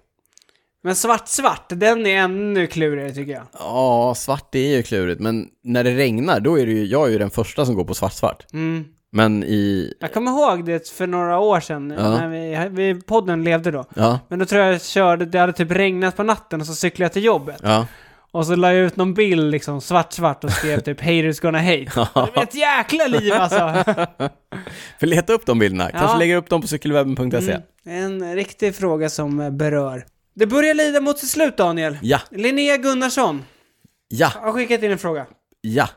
Speaker 2: Men svart-svart, den är ännu klurigare tycker jag.
Speaker 1: Ja, svart är ju klurigt, men när det regnar, då är det ju, jag är ju den första som går på svart-svart.
Speaker 2: Mm.
Speaker 1: Men i,
Speaker 2: Jag kommer ihåg det för några år sedan, när vi, vi, podden levde då.
Speaker 1: ja,
Speaker 2: Men då tror jag jag körde, det hade typ regnat på natten och så cyklade jag till jobbet.
Speaker 1: ja.
Speaker 2: Och så la jag ut någon bild liksom svart-svart och skrev typ haters gonna hate. Det var ett jäkla liv alltså!
Speaker 1: För leta upp de bilderna, kanske
Speaker 2: Ja.
Speaker 1: lägger upp dem på cykelwebben.se.
Speaker 2: En riktig fråga som berör. Det börjar lida mot sitt slut Daniel.
Speaker 1: Ja,
Speaker 2: Linnea Gunnarsson
Speaker 1: ja,
Speaker 2: har skickat in en fråga.
Speaker 1: ja.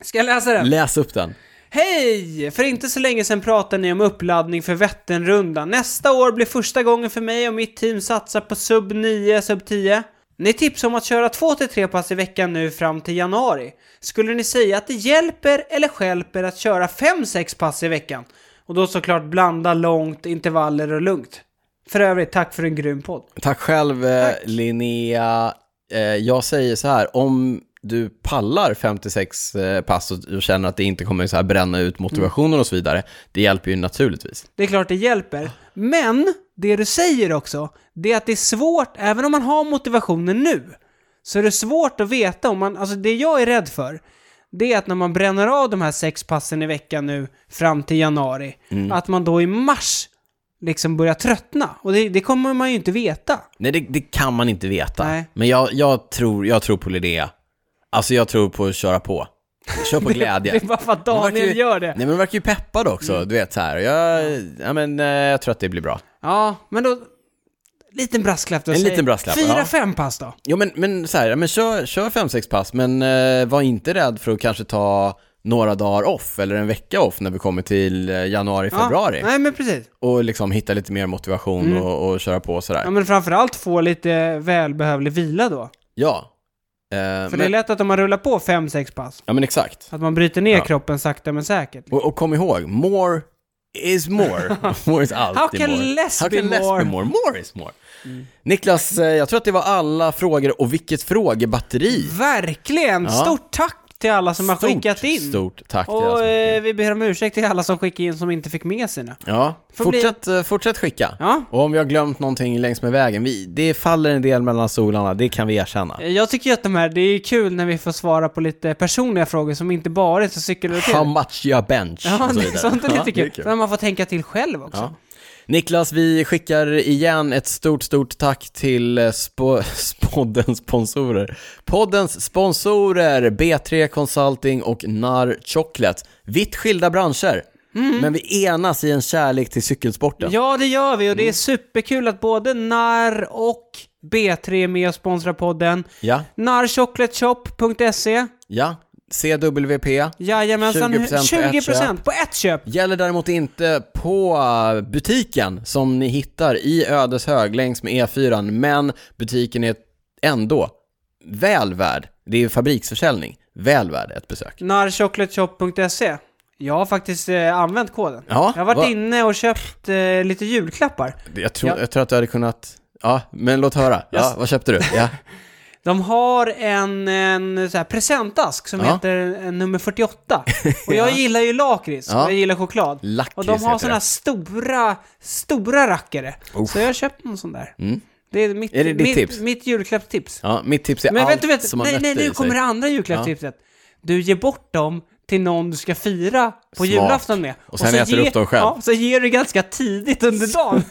Speaker 2: Ska jag läsa den?
Speaker 1: Läs upp den.
Speaker 2: Hej! För inte så länge sedan pratade ni om uppladdning för Vätternrundan. Nästa år blir första gången för mig och mitt team satsar på sub 9, sub 10. Ni tipsar om att köra 2-3 pass i veckan nu fram till januari. Skulle ni säga att det hjälper eller stjälper att köra 5-6 pass i veckan? Och då såklart blanda långt, intervaller och lugnt. För övrigt, tack för en grym podd.
Speaker 1: Tack själv eh, Linnea. Eh, Jag säger så här, om du pallar 56 eh, pass och och känner att det inte kommer så här bränna ut motivationen och så vidare, det hjälper ju naturligtvis.
Speaker 2: Det är klart det hjälper. Men det du säger också, det är att det är svårt, även om man har motivationen nu, så är det svårt att veta om man, alltså det jag är rädd för, det är att när man bränner av de här sex passen i veckan nu fram till januari,
Speaker 1: Mm.
Speaker 2: att man då i mars liksom börjar tröttna. Och det, det kommer man ju inte veta.
Speaker 1: Nej, det, det kan man inte veta.
Speaker 2: Nej.
Speaker 1: Men jag, jag, tror, jag tror på Linnea. Alltså jag tror på att köra på. Kör på glädje.
Speaker 2: Det är bara för att
Speaker 1: Hon verkar
Speaker 2: Daniel
Speaker 1: ju-
Speaker 2: gör det. Mm.
Speaker 1: Nej men hon verkar ju peppad också, du vet så här. Jag, ja, men, eh, jag tror att det blir bra.
Speaker 2: Ja, men då... Liten brasklapp då.
Speaker 1: En
Speaker 2: säg.
Speaker 1: liten brasklapp,
Speaker 2: Fyra,
Speaker 1: ja.
Speaker 2: fem pass då.
Speaker 1: Jo men, men så här, ja, men kör, kör fem, sex pass, men eh, var inte rädd för att kanske ta några dagar off eller en vecka off när vi kommer till eh, januari,
Speaker 2: Ja,
Speaker 1: februari.
Speaker 2: Nej, men precis.
Speaker 1: Och liksom hitta lite mer motivation och, och köra på sådär.
Speaker 2: Ja, men framförallt få lite välbehövlig vila då.
Speaker 1: Ja. Eh,
Speaker 2: För
Speaker 1: men,
Speaker 2: det är lätt att om man rullar på 5-6 pass,
Speaker 1: Ja men exakt.
Speaker 2: att man bryter ner
Speaker 1: Ja.
Speaker 2: kroppen sakta men säkert.
Speaker 1: Och, och kom ihåg, more is more. more is alltid
Speaker 2: How can
Speaker 1: more.
Speaker 2: less
Speaker 1: How
Speaker 2: be
Speaker 1: can less
Speaker 2: more? Mm.
Speaker 1: be more? More is more. Niklas, eh, jag tror att det var alla frågor och vilket frågebatteri.
Speaker 2: Verkligen!
Speaker 1: Ja.
Speaker 2: Stort tack till alla som har
Speaker 1: Stort,
Speaker 2: skickat in!
Speaker 1: Stort tack till alla
Speaker 2: Och
Speaker 1: som
Speaker 2: eh, vi ber om ursäkt till alla som skickade in som inte fick med sina.
Speaker 1: Ja,
Speaker 2: Får
Speaker 1: fortsätt, eh, fortsätt skicka.
Speaker 2: Ja.
Speaker 1: Och om vi har glömt någonting längs med vägen, vi, det faller en del mellan solarna, det kan vi erkänna.
Speaker 2: Eh, Jag tycker ju att de här, det är kul när vi får svara på lite personliga frågor som inte bara är så
Speaker 1: How
Speaker 2: cykelrelaterade.
Speaker 1: much your bench?
Speaker 2: Ja,
Speaker 1: och så
Speaker 2: det,
Speaker 1: vidare.
Speaker 2: sånt är
Speaker 1: Ja,
Speaker 2: lite
Speaker 1: det är
Speaker 2: kul. Så man får tänka till själv också.
Speaker 1: Ja. Niklas, vi skickar igen ett stort, stort tack till eh, spo- poddens sponsorer. Poddens sponsorer, B3 Consulting och Narr Chocolate. Vitt skilda branscher, men vi enas i en kärlek till cykelsporten.
Speaker 2: Ja, det gör vi och
Speaker 1: Mm.
Speaker 2: det är superkul att både NAR och B3 är med och sponsrar podden.
Speaker 1: Ja,
Speaker 2: Narchocolateshop.se
Speaker 1: ja. CWP.
Speaker 2: Jajamensan,
Speaker 1: 20% på ett
Speaker 2: 20%
Speaker 1: köp.
Speaker 2: på ett köp!
Speaker 1: Gäller däremot inte på eh, butiken som ni hittar i Ödeshög längs med E4, men butiken är ändå väl värd, det är fabriksförsäljning, väl värd ett besök.
Speaker 2: Narchocolateshop.se Jag har faktiskt eh, använt koden.
Speaker 1: Ja,
Speaker 2: jag har varit
Speaker 1: va-
Speaker 2: inne och köpt eh, lite julklappar.
Speaker 1: Jag tror,
Speaker 2: Ja.
Speaker 1: jag tror att du hade kunnat... Ja, men låt höra. Ja,
Speaker 2: Yes.
Speaker 1: vad köpte du? Ja.
Speaker 2: De har en, en så här presentask som
Speaker 1: Ja.
Speaker 2: heter en nummer 48. Och jag gillar ju lakrits,
Speaker 1: Ja.
Speaker 2: och jag gillar choklad. Och
Speaker 1: Lakrits
Speaker 2: de har
Speaker 1: heter
Speaker 2: sådana här
Speaker 1: det.
Speaker 2: stora, stora rackare.
Speaker 1: Uff.
Speaker 2: Så jag har köpt en sån där.
Speaker 1: Mm.
Speaker 2: Det är mitt,
Speaker 1: Är det ditt
Speaker 2: mitt,
Speaker 1: tips?
Speaker 2: mitt julklappstips.
Speaker 1: Ja, mitt tips är
Speaker 2: Men
Speaker 1: allt
Speaker 2: vet du, vet,
Speaker 1: som har
Speaker 2: nej, nej,
Speaker 1: nötter i
Speaker 2: nu
Speaker 1: sig.
Speaker 2: kommer det andra julklappstipset. Du ger bort dem till någon du ska fira på
Speaker 1: Smart.
Speaker 2: julafton med.
Speaker 1: Och sen äter du upp dem själv.
Speaker 2: Ja, så ger du ganska tidigt under dagen.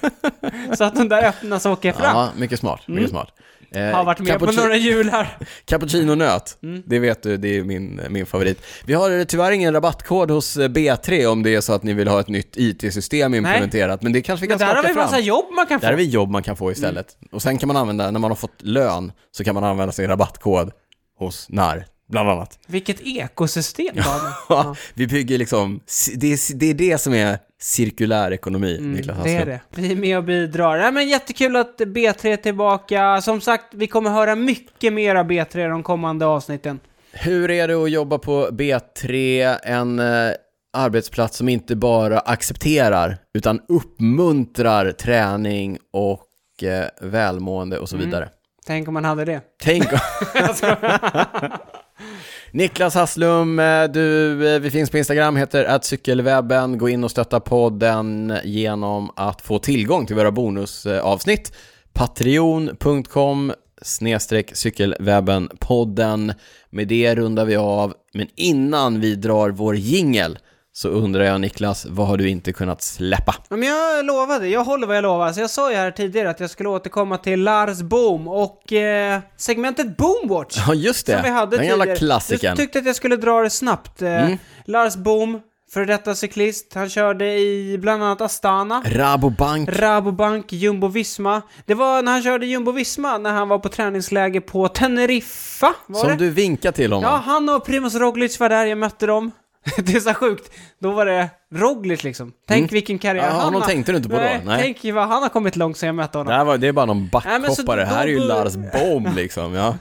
Speaker 2: så att de där öppnas och åker fram.
Speaker 1: Ja, mycket smart. Mycket smart. Eh,
Speaker 2: Mm. Har varit med
Speaker 1: cappucci-
Speaker 2: på några Mm. jular.
Speaker 1: Cappuccino-nöt, det vet du, det är min, min favorit. Vi har eh, tyvärr ingen rabattkod hos eh, B3 om det är så att ni vill ha ett nytt IT-system implementerat, men det kanske vi
Speaker 2: Men
Speaker 1: kan
Speaker 2: där har
Speaker 1: skaka
Speaker 2: vi massa
Speaker 1: fram.
Speaker 2: jobb Mm. man kan
Speaker 1: Där har
Speaker 2: få.
Speaker 1: vi jobb man kan få istället. Och sen kan man använda, när man har fått lön, så kan man använda sin rabattkod hos NAR, bland annat.
Speaker 2: Vilket ekosystem Daniel.
Speaker 1: Ja. Vi bygger liksom, det är, det är det som är cirkulär ekonomi, Niklas
Speaker 2: Mm, Det är
Speaker 1: Hasslund.
Speaker 2: det. Vi är med och bidrar. Nej, men jättekul att B3 är tillbaka. Som sagt, vi kommer höra mycket mer av B3 i de kommande avsnitten.
Speaker 1: Hur är det att jobba på B3, en eh, arbetsplats som inte bara accepterar utan uppmuntrar träning och eh, välmående och så
Speaker 2: Mm.
Speaker 1: vidare?
Speaker 2: Tänk om man hade det.
Speaker 1: Tänk om... Niklas Hasslum, eh, du, eh, vi finns på Instagram, heter att cykelwebben. Gå in och stötta podden genom att få tillgång till våra bonusavsnitt. Patreon.com snedstreck cykelwebben-podden. Med det rundar vi av, men innan vi drar vår jingel så undrar jag Niklas, vad har du inte kunnat släppa?
Speaker 2: Ja, Men jag lovade, jag håller vad jag lovar. Så jag sa ju här tidigare att jag skulle återkomma till Lars Boom och eh, segmentet Boomwatch.
Speaker 1: Ja, just det.
Speaker 2: Som vi hade
Speaker 1: Den gamla
Speaker 2: tidigare.
Speaker 1: klassikern. Mm.
Speaker 2: Du tyckte att jag skulle dra det snabbt. Eh, Lars Boom, före detta cyklist. Han körde i bland annat Astana.
Speaker 1: Rabobank.
Speaker 2: Rabobank, Jumbo Visma. Det var när han körde Jumbo Visma, när han var på träningsläger på Teneriffa, var det?
Speaker 1: Som du vinkar till honom.
Speaker 2: Ja, han och Primoz Roglic var där, jag mötte dem. det är så sjukt. Då var det Roglic liksom. Tänk vilken karriär
Speaker 1: Mm. Ja,
Speaker 2: han
Speaker 1: honom
Speaker 2: har.
Speaker 1: tänkte du inte på då.
Speaker 2: Nej,
Speaker 1: Nej.
Speaker 2: Tänk vad han har kommit långt sen jag mötte honom.
Speaker 1: Det, här var, det är bara någon
Speaker 2: Nej, men så
Speaker 1: backhoppare,
Speaker 2: då
Speaker 1: här är ju
Speaker 2: bör-
Speaker 1: Lars Bohm liksom. Ja.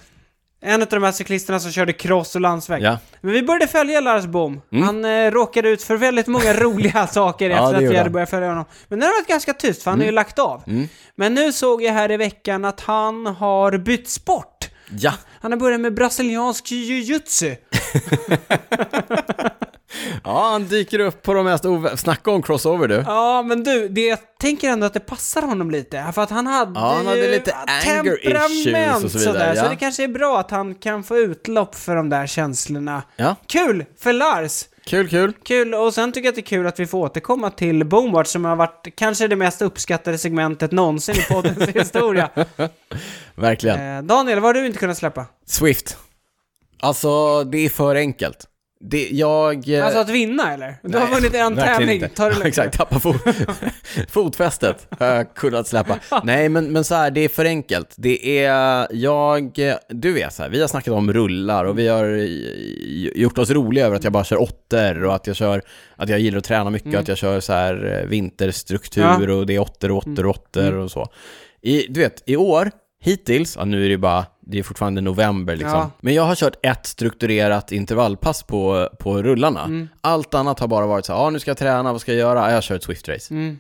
Speaker 2: En av de här cyklisterna som körde cross och landsväg.
Speaker 1: Ja. Mm.
Speaker 2: Men vi började följa Lars Bohm. Han eh, råkade ut för väldigt många roliga saker
Speaker 1: det
Speaker 2: efter att
Speaker 1: gjorde
Speaker 2: vi hade
Speaker 1: han. Mm.
Speaker 2: börjat följa honom. Men nu har det varit ganska tyst, för han har ju lagt av. Men nu såg jag här i veckan att han har bytt sport.
Speaker 1: ja,
Speaker 2: Han har börjat med brasiliansk jiu-jitsu.
Speaker 1: ja han dyker upp på de mest ov... Snacka om crossover du.
Speaker 2: Ja, men du, det, jag tänker ändå att det passar honom lite. För att han hade,
Speaker 1: Ja, han hade
Speaker 2: ju
Speaker 1: lite anger
Speaker 2: temperament
Speaker 1: issues och så vidare,
Speaker 2: sådär. Så
Speaker 1: ja.
Speaker 2: det kanske är bra att han kan få utlopp för de där känslorna.
Speaker 1: Ja,
Speaker 2: Kul för Lars!
Speaker 1: kul, kul.
Speaker 2: Kul, och sen tycker jag att det är kul att vi får återkomma till Boomwatch som har varit kanske det mest uppskattade segmentet någonsin i poddens historia.
Speaker 1: Verkligen.
Speaker 2: Eh, Daniel, vad har du inte kunnat släppa?
Speaker 1: Eh, Swift. Alltså, det är för enkelt. Det, jag... eh,
Speaker 2: Alltså att vinna eller? Du har
Speaker 1: nej,
Speaker 2: vunnit en
Speaker 1: verkligen
Speaker 2: tävling,
Speaker 1: inte.
Speaker 2: ta det lugnt.
Speaker 1: Exakt, tappa fot, fotfästet har jag kunnat släppa. Nej, men, men så här, det är för enkelt. Det är, jag, du vet så här, vi har snackat om rullar och vi har i- gjort oss roliga över att jag bara kör åttor och att jag kör, att jag gillar att träna mycket, och att jag kör så här eh, vinterstruktur
Speaker 2: Mm. Ja. Mm.
Speaker 1: och det är åttor, åttor, åttor och så. I, du vet, i år, hittills, ja, nu är det ju bara, det är fortfarande november liksom.
Speaker 2: Ja.
Speaker 1: Men jag har kört ett strukturerat intervallpass på, på rullarna.
Speaker 2: Mm.
Speaker 1: Allt annat har bara varit så här, ah, nu ska jag träna, vad ska jag göra? Ah, jag kör ett Swift-race.
Speaker 2: Mm.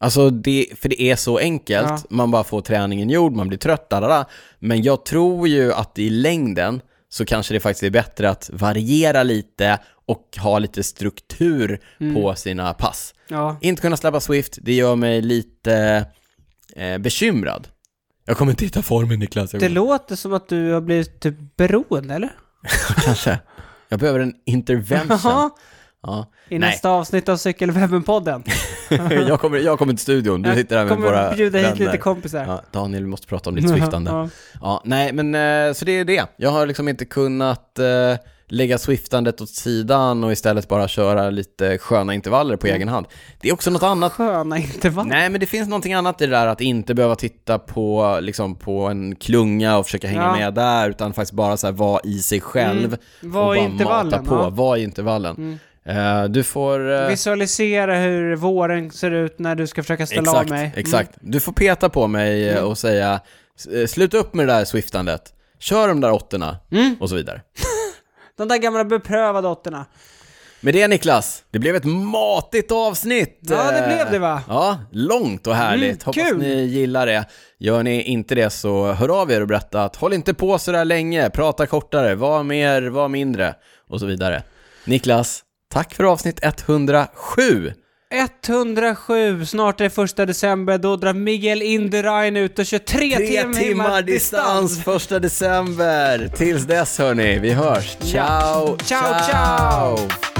Speaker 1: Alltså, det, för det är så enkelt,
Speaker 2: Ja.
Speaker 1: man bara får träningen gjord, man blir trött, dadada. Men jag tror ju att i längden så kanske det faktiskt är bättre att variera lite och ha lite struktur
Speaker 2: Mm.
Speaker 1: på sina pass.
Speaker 2: Ja.
Speaker 1: Inte kunna släppa Swift, det gör mig lite eh, bekymrad. Jag kommer inte hitta formen Niklas. Jag
Speaker 2: Det
Speaker 1: kommer...
Speaker 2: låter som att du har blivit typ beroende eller?
Speaker 1: Kanske. Jag behöver en intervention.
Speaker 2: Jaha,
Speaker 1: Ja.
Speaker 2: i
Speaker 1: Nej.
Speaker 2: nästa avsnitt av Cykelwebben-podden.
Speaker 1: jag, kommer, jag kommer till studion, du sitter där med
Speaker 2: kommer
Speaker 1: våra
Speaker 2: bjuda hit lite
Speaker 1: vänner.
Speaker 2: kompisar.
Speaker 1: Ja, Daniel, vi måste prata om ditt swiftande.
Speaker 2: Ja.
Speaker 1: Ja, nej, men eh, så det är det. Jag har liksom inte kunnat eh, lägga swiftandet åt sidan och istället bara köra lite sköna intervaller
Speaker 2: Mm.
Speaker 1: på egen hand. Det är också något annat
Speaker 2: Sköna intervall.
Speaker 1: Nej, men det finns någonting annat i det där att inte behöva titta på, liksom, på en klunga och försöka hänga
Speaker 2: Ja.
Speaker 1: med där, utan faktiskt bara så här, vara i sig själv
Speaker 2: Mm. Var
Speaker 1: och
Speaker 2: i
Speaker 1: bara
Speaker 2: intervallen,
Speaker 1: mata på.
Speaker 2: ja. Mm.
Speaker 1: Var i intervallen. Eh, du får... eh,
Speaker 2: Visualisera hur våren ser ut när du ska försöka ställa
Speaker 1: exakt,
Speaker 2: av mig. Mm.
Speaker 1: exakt. Du får peta på mig eh, och säga "S- eh, sluta upp med det där swiftandet,
Speaker 2: Mm.
Speaker 1: kör de där åttorna och så vidare.
Speaker 2: De där gamla beprövade åttorna.
Speaker 1: Med det Niklas, det blev ett matigt avsnitt.
Speaker 2: Ja, det
Speaker 1: Eh,
Speaker 2: blev det, va?
Speaker 1: Ja, långt och härligt.
Speaker 2: Mm,
Speaker 1: Hoppas
Speaker 2: kul.
Speaker 1: ni gillar det. Gör ni inte det så hör av er och berätta att håll inte på sådär länge, prata kortare, var mer, var mindre och så vidare. Niklas, tack för avsnitt 107.
Speaker 2: 107, snart är det första december, då drar Miguel Indurain ut och kör tre,
Speaker 1: Tre timmar distans första december. Tills dess hörni, vi hörs.
Speaker 2: Ja.
Speaker 1: Ciao,
Speaker 2: Ciao, ciao.
Speaker 1: ciao.